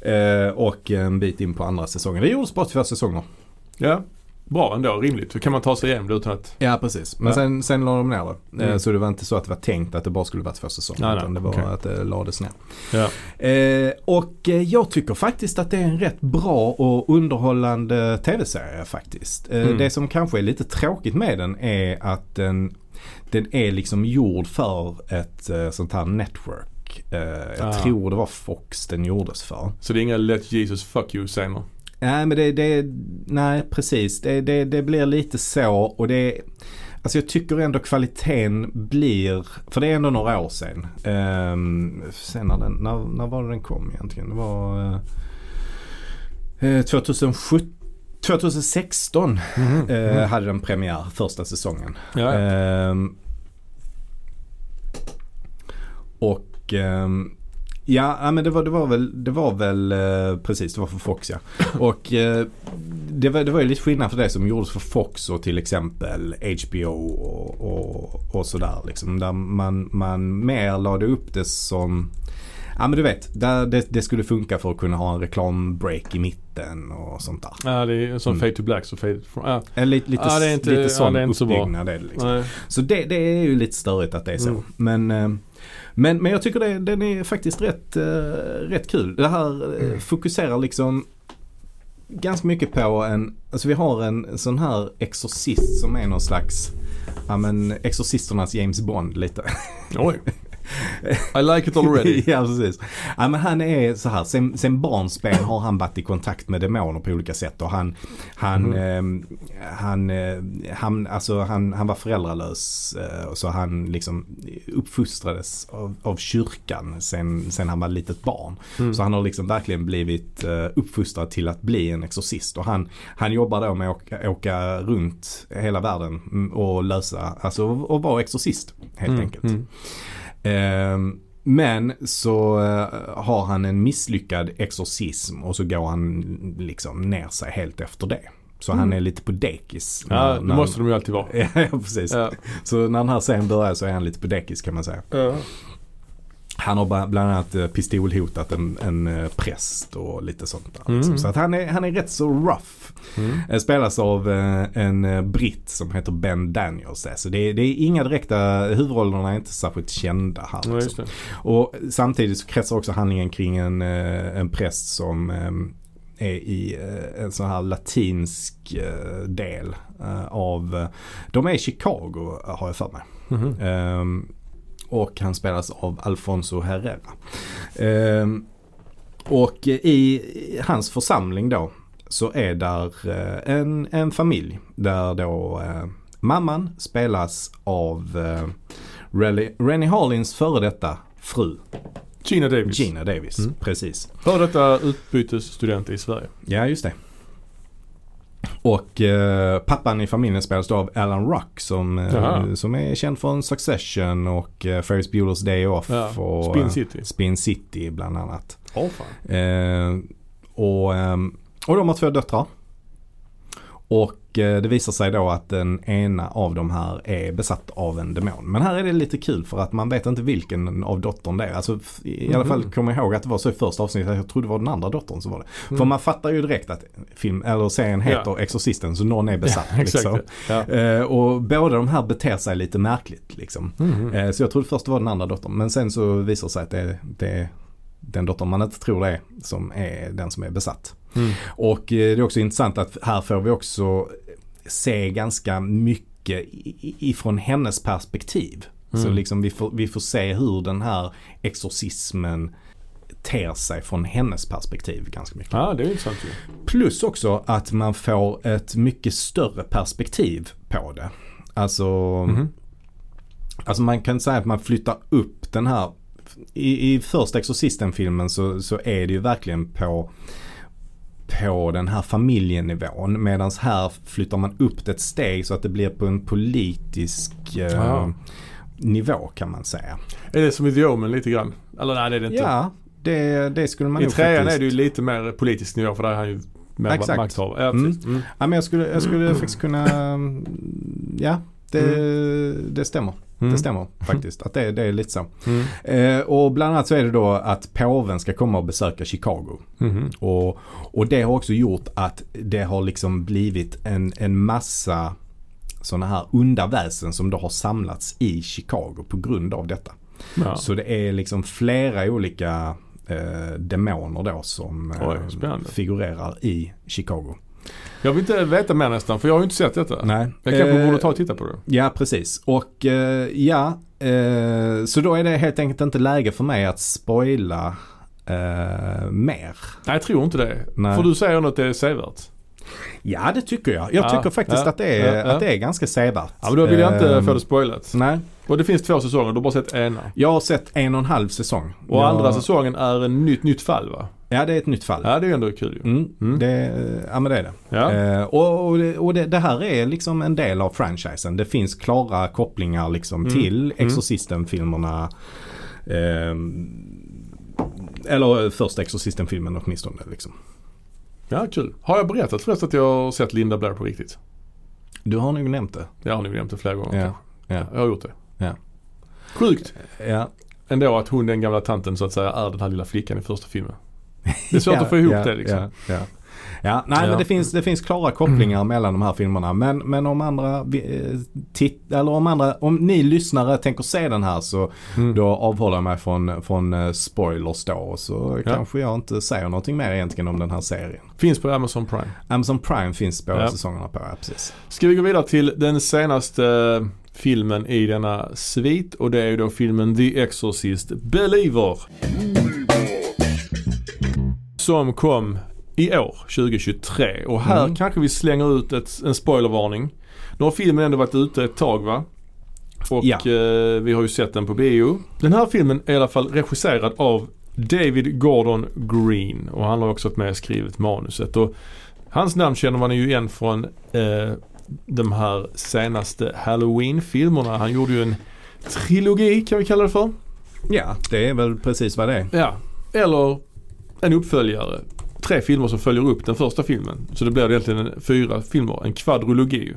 S1: Eh, och en bit in på andra säsongen. Det gjordes bara två säsonger.
S2: Ja. Bra ändå, rimligt. Då kan man ta sig igenom det utan att...
S1: Ja precis. Men
S2: Ja.
S1: sen, sen la de ner det. Eh,
S2: Mm.
S1: Så det var inte så att det var tänkt att det bara skulle vara två säsonger.
S2: Nej, nej.
S1: utan det var
S2: Okej.
S1: att det lades ner.
S2: Ja.
S1: Eh, och eh, jag tycker faktiskt att det är en rätt bra och underhållande tv-serie faktiskt. Eh,
S2: Mm.
S1: Det som kanske är lite tråkigt med den är att den, den är liksom gjord för ett eh, sånt här network. Eh, jag
S2: Ah.
S1: tror det var Fox den gjordes för.
S2: Så det är inga let Jesus fuck you scener.
S1: Nej men det, det nej precis. Det, det, det blir lite så och det Alltså jag tycker ändå kvaliteten blir, för det är ändå några år sedan. Ehm, sen när, den, när, när var det den kom egentligen? Det var eh, eh, 2017, 2016 eh, hade den premiär första säsongen.
S2: Ja, ja.
S1: Ehm, och ehm, ja, ja, men det var, det var väl, det var väl eh, precis det var för Fox ja.
S2: [LAUGHS]
S1: Och eh, det, var, det var ju lite skillnad för det som gjordes för Fox och till exempel HBO och, och, och sådär. Liksom, där man, man mer lade upp det som Ja men du vet, där det, det skulle funka för att kunna ha en reklambreak i mitten och sånt där.
S2: ja det är en sån
S1: Mm.
S2: fade to black så fade from... Ja.
S1: Eh, Lite, lite,
S2: Ja, det är inte- ja,
S1: lite sån
S2: det är inte så bra.
S1: uppbyggnad är det liksom.
S2: Nej.
S1: Så det, det är ju lite störigt att det är så.
S2: Mm.
S1: Men, eh, men, men jag tycker det, den är faktiskt rätt, eh, rätt kul. Det här eh, fokuserar liksom ganska mycket på en, alltså vi har en sån här exorcist som är någon slags, ja men exorcisternas James Bond lite. [LAUGHS]
S2: Oj. I like it already.
S1: ja precis. Ja, men han är så här, sen, sen barnsben har han varit i kontakt med demoner på olika sätt. Och han, han,
S2: Mhm.
S1: eh, han, eh, han, alltså, han, han var föräldralös. Eh, och så han liksom uppfostrades av, av kyrkan sen, sen han var litet barn.
S2: Mm.
S1: Så han har liksom verkligen blivit eh, uppfostrad till att bli en exorcist. Och han, han jobbar då med att åka, åka runt hela världen mm, och lösa, alltså och vara exorcist helt
S2: Mm,
S1: enkelt.
S2: mm.
S1: Ehm, men så eh, har han en misslyckad exorcism och så går han liksom ner sig helt efter det. Så han är lite på dekis.
S2: [LAUGHS] Ja, det måste de ju alltid vara.
S1: [LAUGHS] Ja, precis.
S2: Ja.
S1: Så när den här scenen börjar så är han lite på dekis kan man säga. Han har ba- bland annat eh, pistolhotat en, en eh, präst och lite sånt där. liksom.
S2: Mm.
S1: Så att han, är, han är rätt så rough.
S2: Mm.
S1: Eh, Spelas av eh, en eh, britt som heter Ben Daniels. där. Så det, är- det är inga direkta, huvudrollerna är inte särskilt kända här. liksom.
S2: Ja, just det.
S1: Och samtidigt så kretsar också handlingen kring en, eh, en präst som eh, är i eh, en sån här latinsk eh, del eh, av, eh, de är i Chicago eh, har jag för mig.
S2: Mhm.
S1: Ehm, och han spelas av Alfonso Herrera. Ehm, och i i hans församling då så är där eh, en, en familj där då eh, mamman spelas av eh, Rennie- Rennie Harlins före detta fru
S2: Gina Davis.
S1: Gina Davis,
S2: Mm.
S1: precis.
S2: Före detta utbytesstudent i Sverige.
S1: Ja, just det. Och eh, pappan i familjen spelas då av Alan Rock som, eh,
S2: Jaha.
S1: som är känd från Succession och eh, Ferris Bueller's Day Off
S2: Ja.
S1: och
S2: Spin
S1: eh,
S2: City.
S1: Spin City bland annat.
S2: Åh fan.
S1: Eh, och, ehm, och de har två döttrar. Och eh, det visar sig då att den ena av de här är besatt av en demon. Men här är det lite kul för att man vet inte vilken av dottern det är. Alltså, f- I alla fall
S2: Mhm.
S1: kommer jag ihåg att det var så i första avsnittet. Jag trodde det var den andra dottern som var det. För
S2: Mm.
S1: man fattar ju direkt att film, eller serien heter Exorcisten så någon är besatt.
S2: Exakt.
S1: liksom.
S2: Ja. [LAUGHS]
S1: eh, och båda de här beter sig lite märkligt. Liksom.
S2: Mhm.
S1: Eh, Så jag trodde först det var den andra dottern. Men sen så visar det sig att det, det, den dottern man inte tror det är som är den som är besatt.
S2: Mm.
S1: Och eh, det är också intressant att här får vi också se ganska mycket i- i- ifrån hennes perspektiv. Så
S2: Mm.
S1: liksom vi får, vi får se hur den här exorcismen ter sig från hennes perspektiv ganska mycket.
S2: Ja, det är ju intressant ju.
S1: Plus också att man får ett mycket större perspektiv på det. Alltså,
S2: Mhm.
S1: alltså man kan säga att man flyttar upp den här. I, i första Exorcisten-filmen så, så är det ju verkligen på på den här familjenivån. Medan här flyttar man upp det ett steg så att det blir på en politisk eh,
S2: Ja.
S1: nivå kan man säga.
S2: Är det som i The Omen lite grann? Eller nej, det är det inte.
S1: Ja, det, det skulle man
S2: I
S1: nog
S2: trean
S1: faktiskt...
S2: är det ju lite mer politisk nivå för där är han ju mer
S1: Exakt.
S2: makthavare. Ja, precis. Mm.
S1: Ja, men jag skulle, jag skulle faktiskt kunna, mm, ja det, det stämmer.
S2: Mm.
S1: Det stämmer faktiskt att det, det är lite så.
S2: Mm.
S1: Eh, och bland annat så är det då att påven ska komma och besöka Chicago.
S2: Mhm.
S1: Och, och det har också gjort att det har liksom blivit en, en massa sådana här onda väsen som då har samlats i Chicago på grund av detta.
S2: Ja.
S1: Så det är liksom flera olika eh, demoner då som eh,
S2: Oj, spännande.
S1: figurerar i Chicago.
S2: Jag vill inte veta mer nästan för jag har ju inte sett detta.
S1: Nej.
S2: Jag kanske
S1: Eh,
S2: borde ta och titta på det.
S1: Ja, precis. Och eh, ja, eh, så då är det helt enkelt inte läge för mig att spoila eh, mer.
S2: Nej, jag tror inte det.
S1: Nej.
S2: För du säger något det är sevärt.
S1: Ja, det tycker jag. Jag
S2: Ja,
S1: tycker faktiskt
S2: ja,
S1: att, det är,
S2: ja, ja.
S1: att det är ganska sevärt.
S2: Ja, men då vill jag inte
S1: Eh,
S2: få det spoilat.
S1: Nej,
S2: Och det finns två säsonger, du har bara sett ena.
S1: jag har sett en och en halv säsong.
S2: Och
S1: jag,
S2: andra säsongen är ett nytt, nytt fall va?
S1: Ja, det är ett nytt fall.
S2: Ja, det är ju ändå kul ju.
S1: Mm,
S2: Mm.
S1: Det, ja, men det är det.
S2: Ja.
S1: Eh, och och, det, och det, det här är liksom en del av franchisen. Det finns klara kopplingar liksom
S2: Mm.
S1: till Exorcisten-filmerna. Ehm, eller första Exorcisten-filmen åtminstone. Liksom.
S2: Ja, kul. Har jag berättat förresten att jag har sett Linda Blair på riktigt?
S1: Du har nog nämnt det.
S2: Jag har nog nämnt det flera gånger
S1: Ja.
S2: kanske.
S1: Ja.
S2: Jag har gjort det.
S1: Ja.
S2: Sjukt
S1: Ja.
S2: ändå att hon, den gamla tanten så att säga, är den här lilla flickan i första filmen. Det är
S1: [LAUGHS]
S2: svårt
S1: ja,
S2: att få ihop
S1: ja,
S2: det liksom.
S1: Ja, ja. ja. nej
S2: Ja. Mm.
S1: men det finns, det finns klara kopplingar mellan de här filmerna. Men, men om andra, vi- eh, titt, eller om andra, om ni lyssnare tänker se den här så
S2: Mm.
S1: Då avhåller jag mig från, från eh, spoilers då och så
S2: Ja.
S1: kanske jag inte säger någonting mer egentligen om den här serien.
S2: Finns på Amazon Prime.
S1: Amazon Prime finns båda
S2: Ja.
S1: säsongerna på, ja, precis.
S2: Ska vi gå vidare till den senaste eh, filmen i denna svit och det är ju då filmen The Exorcist Believer. Som kom i år, 2023. Och här
S1: Mm.
S2: kanske vi slänger ut ett, en spoilervarning. Nu har filmen ändå varit ute ett tag va? Och
S1: Ja.
S2: eh, vi har ju sett den på bio. Den här filmen är i alla fall regisserad av David Gordon Green och han har också varit med och skrivit manuset. Och hans namn känner man ju igen från eh, de här senaste Halloween-filmerna. Han gjorde ju en trilogi kan vi kalla det för.
S1: Ja, det är väl precis vad det är.
S2: Ja, eller en uppföljare. Tre filmer som följer upp den första filmen. Så det blir egentligen en, fyra filmer, en kvadrologi. ju.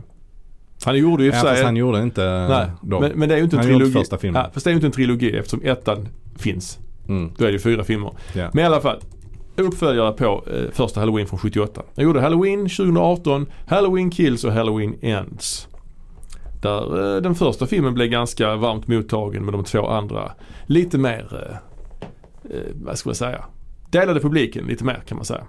S2: Han gjorde ju i och
S1: Ja,
S2: för sig
S1: fast
S2: en-
S1: han gjorde inte
S2: Nej,
S1: dem.
S2: men, men det är ju inte en
S1: Han gjorde
S2: trilogi.
S1: första filmen.
S2: Ja, fast det är ju inte en trilogi eftersom ettan finns.
S1: Mm,
S2: Då är det ju fyra filmer.
S1: ja.
S2: Men i alla fall. Uppföljare på eh, första Halloween från 78. Jag gjorde Halloween 2018, Halloween Kills och Halloween Ends. Där eh, den första filmen blev ganska varmt mottagen men de två andra lite mer, eh, eh, vad ska man säga, delade publiken lite mer kan man säga.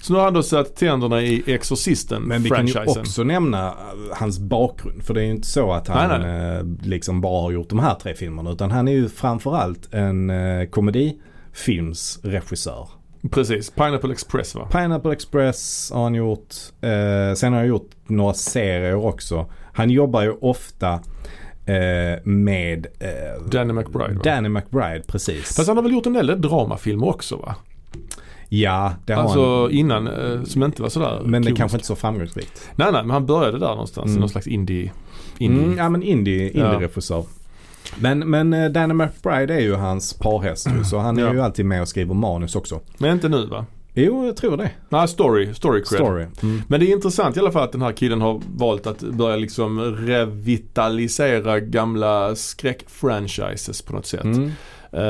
S2: Så nu har han då satt tänderna
S1: Men
S2: i
S1: vi kan ju
S2: Exorcisten-franchisen.
S1: också nämna eh, hans bakgrund. För det är ju inte så att han
S2: Nej,
S1: eh, liksom bara har gjort de här tre filmerna. Utan han är ju framförallt en eh, komedifilmsregissör.
S2: Precis, Pineapple Express va?
S1: Pineapple Express har han gjort. Eh, sen har han gjort några serier också. Han jobbar ju ofta eh, med eh,
S2: Danny McBride va?
S1: Danny McBride, precis.
S2: Fast han har väl gjort en del dramafilmer också va?
S1: ja, det har
S2: alltså
S1: han.
S2: innan, eh, som inte var sådär
S1: Men det
S2: komiskt.
S1: kanske inte är så framgångsrikt.
S2: Nej, nej, men han började där någonstans.
S1: Mm.
S2: i Någon slags indie... indie.
S1: Mm, ja, men indie, indie-regissör. Men, men eh, Danny McBride är ju hans parhäst ju, så han är
S2: Ja.
S1: ju alltid med och skriver manus också.
S2: Men inte nu va?
S1: Jo, jag tror det.
S2: Nej, story, story cred.
S1: Story. Mm.
S2: Men det är intressant i alla fall att den här killen har valt att börja liksom revitalisera gamla skräckfranchises på något sätt.
S1: Mm.
S2: Eh,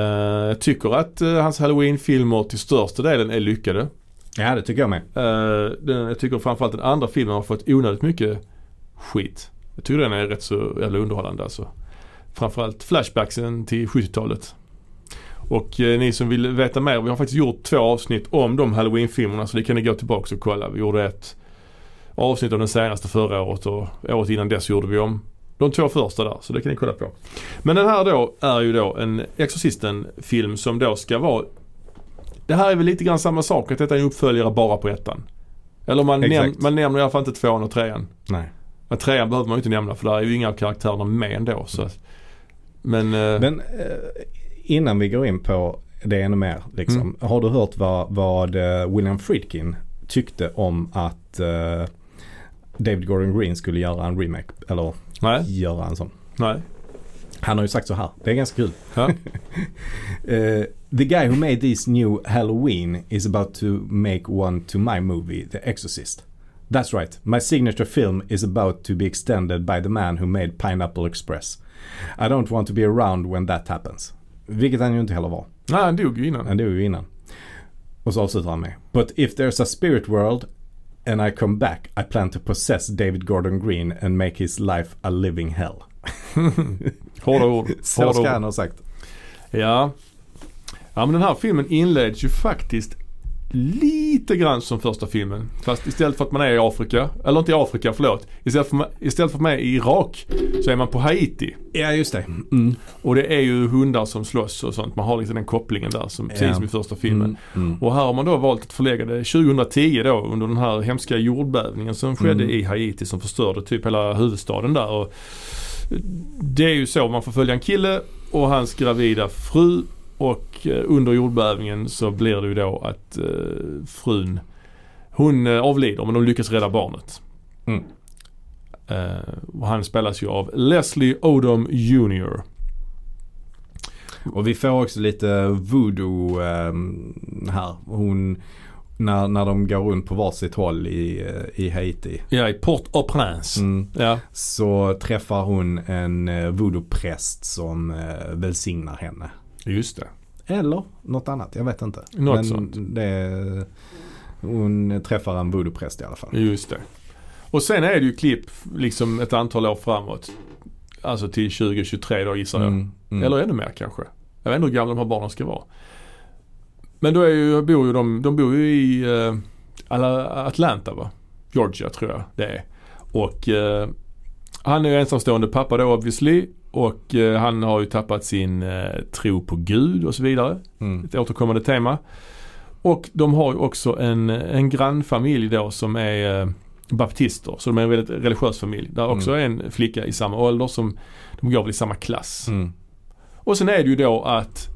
S2: Jag tycker att eh, hans halloween-filmer till största delen är lyckade.
S1: Ja, det tycker jag med.
S2: Eh, den, jag tycker framförallt den andra filmen har fått onödigt mycket skit. Jag tycker den är rätt så jävla underhållande alltså. Framförallt flashbacksen till 70-talet. Och eh, ni som vill veta mer, vi har faktiskt gjort två avsnitt om de halloween-filmerna så det kan ni gå tillbaka och kolla. Vi gjorde ett avsnitt av den senaste förra året och året innan dess gjorde vi om de två första där, så det kan ni kolla på. Men den här då är ju då en Exorcisten-film som då ska vara Det här är väl lite grann samma sak, att detta är en uppföljare bara på ettan. Eller man,
S1: Exakt.
S2: näm- man nämner i alla fall inte tvåan och trean.
S1: Nej.
S2: Men trean behöver man ju inte nämna för där är ju inga av karaktärerna med ändå. Så. att- Men, eh,
S1: Men eh, innan vi går in på det ännu mer. Liksom,
S2: Mm.
S1: Har du hört vad, vad eh, William Friedkin tyckte om att eh, David Gordon Green skulle göra en remake? Eller
S2: nej,
S1: göra en sån.
S2: nej.
S1: Han har ju sagt så här. Det är ganska kul. [LAUGHS]
S2: Ja.
S1: Eh, the guy who made this new Halloween is about to make one to my movie, The Exorcist. That's right. My signature film is about to be extended by the man who made Pineapple Express. I don't want to be around when that happens. Vilket han ju inte heller var.
S2: nej, han dog ju innan.
S1: Han dog ju innan. Och så avslutar han med. But if there's a spirit world and I come back I plan to possess David Gordon Green and make his life a living hell.
S2: Hårda ord.
S1: Så
S2: Hårda
S1: ska
S2: ord.
S1: han ha sagt.
S2: Ja. Ja men den här filmen inleds ju faktiskt lite grann som första filmen. Fast istället för att man är i Afrika, eller inte i Afrika, förlåt. Istället för, istället för att man är i Irak så är man på Haiti.
S1: Ja just det. Mm.
S2: Och det är ju hundar som slåss och sånt. Man har liksom den kopplingen där som, precis
S1: Ja.
S2: som i första filmen.
S1: Mm, mm.
S2: Och här har man då valt att förlägga det 2010 då under den här hemska jordbävningen som skedde
S1: Mm.
S2: i Haiti som förstörde typ hela huvudstaden där. Och det är ju så man får följa en kille och hans gravida fru och eh, under jordbävningen så blir det ju då att eh, frun hon eh, avlider men de lyckas rädda barnet.
S1: Mm.
S2: Eh, och han spelas ju av Leslie Odom Jr.
S1: Och vi får också lite voodoo ehm, här. Hon, när, när de går runt på varsitt håll i, eh, i Haiti.
S2: Ja, i Port-au-Prince.
S1: Mm.
S2: Ja,
S1: Så träffar hon en eh, voodoo-präst som eh, välsignar henne.
S2: just det.
S1: Eller något annat, jag vet inte.
S2: Något sånt.
S1: Det, hon träffar en voodoo-präst i alla fall.
S2: Just det. Och sen är det ju klipp liksom ett antal år framåt. Alltså till 2023 då gissar jag.
S1: Mm, mm.
S2: Eller ännu mer kanske. Jag vet inte hur gamla de här barnen ska vara. Men då är ju, bor ju de, de bor ju i eh, alla- Atlanta va? Georgia tror jag det är. Och eh, han är ju ensamstående pappa då obviously. Och eh, han har ju tappat sin eh, tro på Gud och så vidare
S1: Mm.
S2: ett återkommande tema. Och de har ju också en, en grannfamilj då som är eh, baptister. Så de är en väldigt religiös familj. Där också är en flicka i samma ålder som de går väl i samma klass.
S1: Mm.
S2: Och sen är det ju då att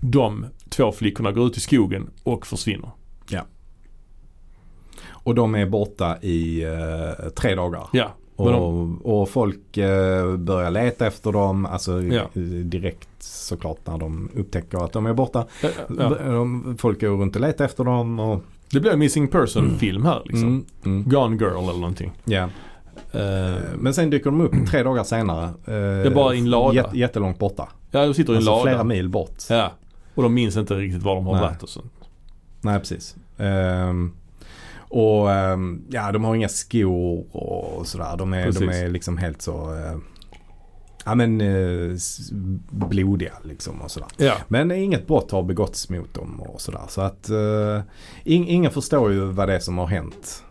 S2: de två flickorna går ut i skogen och försvinner.
S1: Och de är borta i eh, tre dagar.
S2: Ja,
S1: Och,
S2: men
S1: och folk eh, börjar leta efter dem, alltså
S2: Ja.
S1: eh, direkt såklart när de upptäcker att de är borta.
S2: eh, ja.
S1: De, folk går runt och letar efter dem och...
S2: Det blir en missing person-film här liksom.
S1: Mm, mm,
S2: Gone girl eller någonting.
S1: ja.
S2: Eh,
S1: Men sen dyker de upp tre dagar senare. Det
S2: är bara i en lada.
S1: jättelångt borta.
S2: ja, de sitter i en
S1: Alltså flera
S2: lada.
S1: mil bort.
S2: Ja. Och de minns inte riktigt var de har
S1: Nej.
S2: varit och sånt.
S1: Nej, precis. Ehm, och ehm, ja, de har inga skor och sådär. De är, de
S2: Precis.
S1: är liksom helt så... eh, ja men eh, s- blodiga liksom och sådär.
S2: Ja.
S1: Men inget brott har begåtts mot dem och sådär. Så att eh, in, ingen förstår ju vad det är som har hänt.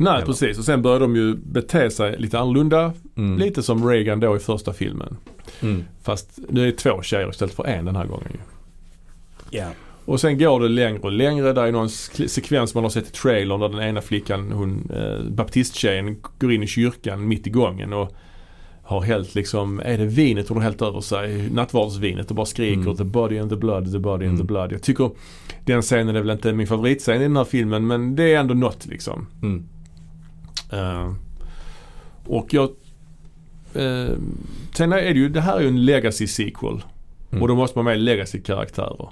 S2: Nej
S1: Eller?
S2: precis och sen börjar de ju bete sig lite annorlunda.
S1: Mm.
S2: Lite som Reagan då i första filmen.
S1: Mm.
S2: Fast nu är det två tjejer istället för en den här gången ju.
S1: Ja.
S2: Och sen går det längre och längre. Där är någon sk- sekvens man har sett i trailern där den ena flickan, hon, eh, baptisttjejen, går in i kyrkan mitt i gången och har hällt liksom, är det vinet hon har hällt över sig? Nattvardsvinet och bara skriker
S1: Mm.
S2: the body and the blood, the body and the
S1: Mm.
S2: blood. Jag tycker den scenen är väl inte min favoritscen i den här filmen men det är ändå något liksom.
S1: Mm.
S2: Eh, och jag... eh, sen är det ju, det här är ju en legacy sequel.
S1: Mm.
S2: Och då måste man ha med legacy-karaktärer.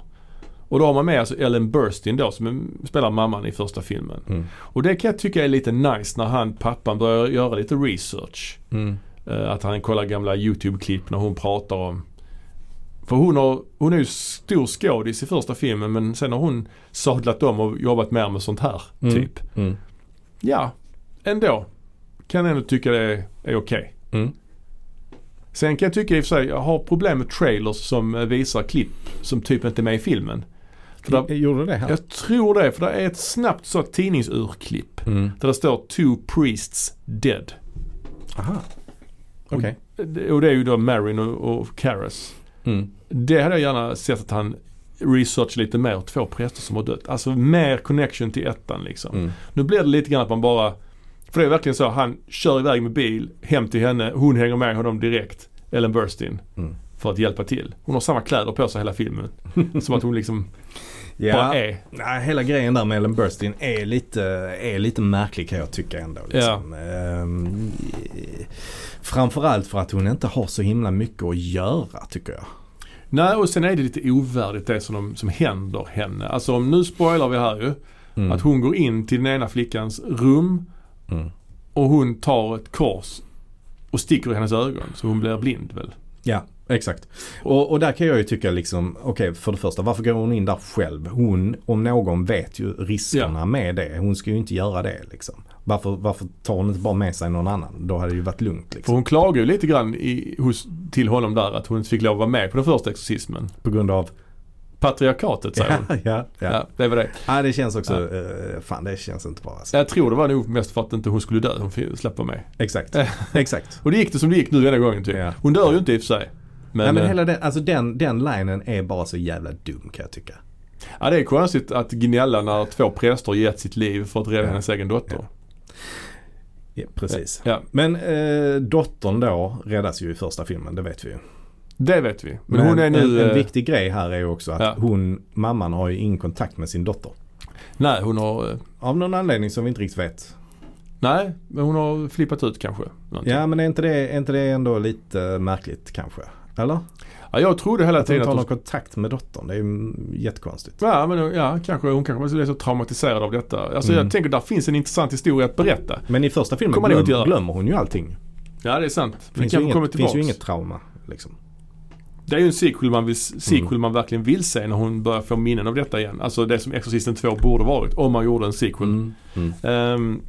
S2: Och då har man med alltså Ellen Burstyn då som är- spelar mamman i första filmen.
S1: Mm.
S2: Och det kan jag tycka är lite nice när han, pappan, börjar göra lite research.
S1: Mm.
S2: Eh, att han kollar gamla YouTube-klipp när hon pratar om... För hon, har, hon är ju stor skådis i första filmen men sen har hon sadlat om och jobbat mer med sånt här,
S1: Mm.
S2: typ
S1: Mm.
S2: ja, ändå. Kan ändå tycka det är okej.
S1: Mm.
S2: Sen kan jag tycka i och för sig, jag har problem med trailers som eh, visar klipp som typ inte är med i filmen. För där,
S1: Gjorde det här?
S2: jag tror det, för det är ett snabbt så tidningsurklipp.
S1: Mm.
S2: Där det står “Two priests dead”.
S1: Aha. Okej.
S2: Och det är ju då Marin och, och Karras.
S1: Mm.
S2: Det hade jag gärna sett att han researchar lite mer. Två präster som har dött. Alltså mer connection till ettan liksom.
S1: Mm.
S2: Nu blir det lite grann att man bara... För det är verkligen så, han kör iväg med bil hem till henne. Hon hänger med honom direkt. Ellen Burstyn.
S1: Mm.
S2: För att hjälpa till. Hon har samma kläder på sig
S1: [LAUGHS]
S2: hela filmen. som att hon liksom bara
S1: Ja.
S2: är.
S1: Nej, hela grejen där med Ellen Burstyn är lite, är lite märklig kan jag tycka ändå. Liksom. Ehm, eh, framförallt för att hon inte har så himla mycket att göra tycker jag.
S2: Nej, och sen är det lite ovärdigt det som, de, som händer henne. Alltså om nu spoilar vi här ju.
S1: Mm.
S2: Att hon går in till den ena flickans rum
S1: Mm.
S2: och hon tar ett kors och sticker i hennes ögon så hon blir blind väl.
S1: Ja, exakt. Och, och där kan jag ju tycka liksom, okej för det första varför går hon in där själv? Hon om någon vet ju riskerna med det. Hon ska ju inte göra det liksom. Varför, varför tar hon inte bara med sig någon annan? Då hade det ju varit lugnt
S2: För
S1: liksom.
S2: hon klagar ju lite grann i, hos, till honom där att hon inte fick lov att vara med på den första exorcismen.
S1: På grund av...
S2: Patriarkatet säger
S1: [LAUGHS] Ja,
S2: hon.
S1: ja, [LAUGHS] ja.
S2: Ja.
S1: ja.
S2: det var det.
S1: det känns också, eh, fan det känns inte bra alltså.
S2: Jag tror det var nog mest för att inte hon skulle dö. Hon fick- slapp vara med.
S1: Exakt,
S2: Ja.
S1: [LAUGHS] exakt.
S2: Och det gick det som det gick nu denna gången typ.
S1: Ja.
S2: Hon dör ju inte i och för sig. Men,
S1: Nej, men
S2: eh,
S1: hela den, alltså den, den linen är bara så jävla dum kan jag tycka.
S2: ja, det är konstigt att gnälla när två präster gett sitt liv för att rädda
S1: Ja.
S2: hennes egen dotter.
S1: Ja, precis.
S2: Ja,
S1: Men eh, dottern då räddas ju i första filmen, det vet vi ju.
S2: det vet vi. Men, hon är nu...
S1: en, en
S2: eh,
S1: viktig grej här är ju också att
S2: ja.
S1: hon, mamman har ju ingen kontakt med sin dotter.
S2: Nej, hon har... eh,
S1: Av någon anledning som vi inte riktigt vet.
S2: Nej, men hon har flippat ut kanske. någonting.
S1: Ja men är inte det, är inte det ändå lite märkligt kanske? Eller?
S2: Ja, jag trodde hela
S1: Att hon
S2: tiden
S1: inte har
S2: att
S1: någon
S2: hon...
S1: kontakt med dottern, det är ju mm, jättekonstigt.
S2: Ja, men, ja kanske, hon kanske bara är så traumatiserad av detta. Alltså
S1: Mm.
S2: jag tänker där finns en intressant historia att berätta.
S1: Men i första filmen
S2: Kommer det
S1: glöm,
S2: inte göra.
S1: glömmer hon ju allting.
S2: Ja, det är sant.
S1: Det finns,
S2: det
S1: ju
S2: kanske kommer
S1: inget,
S2: tillbaks.
S1: finns ju inget trauma. Liksom.
S2: Det är ju en sequel man, vill, sequel
S1: Mm.
S2: man verkligen vill se när hon börjar få minnen av detta igen. Alltså det som Exorcisten 2 borde varit om man gjorde en sequel.
S1: Mm.
S2: Ehm,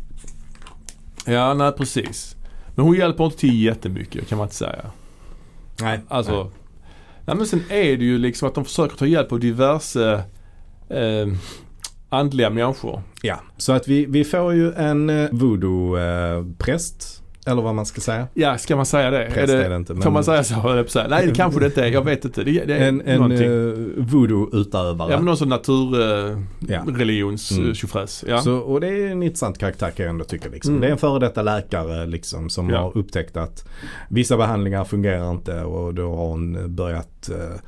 S2: ja, nej precis. Men hon hjälper inte till jättemycket kan man inte säga.
S1: Nej.
S2: Alltså. Nej. men sen är det ju liksom att de försöker ta hjälp av diverse eh, andliga människor.
S1: Ja, så att vi, vi får ju en eh, voodoo-präst. Eller vad man ska säga.
S2: Ja, ska man säga det?
S1: Präst är det inte, men- Mm.
S2: Får man säga så? höll jag på att säga. Nej, det kanske det inte är. Jag vet inte. Det, det är
S1: En, en
S2: någonting.
S1: eh, voodoo-utövare.
S2: ja, men någon sån naturreligions eh,
S1: Ja.
S2: religions,
S1: Mm.
S2: eh, tjofräs. Ja.
S1: så, och det är en intressant karaktär kan jag ändå tycka. Liksom.
S2: Mm.
S1: Det är en före detta läkare liksom, som
S2: Ja.
S1: har upptäckt att vissa behandlingar fungerar inte och då har hon börjat eh,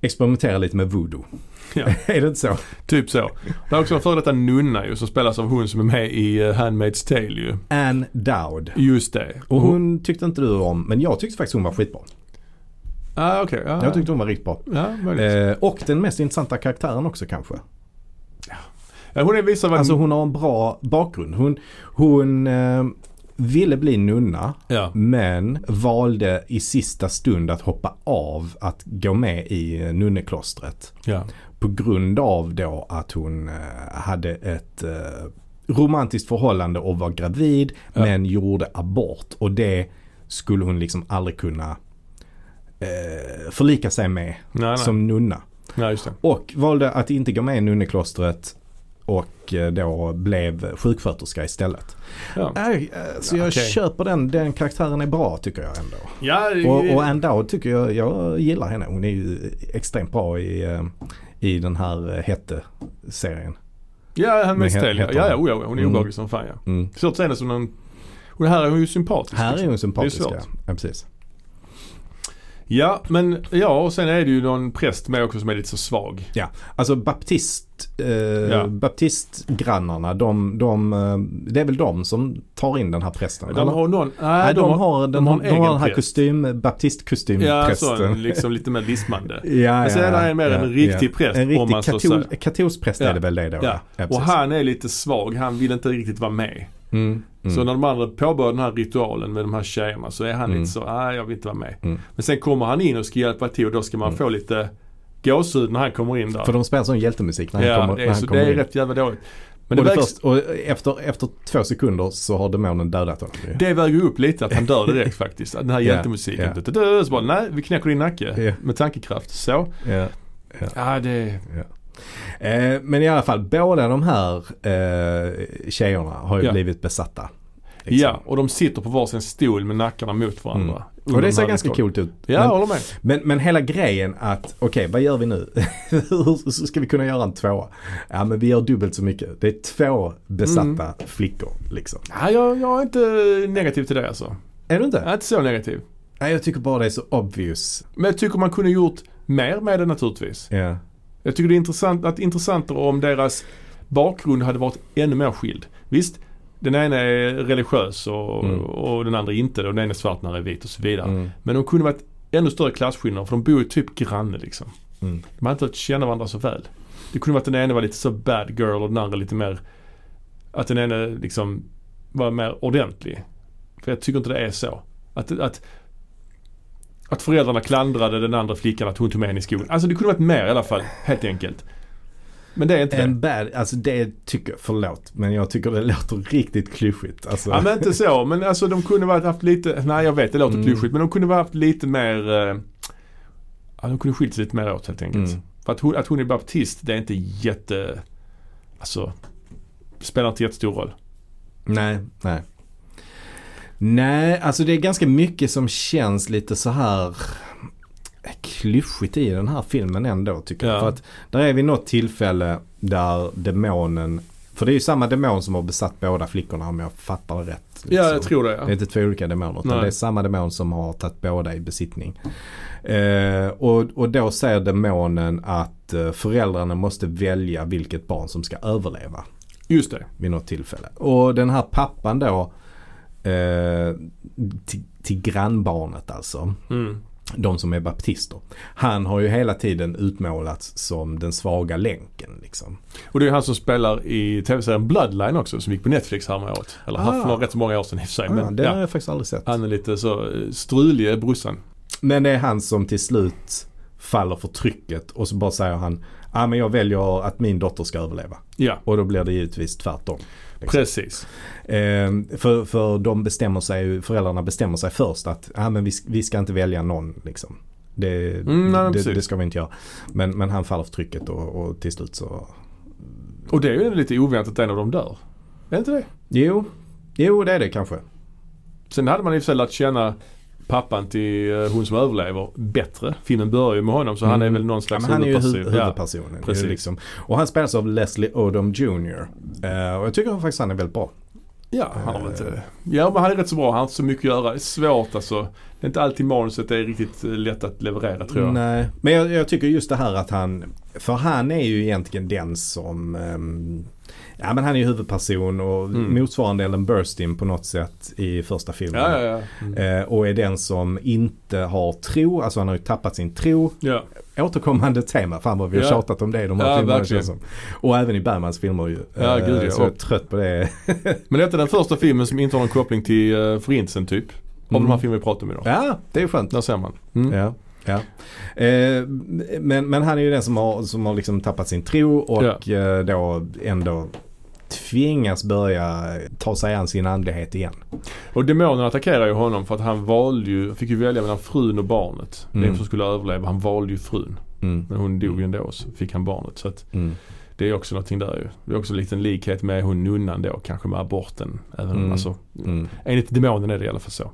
S1: experimentera lite med voodoo. [LAUGHS]
S2: Ja.
S1: är det inte så?
S2: Typ så. Det är också en före detta nunna ju som spelas av hon som är med i eh, Handmaid's Tale ju.
S1: Ann Dowd.
S2: Just det.
S1: Och hon tyckte inte du om, men jag tyckte faktiskt hon var skitbra.
S2: Ah, okej. ja.
S1: Jag tyckte hon var riktigt bra.
S2: Ja, möjligt.
S1: Eh, och den mest intressanta karaktären också kanske.
S2: Mm. Ja, hon är visar vad...
S1: Alltså hon har en bra bakgrund. Hon, hon eh, ville bli nunna
S2: ja.
S1: men valde i sista stund att hoppa av att gå med i eh, nunneklostret.
S2: ja.
S1: På grund av då att hon eh, hade ett eh, romantiskt förhållande och var gravid
S2: Ja.
S1: men gjorde abort. Och det skulle hon liksom aldrig kunna eh, förlika sig med
S2: Nej, nej.
S1: som nunna.
S2: Ja, just det.
S1: Och valde att inte gå med i nunneklostret och eh, då blev sjuksköterska istället.
S2: Ja.
S1: Nej, eh, så jag
S2: Okej.
S1: köper den. Den karaktären är bra tycker jag ändå.
S2: Ja,
S1: Och, och Ann Dowd tycker jag, jag gillar henne. Hon är ju extremt bra i, eh, i den här eh, hette-serien.
S2: ja Handmaid's
S1: Men
S2: Tale. Ja,
S1: heter
S2: ja,
S1: hon?
S2: ja, oh, ja, hon är
S1: Mm.
S2: obehaglig som fan ja.
S1: Mm.
S2: Svårt att säga henne som någon... Och här är hon ju sympatisk.
S1: Här
S2: liksom.
S1: är hon sympatisk.
S2: Det är
S1: Ja.
S2: svårt.
S1: ja, precis.
S2: Ja, men ja och sen är det ju någon präst med också som är lite så svag.
S1: Ja, alltså baptist, eh,
S2: Ja.
S1: baptistgrannarna, de, de, eh, det är väl de som tar in den här prästen?
S2: De
S1: eller?
S2: har någon... Nej,
S1: Nej, de,
S2: har...
S1: har, den,
S2: de
S1: de
S2: har
S1: har,
S2: en
S1: de har
S2: egen
S1: den här
S2: präst.
S1: kostym,
S2: Ja,
S1: baptistkostymprästen.
S2: så, liksom lite mer lismande.
S1: [LAUGHS] Ja,
S2: Men sen är Alltså, det här mer en riktig präst,
S1: En
S2: om
S1: riktig
S2: man så
S1: katol,
S2: säger.
S1: katolsk präst
S2: Ja,
S1: är det väl det då?
S2: Ja. och
S1: precis.
S2: han är lite svag. Han vill inte riktigt vara med.
S1: Mm, mm.
S2: Så när de andra påbörjar den här ritualen med de här tjejerna så är han
S1: Mm.
S2: lite så, nej jag vill inte vara med.
S1: Mm.
S2: Men sen kommer han in och ska hjälpa till och då ska man få lite gåshud när han kommer in där.
S1: För de spelar sån hjältemusik när han
S2: ja,
S1: kommer,
S2: det
S1: när
S2: är,
S1: han
S2: så,
S1: kommer
S2: det är
S1: in.
S2: rätt jävla dåligt. Men
S1: och,
S2: det,
S1: det
S2: vägs,
S1: först, och efter, efter två sekunder så har demonen dödat honom. ju.
S2: det väger ju upp lite att han
S1: [LAUGHS]
S2: dör direkt faktiskt. Den här
S1: Ja,
S2: hjältemusiken.
S1: ja.
S2: Du-du-du, Så bara, nej vi knäcker din nacke
S1: Ja.
S2: med tankekraft. Så.
S1: Ja.
S2: Ja, det...
S1: Eh, men i alla fall, båda de här eh, tjejerna har ju
S2: Ja.
S1: blivit besatta. Liksom.
S2: ja, och de sitter på varsin stol med nackarna mot varandra.
S1: Mm. Och
S2: Under
S1: det
S2: den
S1: ser
S2: här
S1: ganska
S2: lokalen.
S1: coolt ut.
S2: Ja, jag
S1: men,
S2: håller med.
S1: men, men hela grejen att, okej vad gör vi nu? [LAUGHS] Hur ska vi kunna göra en tvåa? Ja men vi gör dubbelt så mycket. Det är två besatta
S2: Mm.
S1: flickor liksom.
S2: Ja, jag, jag är inte negativ till det alltså.
S1: Är du inte?
S2: Jag är inte så negativ.
S1: Nej jag tycker bara det är så obvious.
S2: Men jag tycker man kunde gjort mer med det naturligtvis.
S1: Ja.
S2: Jag tycker det är intressant att intressantare om deras bakgrund hade varit ännu mer skild. Visst, den ena är religiös och,
S1: Mm.
S2: och den andra inte. Och den ena är svart, den andra är vit och så vidare.
S1: Mm.
S2: Men de kunde varit ännu större klasskillnader för de bor ju typ granne liksom.
S1: Mm.
S2: De hade inte lärt känna varandra så väl. Det kunde varit den ena var lite så bad girl och den andra lite mer att den ena liksom var mer ordentlig. För jag tycker inte det är så. Att, att, att föräldrarna klandrade den andra flickan att hon tog med henne i skolan. Alltså det kunde varit mer i alla fall, helt enkelt. Men det är inte det.
S1: En bad, alltså det tycker, förlåt men jag tycker det låter riktigt klyschigt. Alltså.
S2: Ja men inte så, men alltså de kunde varit haft lite, nej jag vet det låter
S1: Mm.
S2: klyschigt men de kunde varit haft lite mer, eh, ja de kunde skilt sig lite mer åt helt enkelt.
S1: Mm.
S2: För att hon, att hon är baptist det är inte jätte, alltså spelar inte jättestor roll.
S1: Nej, nej. Nej, alltså det är ganska mycket som känns lite så här klyschigt i den här filmen ändå tycker jag.
S2: Ja.
S1: För att där är vi något tillfälle där demonen, för det är ju samma demon som har besatt båda flickorna om jag fattar det rätt.
S2: Ja
S1: liksom.
S2: jag tror det
S1: Det är
S2: ja.
S1: inte två olika demoner utan
S2: Nej.
S1: det är samma demon som har tagit båda i besittning. Eh, och, och då säger demonen att eh, föräldrarna måste välja vilket barn som ska överleva
S2: Just det.
S1: vid något tillfälle. Och den här pappan då eh, till, till grannbarnet alltså.
S2: Mm.
S1: De som är baptister. Han har ju hela tiden utmålats som den svaga länken liksom.
S2: Och det är han som spelar i tv-serien Bloodline också som gick på Netflix häromåret. Eller
S1: Ah.
S2: ah. för rätt så många år sedan i och för sig.
S1: ah,
S2: Men,
S1: det har
S2: ja,
S1: jag faktiskt aldrig sett.
S2: han är lite så eh, strulig brorsan.
S1: Men det är han som till slut faller för trycket och så bara säger han ah, men jag väljer att min dotter ska överleva.
S2: Ja,
S1: Och då blir det givetvis tvärtom. Liksom.
S2: precis.
S1: Eh, för för de bestämmer sig, ju- föräldrarna bestämmer sig först att ah, men vi, sk- vi ska inte välja någon. Liksom. Det,
S2: Mm, nej,
S1: det,
S2: precis.
S1: det ska vi inte göra. Men, men han faller för trycket och, och till slut så...
S2: Och det är ju lite oväntat att en av dem dör. Är det inte det?
S1: Jo, jo det är det kanske.
S2: Sen hade man i och för sig lärt känna pappan till eh, hon som överlever bättre. Filmen börjar ju med honom så han är
S1: Mm.
S2: väl någon
S1: Ja,
S2: slags
S1: men han är ju
S2: huvudperson.
S1: hu- huvudpersonen. Det är ju
S2: precis.
S1: liksom. Och han spelas av Leslie Odom Jr. Eh, och jag tycker faktiskt han är väldigt bra.
S2: Ja, ja, han har inte... Ja, men han är rätt så bra. Han har inte så mycket att göra. Det är svårt alltså. Det är inte alltid manuset är riktigt eh, lätt att leverera tror jag.
S1: Nej, men jag, jag tycker just det här att han, för han är ju egentligen den som, ehm, ja men han är ju huvudperson och
S2: Mm.
S1: motsvarande Ellen Burstyn på något sätt i första filmen.
S2: Ja, ja, ja. Mm.
S1: Eh, och är den som inte har tro, alltså han har ju tappat sin tro.
S2: ja.
S1: Återkommande tema, fan vad vi har
S2: Ja.
S1: tjatat om det i de här
S2: Ja,
S1: filmerna
S2: verkligen.
S1: känns som. Och även i Bergmans filmer ju.
S2: Ja,
S1: Eh,
S2: gud, ja.
S1: Så jag är trött på det.
S2: Men detta är den första filmen som inte har någon koppling till eh, förintelsen typ. Av
S1: Mm.
S2: de här filmerna vi pratar om idag.
S1: Ja, det är skönt.
S2: Där ser man. Mm.
S1: Ja. Ja. Eh, men, men han är ju den som har, som har liksom tappat sin tro och eh, då ändå tvingas börja ta sig an sin andlighet igen.
S2: Och demonen attackerar ju honom för att han valde ju, fick ju välja mellan frun och barnet.
S1: Mm.
S2: Vem som skulle överleva. Han valde ju frun.
S1: Mm.
S2: Men hon dog ju ändå så fick han barnet. Så att
S1: Mm.
S2: Det är också någonting där ju. Det är också en liten likhet med hon nunnan då kanske med aborten. Även om,
S1: Mm.
S2: alltså,
S1: Mm.
S2: enligt demonen är det i alla fall så.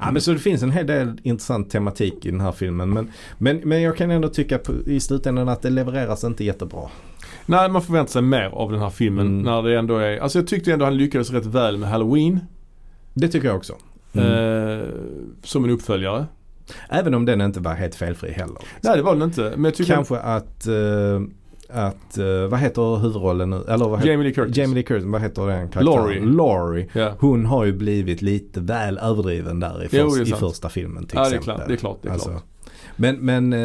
S1: Ja, men så det finns en hel del intressant tematik i den här filmen. Men, men, men jag kan ändå tycka på, i slutändan att det levereras inte jättebra.
S2: Nej man förväntar sig mer av den här filmen
S1: Mm.
S2: när det ändå är, alltså jag tyckte ändå han lyckades rätt väl med Halloween.
S1: Det tycker jag också. Mm.
S2: Eh, som en uppföljare.
S1: Även om den inte var helt felfri heller.
S2: Nej det var den inte. Men jag tycker
S1: Kanske att, eh, att eh, vad heter huvudrollen nu? Eller vad heter,
S2: Jamie Lee Curtis.
S1: Jamie Lee Curtis, vad heter den karaktären?
S2: Laurie.
S1: Laurie.
S2: Ja.
S1: Hon har ju blivit lite väl överdriven där i,
S2: Jo,
S1: förs-
S2: det är
S1: i
S2: sant.
S1: första filmen till
S2: Ja, det är
S1: exempel. Alltså.
S2: klart, det är klart, det är klart.
S1: Men, men eh,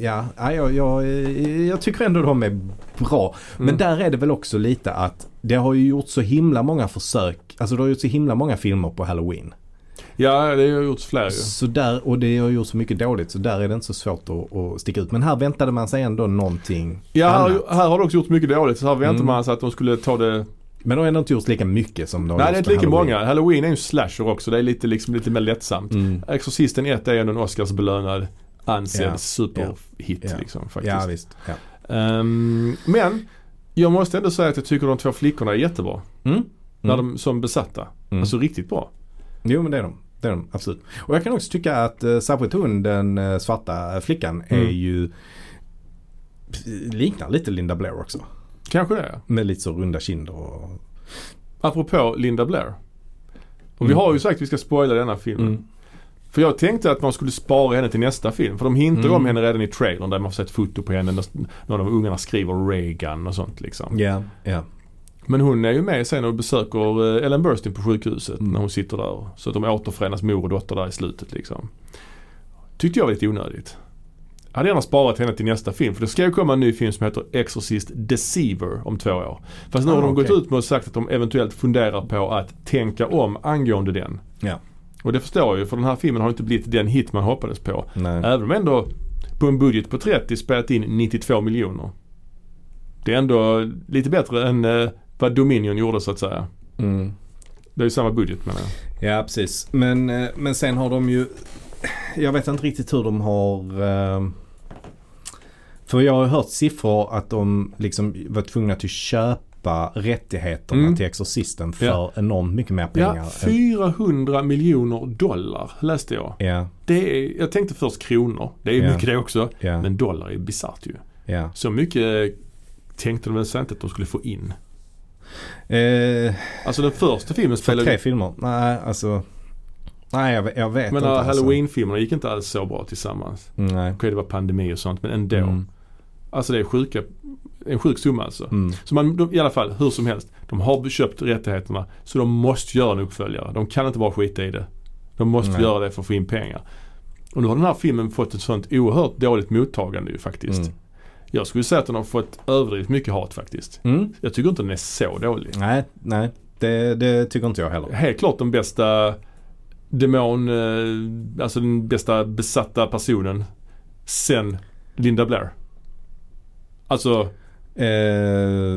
S1: ja, ja, jag, jag, eh, jag tycker ändå de är bra. Men
S2: Mm.
S1: där är det väl också lite att det har ju gjort så himla många försök, alltså det har gjort så himla många filmer på Halloween.
S2: Ja, det har gjorts fler ju.
S1: Så där, och det har gjort så mycket dåligt så där är det inte så svårt att, att sticka ut. Men här väntade man sig ändå någonting
S2: Ja,
S1: annat.
S2: här, här har det också gjort mycket dåligt. Så här väntar
S1: Mm.
S2: man sig att de skulle ta det...
S1: Men de har ändå inte gjort lika mycket som de har
S2: Nej,
S1: gjort
S2: det är inte
S1: med
S2: lika
S1: Halloween.
S2: många. Halloween är ju en slasher också. Det är lite, liksom, lite mer lättsamt.
S1: Mm.
S2: Exorcisten 1 är ju en Oscarsbelönad ansedd
S1: Ja.
S2: superhit
S1: Ja.
S2: liksom faktiskt.
S1: Ja, visst. Ja.
S2: Ehm, men jag måste ändå säga att jag tycker de två flickorna är jättebra.
S1: Mm.
S2: När de, som besatta.
S1: Mm.
S2: Alltså riktigt bra.
S1: Jo, men det är de. Det är de, absolut. Och jag kan också tycka att eh, särskilt hon, den eh, svarta flickan, är
S2: Mm.
S1: ju liknar lite Linda Blair också.
S2: Kanske det. ja.
S1: Med lite så runda kinder och...
S2: Apropå Linda Blair. Och vi
S1: Mm.
S2: har ju sagt att vi ska spoila denna filmen. För jag tänkte att man skulle spara henne till nästa film. För de hintar
S1: Mm.
S2: om henne redan i trailern där man får se ett foto på henne. när Någon av ungarna skriver Reagan och sånt liksom.
S1: Ja, ja.
S2: Men hon är ju med sen och besöker eh, Ellen Burstyn på sjukhuset
S1: Mm.
S2: när hon sitter där. Så att de återförenas mor och dotter där i slutet liksom. Tyckte jag var lite onödigt. Jag hade gärna sparat henne till nästa film för det ska ju komma en ny film som heter Exorcist Deceiver om två år. Fast nu
S1: Ah,
S2: har de
S1: okej.
S2: gått ut med och sagt att de eventuellt funderar på att tänka om angående den.
S1: Ja.
S2: Och det förstår jag ju för den här filmen har inte blivit den hit man hoppades på.
S1: Nej.
S2: Även om ändå på en budget på 30 spelat in 92 miljoner. Det är ändå lite bättre än eh, vad Dominion gjorde så att säga.
S1: Mm.
S2: Det är ju samma budget menar jag.
S1: Ja, precis. Men, eh, men sen har de ju... Jag vet inte riktigt hur de har... eh, För jag har hört siffror att de liksom var tvungna att köpa rättigheterna
S2: Mm.
S1: till Exorcisten för
S2: Ja.
S1: enormt mycket mer pengar.
S2: Ja,
S1: än-
S2: 400 miljoner dollar läste jag.
S1: Ja,
S2: Det är, jag tänkte först kronor. Det är ju
S1: Ja.
S2: mycket det också.
S1: ja,
S2: Men dollar är bisarrt ju.
S1: ja.
S2: Så mycket eh, tänkte de väl sen inte att de skulle få in.
S1: Eh,
S2: Alltså den första filmen
S1: för
S2: spelade
S1: tre filmer? Nej, alltså... Nej, jag, jag vet
S2: men
S1: inte.
S2: äh,
S1: alltså. Mm,
S2: halloween-filmerna gick inte alls så bra tillsammans.
S1: Nej.
S2: Okej, det var pandemi och sånt men ändå.
S1: Mm.
S2: Alltså det är sjuka, en sjuk summa alltså.
S1: Mm.
S2: Så man, de, i alla fall, hur som helst. De har köpt rättigheterna så de måste göra en uppföljare. De kan inte bara skita i det. De måste
S1: Nej.
S2: göra det för att få in pengar. Och nu har den här filmen fått ett sånt oerhört dåligt mottagande ju faktiskt.
S1: Mm.
S2: Jag skulle säga att den har fått överdrivet mycket hat faktiskt.
S1: Mm.
S2: Jag tycker inte den är så dålig.
S1: Nej, nej. Det, det tycker inte jag heller. Eh,
S2: Helt klart den bästa demon, eh, alltså den bästa besatta personen sen Linda Blair. Alltså
S1: Eh,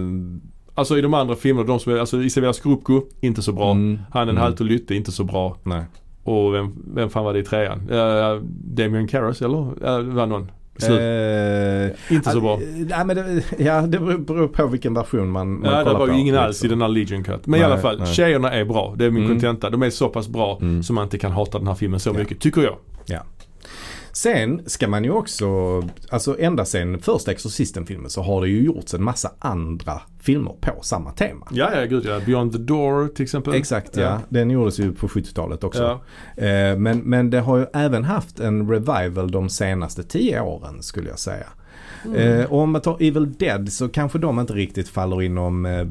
S2: Alltså i de andra filmerna, de som är, alltså Isabella Scorupco, inte så bra.
S1: Mm.
S2: Han den
S1: Mm.
S2: halt och lytte, inte så bra.
S1: Nej.
S2: Och vem, vem fan var det i trean? Eh, Damien Carras eller? Uh, var någon? i slutet.
S1: Eh,
S2: inte så bra.
S1: eh, Nej, men det, ja, det beror- beror på vilken version man, man
S2: Nej, det
S1: kollar
S2: var ju
S1: på,
S2: ingen
S1: liksom.
S2: alls i den här Legion Cut. Men i
S1: Nej,
S2: alla fall,
S1: nej.
S2: tjejerna är bra. Det är min
S1: Mm.
S2: kontenta. De är så pass bra
S1: Mm.
S2: så man inte kan hata den här filmen så
S1: Ja.
S2: mycket, tycker jag.
S1: Sen ska man ju också, alltså ända sen första Exorcisten-filmen så har det ju gjorts en massa andra filmer på samma tema.
S2: Ja, ja gud ja. Beyond the Door till exempel.
S1: Exakt ja. den gjordes ju på 70-talet också.
S2: Ja.
S1: Eh, Men, men det har ju även haft en revival de senaste tio åren skulle jag säga. Eh, och om man tar Evil Dead så kanske de inte riktigt faller inom eh,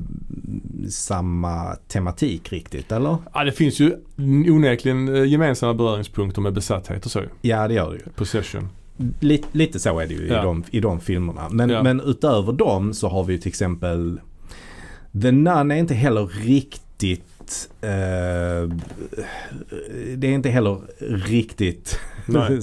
S1: samma tematik riktigt eller?
S2: ja, det finns ju onekligen eh, gemensamma beröringspunkter med besatthet och så ju.
S1: Ja det gör det ju.
S2: Possession.
S1: Lite, lite så är det ju
S2: Ja.
S1: i, de, i de filmerna. Men,
S2: Ja.
S1: men utöver dem så har vi ju till exempel The Nun är inte heller riktigt eh, det är inte heller riktigt
S2: Nej.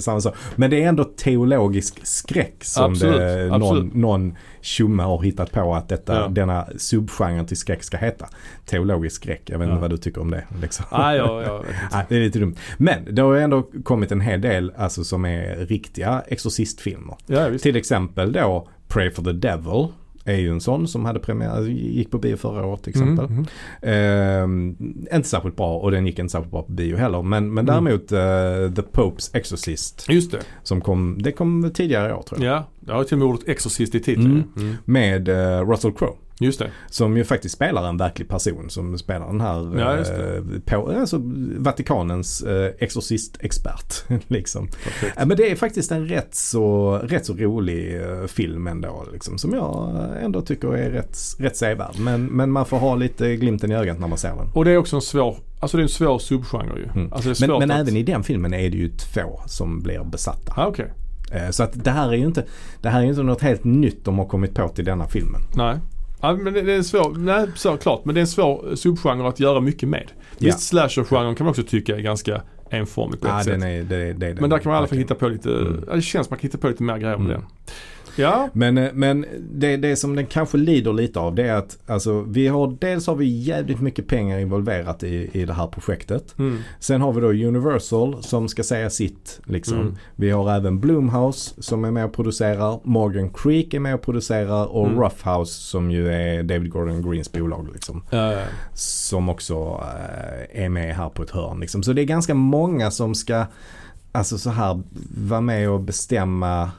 S1: [LAUGHS] samma sak. Men det är ändå teologisk skräck som
S2: Absolut,
S1: det, någon,
S2: absolut.
S1: någon tjomme har hittat på att detta,
S2: Ja.
S1: denna subgenren till skräck ska heta. Teologisk skräck, jag vet inte
S2: Ja.
S1: vad du tycker om det. Liksom.
S2: [LAUGHS] Ah, ja, ja,
S1: Nej, det är lite dumt. Men det har ju ändå kommit en hel del alltså, som är riktiga exorcistfilmer.
S2: ja, visst.
S1: Till exempel då Pray for the Devil är ju en sån som hade premiär, alltså, gick på bio förra året till exempel.
S2: Mm, mm.
S1: Ehm, inte särskilt bra och den gick inte särskilt bra på bio heller. Men, men
S2: Mm.
S1: däremot eh, The Popes Exorcist
S2: Just det.
S1: som kom, det kom tidigare i år tror jag.
S2: Ja, det har till och med ordet exorcist i titeln.
S1: Mm.
S2: ju.
S1: Med eh, Russell Crowe.
S2: Just det.
S1: Som ju faktiskt spelar en verklig person som spelar den här
S2: Ja, just det.
S1: eh, på, alltså, Vatikanens eh, exorcistexpert. [LAUGHS] liksom.
S2: Perfekt.
S1: Ja, men det är faktiskt en rätt så, rätt så rolig eh, film ändå. Liksom, som jag ändå tycker är rätt, rätt sevärd. Men, men man får ha lite glimten i ögat när man ser den.
S2: Och det är också en svår, alltså det är en svår subgenre ju.
S1: Mm.
S2: Alltså det är svårt
S1: Men, men
S2: att...
S1: även i den filmen är det ju två som blir besatta.
S2: Ah, okej.
S1: Eh, Så att det här är ju inte, det här är ju inte något helt nytt de har kommit på till denna filmen.
S2: Nej. Ja, men det det är en svår, nej såklart, men det är en svår eh, subgenre att göra mycket med.
S1: Ja.
S2: Visst slasher-genren kan man också tycka är ganska enformig på ett
S1: Ja,
S2: sätt.
S1: den är, det, är- det är den.
S2: Men där kan man i alla fall
S1: verkligen.
S2: hitta på lite,
S1: Mm.
S2: ja, det känns som man kan hitta på lite mer grejer om
S1: Mm.
S2: den. Ja,
S1: Men, eh, men det, det som den kanske lider lite av det är att alltså, vi har, dels har vi jävligt mycket pengar involverat i, i det här projektet.
S2: mm.
S1: Sen har vi då Universal som ska säga sitt. Liksom.
S2: Mm.
S1: Vi har även Blumhouse som är med och producerar. Morgan Creek är med och producerar och
S2: Mm.
S1: Rough House som ju är David Gordon Greens bolag. Liksom,
S2: Eh,
S1: som också eh, är med här på ett hörn. Liksom. Så det är ganska många som ska alltså så här vara med och bestämma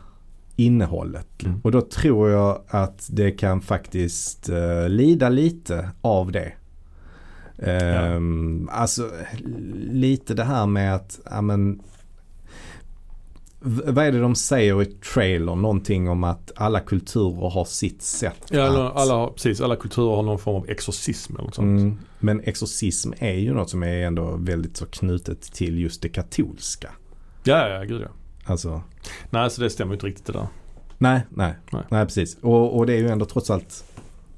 S1: innehållet.
S2: Mm.
S1: Och då tror jag att det kan faktiskt eh, lida lite av det. Ehm, Alltså lite det här med att, ja men v- vad är det de säger i trailern? Någonting om att alla kulturer har sitt sätt.
S2: ja, alla,
S1: att,
S2: alla, har- precis, alla kulturer har någon form av exorcism eller något sånt.
S1: Mm. Men exorcism är ju något som är ändå väldigt så knutet till just det katolska.
S2: Ja, ja, gud ja.
S1: Alltså,
S2: Nej, så det stämmer ju inte riktigt det där.
S1: nej, nej,
S2: Nej.
S1: nej, precis. Och, och det är ju ändå trots allt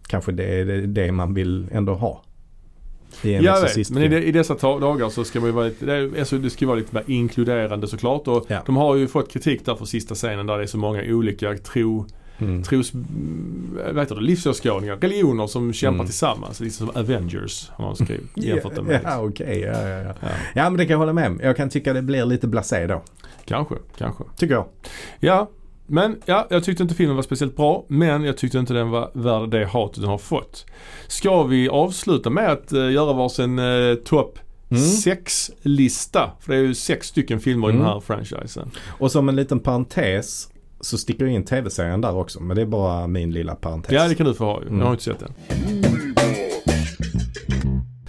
S1: kanske det, det, det man vill ändå ha. I en
S2: Jag vet,
S1: exorcistfilm.
S2: men i, de, i dessa ta- dagar så ska man ju vara lite, det, är, alltså, det ska ju vara lite mer inkluderande såklart. Och
S1: Ja.
S2: De har ju fått kritik där för sista scenen där det är så många olika tro,
S1: Mm.
S2: tros, mm, vad heter det, livsåskådningar, religioner som kämpar
S1: Mm.
S2: tillsammans. Liksom som Avengers har man skrivit, jämfört det med.
S1: [LAUGHS] Ja, okej. Ja, ja, ja.
S2: Ja,
S1: ja, men det kan jag hålla med om. Jag kan tycka det blir lite blasé då.
S2: kanske, kanske.
S1: Tycker jag.
S2: Ja, men ja, jag tyckte inte filmen var speciellt bra. Men jag tyckte inte den var värd det hatet den har fått. Ska vi avsluta med att eh, göra varsin uh, topp
S1: Mm.
S2: sex-lista? För det är ju sex stycken filmer i
S1: Mm.
S2: den här franchisen.
S1: Och som en liten parentes så sticker jag in tv-serien där också. Men det är bara min lilla parentes.
S2: Ja, det kan du få ha ju.
S1: Mm.
S2: Jag har inte sett den.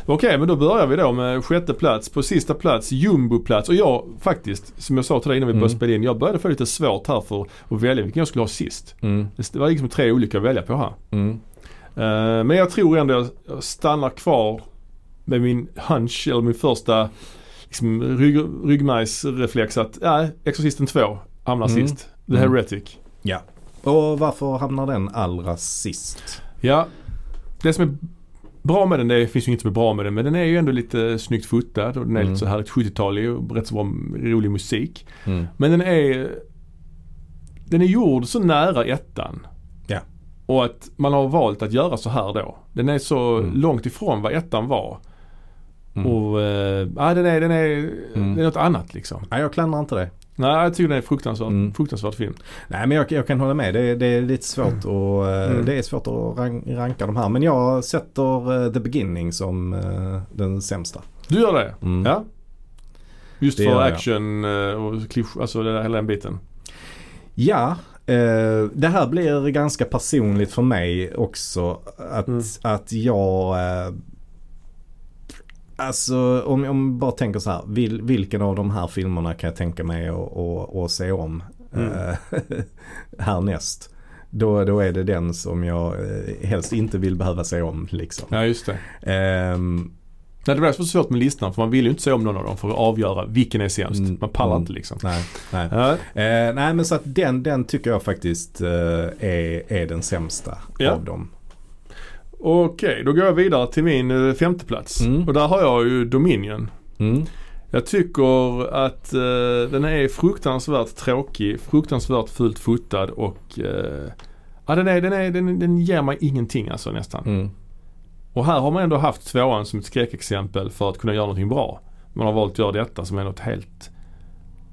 S2: Okej, men då börjar vi då med sjätte plats. På sista plats, jumboplats. Och jag faktiskt, som jag sa till dig innan vi började
S1: Mm.
S2: spela in, jag började få lite svårt här för att välja vilken jag skulle ha sist.
S1: Mm,
S2: Det var liksom tre olika att välja på här.
S1: mm,
S2: Eh, men jag tror ändå jag- jag stannar kvar med min hunch, eller min första liksom, rygg, ryggmärgsreflex att nej, Exorcisten 2 hamnar
S1: Mm.
S2: sist. The
S1: Mm.
S2: Heretic.
S1: ja. Och varför hamnar den allra sist?
S2: Ja, det som är bra med den, det finns ju inget som är bra med den, men den är ju ändå lite snyggt fotad och den är
S1: Mm.
S2: lite så härligt 70-talig och rätt så bra rolig musik.
S1: Mm.
S2: Men den är den är gjord så nära ettan.
S1: Ja.
S2: Och att man har valt att göra så här då. Den är så
S1: Mm.
S2: långt ifrån vad ettan var.
S1: Mm.
S2: Och eh, ja, den, är, den, är,
S1: Mm.
S2: den är något annat liksom.
S1: Nej, jag klandrar inte det.
S2: Nej, jag tycker den är fruktansvärt,
S1: Mm.
S2: fruktansvärt film.
S1: Nej, men jag, jag kan hålla med. Det, det är lite svårt och, eh,
S2: Mm.
S1: det är svårt att rank, ranka de här. Men jag sätter eh, The Beginning som eh, den sämsta.
S2: Du gör det?
S1: Mm.
S2: Ja. Just
S1: Det
S2: för
S1: gör jag.
S2: action eh, och klisch, alltså det där, hela den biten.
S1: Ja, eh, det här blir ganska personligt för mig också. Att,
S2: Mm.
S1: att jag... Eh, alltså om om jag bara tänker så här. Vil, vilken av de här filmerna kan jag tänka mig att och, och se om
S2: Mm.
S1: eh, [LAUGHS] härnäst? Då, då är det den som jag eh, helst inte vill behöva se om liksom.
S2: Ja, just det.
S1: Ehm,
S2: Nej, det var så svårt med listan för man vill ju inte se om någon av dem för att avgöra vilken är sämst.
S1: Mm.
S2: Man pallar
S1: Mm.
S2: inte liksom.
S1: nej, nej.
S2: Ja,
S1: Eh, nej men så att den, den tycker jag faktiskt eh, är, är den sämsta
S2: Ja.
S1: av dem.
S2: Okej, då går jag vidare till min eh, femte plats.
S1: Mm.
S2: Och där har jag ju Dominion.
S1: Mm.
S2: Jag tycker att eh, den är fruktansvärt tråkig, fruktansvärt fult fotad och eh, ja, den, är, den, är, den, den ger mig ingenting alltså nästan.
S1: Mm.
S2: Och här har man ändå haft tvåan som ett skräckexempel för att kunna göra någonting bra. Man har valt att göra detta som är något helt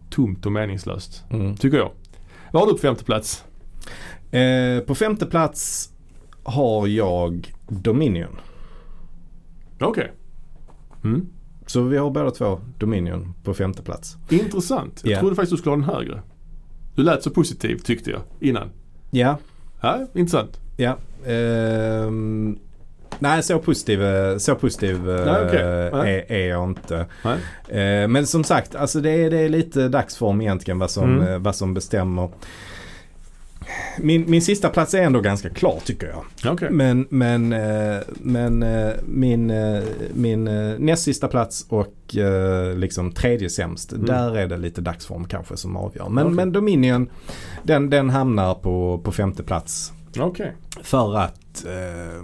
S2: tomt och meningslöst.
S1: Mm.
S2: Tycker jag. Vad har du på femte plats?
S1: Eh, på femte plats har jag Dominion.
S2: Okej. Mm.
S1: Så vi har båda två Dominion på femte plats.
S2: Intressant. Jag
S1: Ja.
S2: trodde faktiskt du skulle ha den högre. Du lät så positiv tyckte jag innan.
S1: Ja,
S2: Ja, intressant.
S1: ja. Ehm, nej, så positiv, eh, så positiv eh,
S2: Nej, okej. Nej.
S1: är, är jag inte.
S2: Nej.
S1: Eh, men som sagt, alltså det, är, det är lite dagsform egentligen vad som,
S2: Mm.
S1: eh, vad som bestämmer. Min, min sista plats är ändå ganska klar tycker jag.
S2: Okej.
S1: Men, men, eh, men eh, min, eh, min eh, näst sista plats och eh, liksom tredje sämst.
S2: Mm.
S1: Där är det lite dagsform kanske som avgör. Men,
S2: Okej.
S1: men Dominion, den, den hamnar på, på femte plats.
S2: Okej.
S1: För att eh,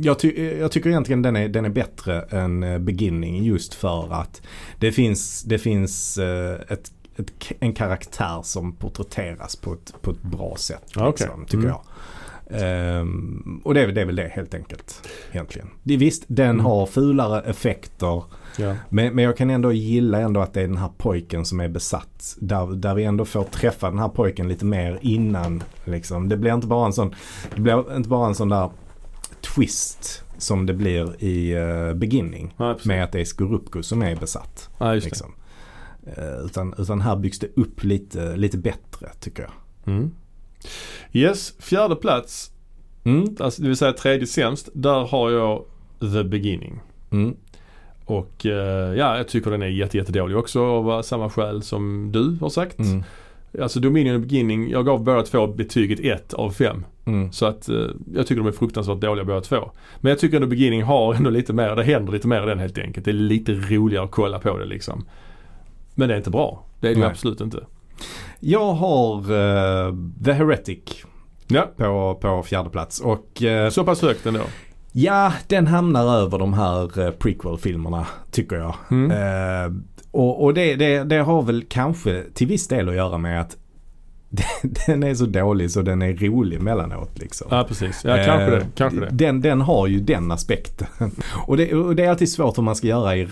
S1: jag, ty- jag tycker egentligen den är, den är bättre än eh, Beginning just för att det finns, det finns eh, ett, ett, k- en karaktär som porträtteras på ett, på ett bra sätt.
S2: Ja, okej.
S1: Liksom, tycker
S2: Mm.
S1: jag. Ehm, och det är, väl- det är väl det helt enkelt. Egentligen. Det, visst, den
S2: Mm.
S1: har fulare effekter.
S2: Ja.
S1: Men, men jag kan ändå gilla ändå att det är den här pojken som är besatt. Där, där vi ändå får träffa den här pojken lite mer innan. Liksom. Det blir inte bara en sån, det blir inte bara en sån där twist som det blir i eh, beginning.
S2: Nej, precis.
S1: Med att det är Skorupko som är besatt.
S2: Nej, just
S1: Liksom. Eh, utan, utan här byggs det upp lite, lite bättre tycker jag.
S2: det. Mm. Yes, fjärde plats,
S1: Mm.
S2: alltså, det vill säga tredje sämst. Där har jag The Beginning.
S1: Mm.
S2: Och eh, ja, jag tycker den är jätte, jättedålig också av eh, samma skäl som du har sagt.
S1: Mm.
S2: Alltså Dominion och Beginning, jag gav båda två betyget 1 av 5.
S1: Mm.
S2: Så att eh, jag tycker de är fruktansvärt dåliga båda två. Men jag tycker ändå Beginning har ändå lite mer, det händer lite mer i den helt enkelt. Det är lite roligare att kolla på det liksom. Men det är inte bra. Det är det ju
S1: Nej.
S2: absolut inte.
S1: Jag har eh, The Heretic
S2: Ja,
S1: på, på fjärde plats. Och, eh,
S2: så pass högt ändå.
S1: Ja, den hamnar över de här eh, prequel-filmerna tycker jag.
S2: Mm.
S1: Eh, och och det, det, det har väl kanske till viss del att göra med att [LAUGHS] den är så dålig så den är rolig emellanåt liksom.
S2: Ja, precis. Ja, kanske
S1: Eh,
S2: det. Kanske det.
S1: Den, den har ju den aspekten. [LAUGHS] Och det, och det är alltid svårt hur man ska göra i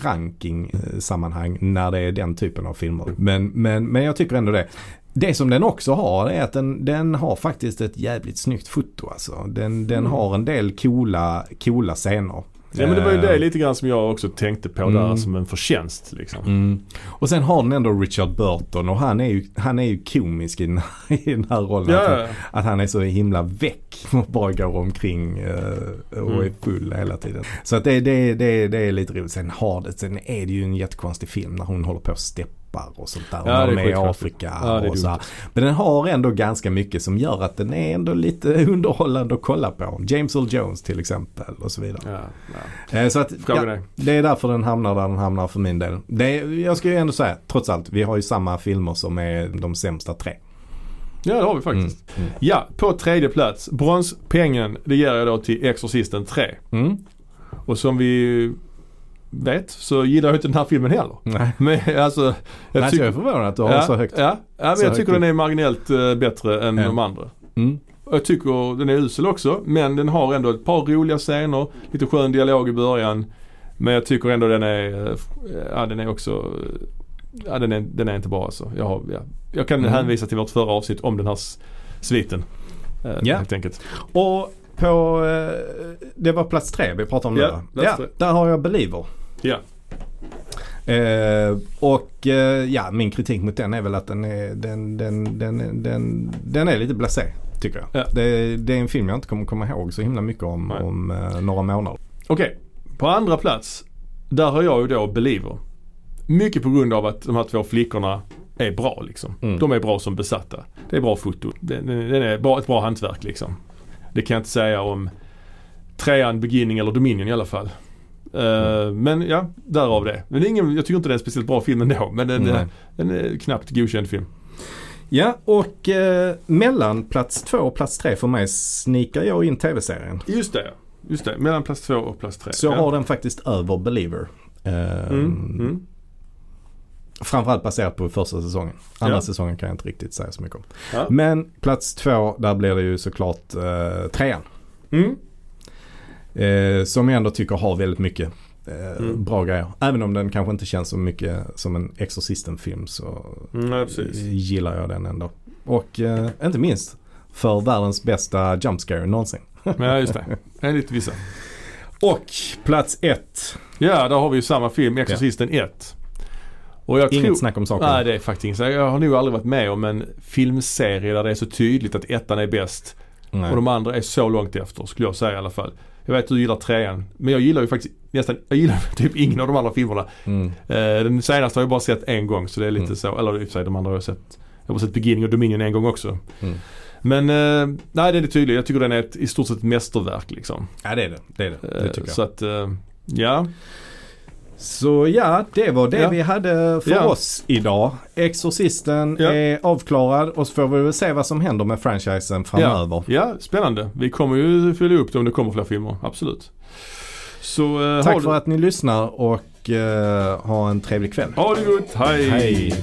S1: ranking-sammanhang när det är den typen av filmer. Men, men, men jag tycker ändå det. Det som den också har är att den, den har faktiskt ett jävligt snyggt foto alltså. Den, den
S2: Mm.
S1: har en del coola, coola scener.
S2: Ja, men det var ju
S1: Eh,
S2: det lite grann som jag också tänkte på där
S1: Mm.
S2: som en förtjänst liksom.
S1: Mm. Och sen har den ändå Richard Burton och han är ju, han är ju komisk i den, i den här [LAUGHS] rollen. Att han-
S2: Ja,
S1: Att han är så himla väck och bara går omkring eh, och är
S2: Mm.
S1: full hela tiden. Så att det, det, det, det är lite roligt. Sen, har det, sen är det ju en jättekonstig film när hon håller på och steppar och sånt där.
S2: Ja,
S1: Ja,
S2: det
S1: hon
S2: är
S1: är i
S2: skitkonstigt.
S1: Afrika
S2: Ja, det är
S1: och så här. Men den har ändå ganska mycket som gör att den är ändå lite [LAUGHS] underhållande att kolla på. James Earl Jones till exempel och så vidare.
S2: ja, ja.
S1: Eh, så att,
S2: Frågan
S1: ja,
S2: är.
S1: det är därför den hamnar där den hamnar för min del. Det, är- jag ska ju ändå säga, trots allt, vi har ju samma filmer som är de sämsta tre.
S2: Ja, det har
S1: Mm.
S2: vi faktiskt. Ja, på tredje plats. Bronspengen, det ger jag då till Exorcisten 3.
S1: Mm.
S2: Och som vi vet så gillar jag inte den här filmen heller.
S1: Nej.
S2: [LAUGHS] Men alltså...
S1: Jag, Nej, så jag är förvånad att du har
S2: ja,
S1: så högt.
S2: Ja, ja men
S1: Så
S2: jag
S1: högt
S2: tycker
S1: upp.
S2: den är marginellt eh, bättre än
S1: Ja.
S2: de andra.
S1: Mm.
S2: Och Jag tycker den är usel också men den har ändå ett par roliga scener, lite skön dialog i början. Men jag tycker ändå den är, eh, ja den är också, eh, ja den är, den är inte bra alltså. Jag, har, ja. jag kan
S1: Mm.
S2: hänvisa till vårt förra avsnitt om den här s- sviten. eh,
S1: Ja.
S2: Helt enkelt.
S1: Och på, eh, det var plats tre vi pratade om nu
S2: Ja,
S1: va?
S2: plats
S1: ja,
S2: tre.
S1: Där har jag Believer.
S2: Ja.
S1: Eh, och eh, ja, min kritik mot den är väl att den är, den, den, den, den, den är lite blasé. Tycker jag.
S2: Ja.
S1: Det, det är en film jag inte kommer komma ihåg så himla mycket om,
S2: Nej.
S1: om eh, några månader.
S2: Okej, på andra plats. Där har jag ju då Believer. Mycket på grund av att de här två flickorna är bra liksom.
S1: Mm.
S2: De är bra som besatta. Det är bra foto. Den, den den är bra, ett bra hantverk liksom. Det kan jag inte säga om trean, beginning eller dominion i alla fall. Eh,
S1: Mm.
S2: Men ja, därav det. Men det är ingen, jag tycker inte det är en speciellt bra film ändå. Men den,
S1: Nej.
S2: den är knappt godkänd film.
S1: Ja, och eh, mellan plats två och plats tre för mig snikar jag in tv-serien.
S2: Just det, just det. Mellan plats två och plats tre.
S1: Så jag
S2: ja.
S1: har den faktiskt över Believer. Eh,
S2: Mm. Mm.
S1: Framförallt baserat på första säsongen. Andra
S2: Ja.
S1: säsongen kan jag inte riktigt säga så mycket om.
S2: Ja.
S1: Men plats två, där blir det ju såklart eh, trean.
S2: Mm.
S1: Eh, som jag ändå tycker har väldigt mycket eh,
S2: Mm.
S1: bra grejer. Även om den kanske inte känns så mycket som en Exorcisten-film så
S2: Mm, ja, precis.
S1: Eh, gillar jag den ändå. Och eh, inte minst för världens bästa jumpscare någonsin.
S2: Ja, just det. Enligt vissa.
S1: Och plats ett.
S2: Ja, där har vi ju samma film, Exorcisten 1. Och jag
S1: Inget
S2: tror...
S1: snack om saken.
S2: Nej, det är faktiskt inget snack. Jag har nog aldrig varit med om en filmserie där det är så tydligt att ettan är bäst
S1: Nej.
S2: och de andra är så långt efter, skulle jag säga i alla fall. Jag vet att du gillar trean, men jag gillar ju faktiskt nästan, jag gillar [LAUGHS] typ ingen av de andra filmerna.
S1: Mm.
S2: Eh, den senaste har jag bara sett en gång så det är lite
S1: Mm.
S2: så, eller i och för sig de andra har jag sett. Jag har sett Beginning och Dominion en gång också.
S1: Mm.
S2: Men eh, nej, det är tydligt. Jag tycker den är ett, i stort sett ett mästerverk liksom.
S1: Ja det är det. Det är det.
S2: Eh,
S1: det tycker jag.
S2: Så att, eh, ja.
S1: Så ja, det var det
S2: Ja.
S1: vi hade för
S2: Ja.
S1: oss idag. Exorcisten
S2: Ja.
S1: är avklarad och så får vi väl se vad som händer med franchisen framöver.
S2: Ja, spännande. Vi kommer ju följa upp det om det kommer fler filmer, absolut. Så eh, ha,
S1: Tack
S2: det-
S1: för att ni lyssnar och eh, ha en trevlig kväll.
S2: ha det gott,
S1: Hej!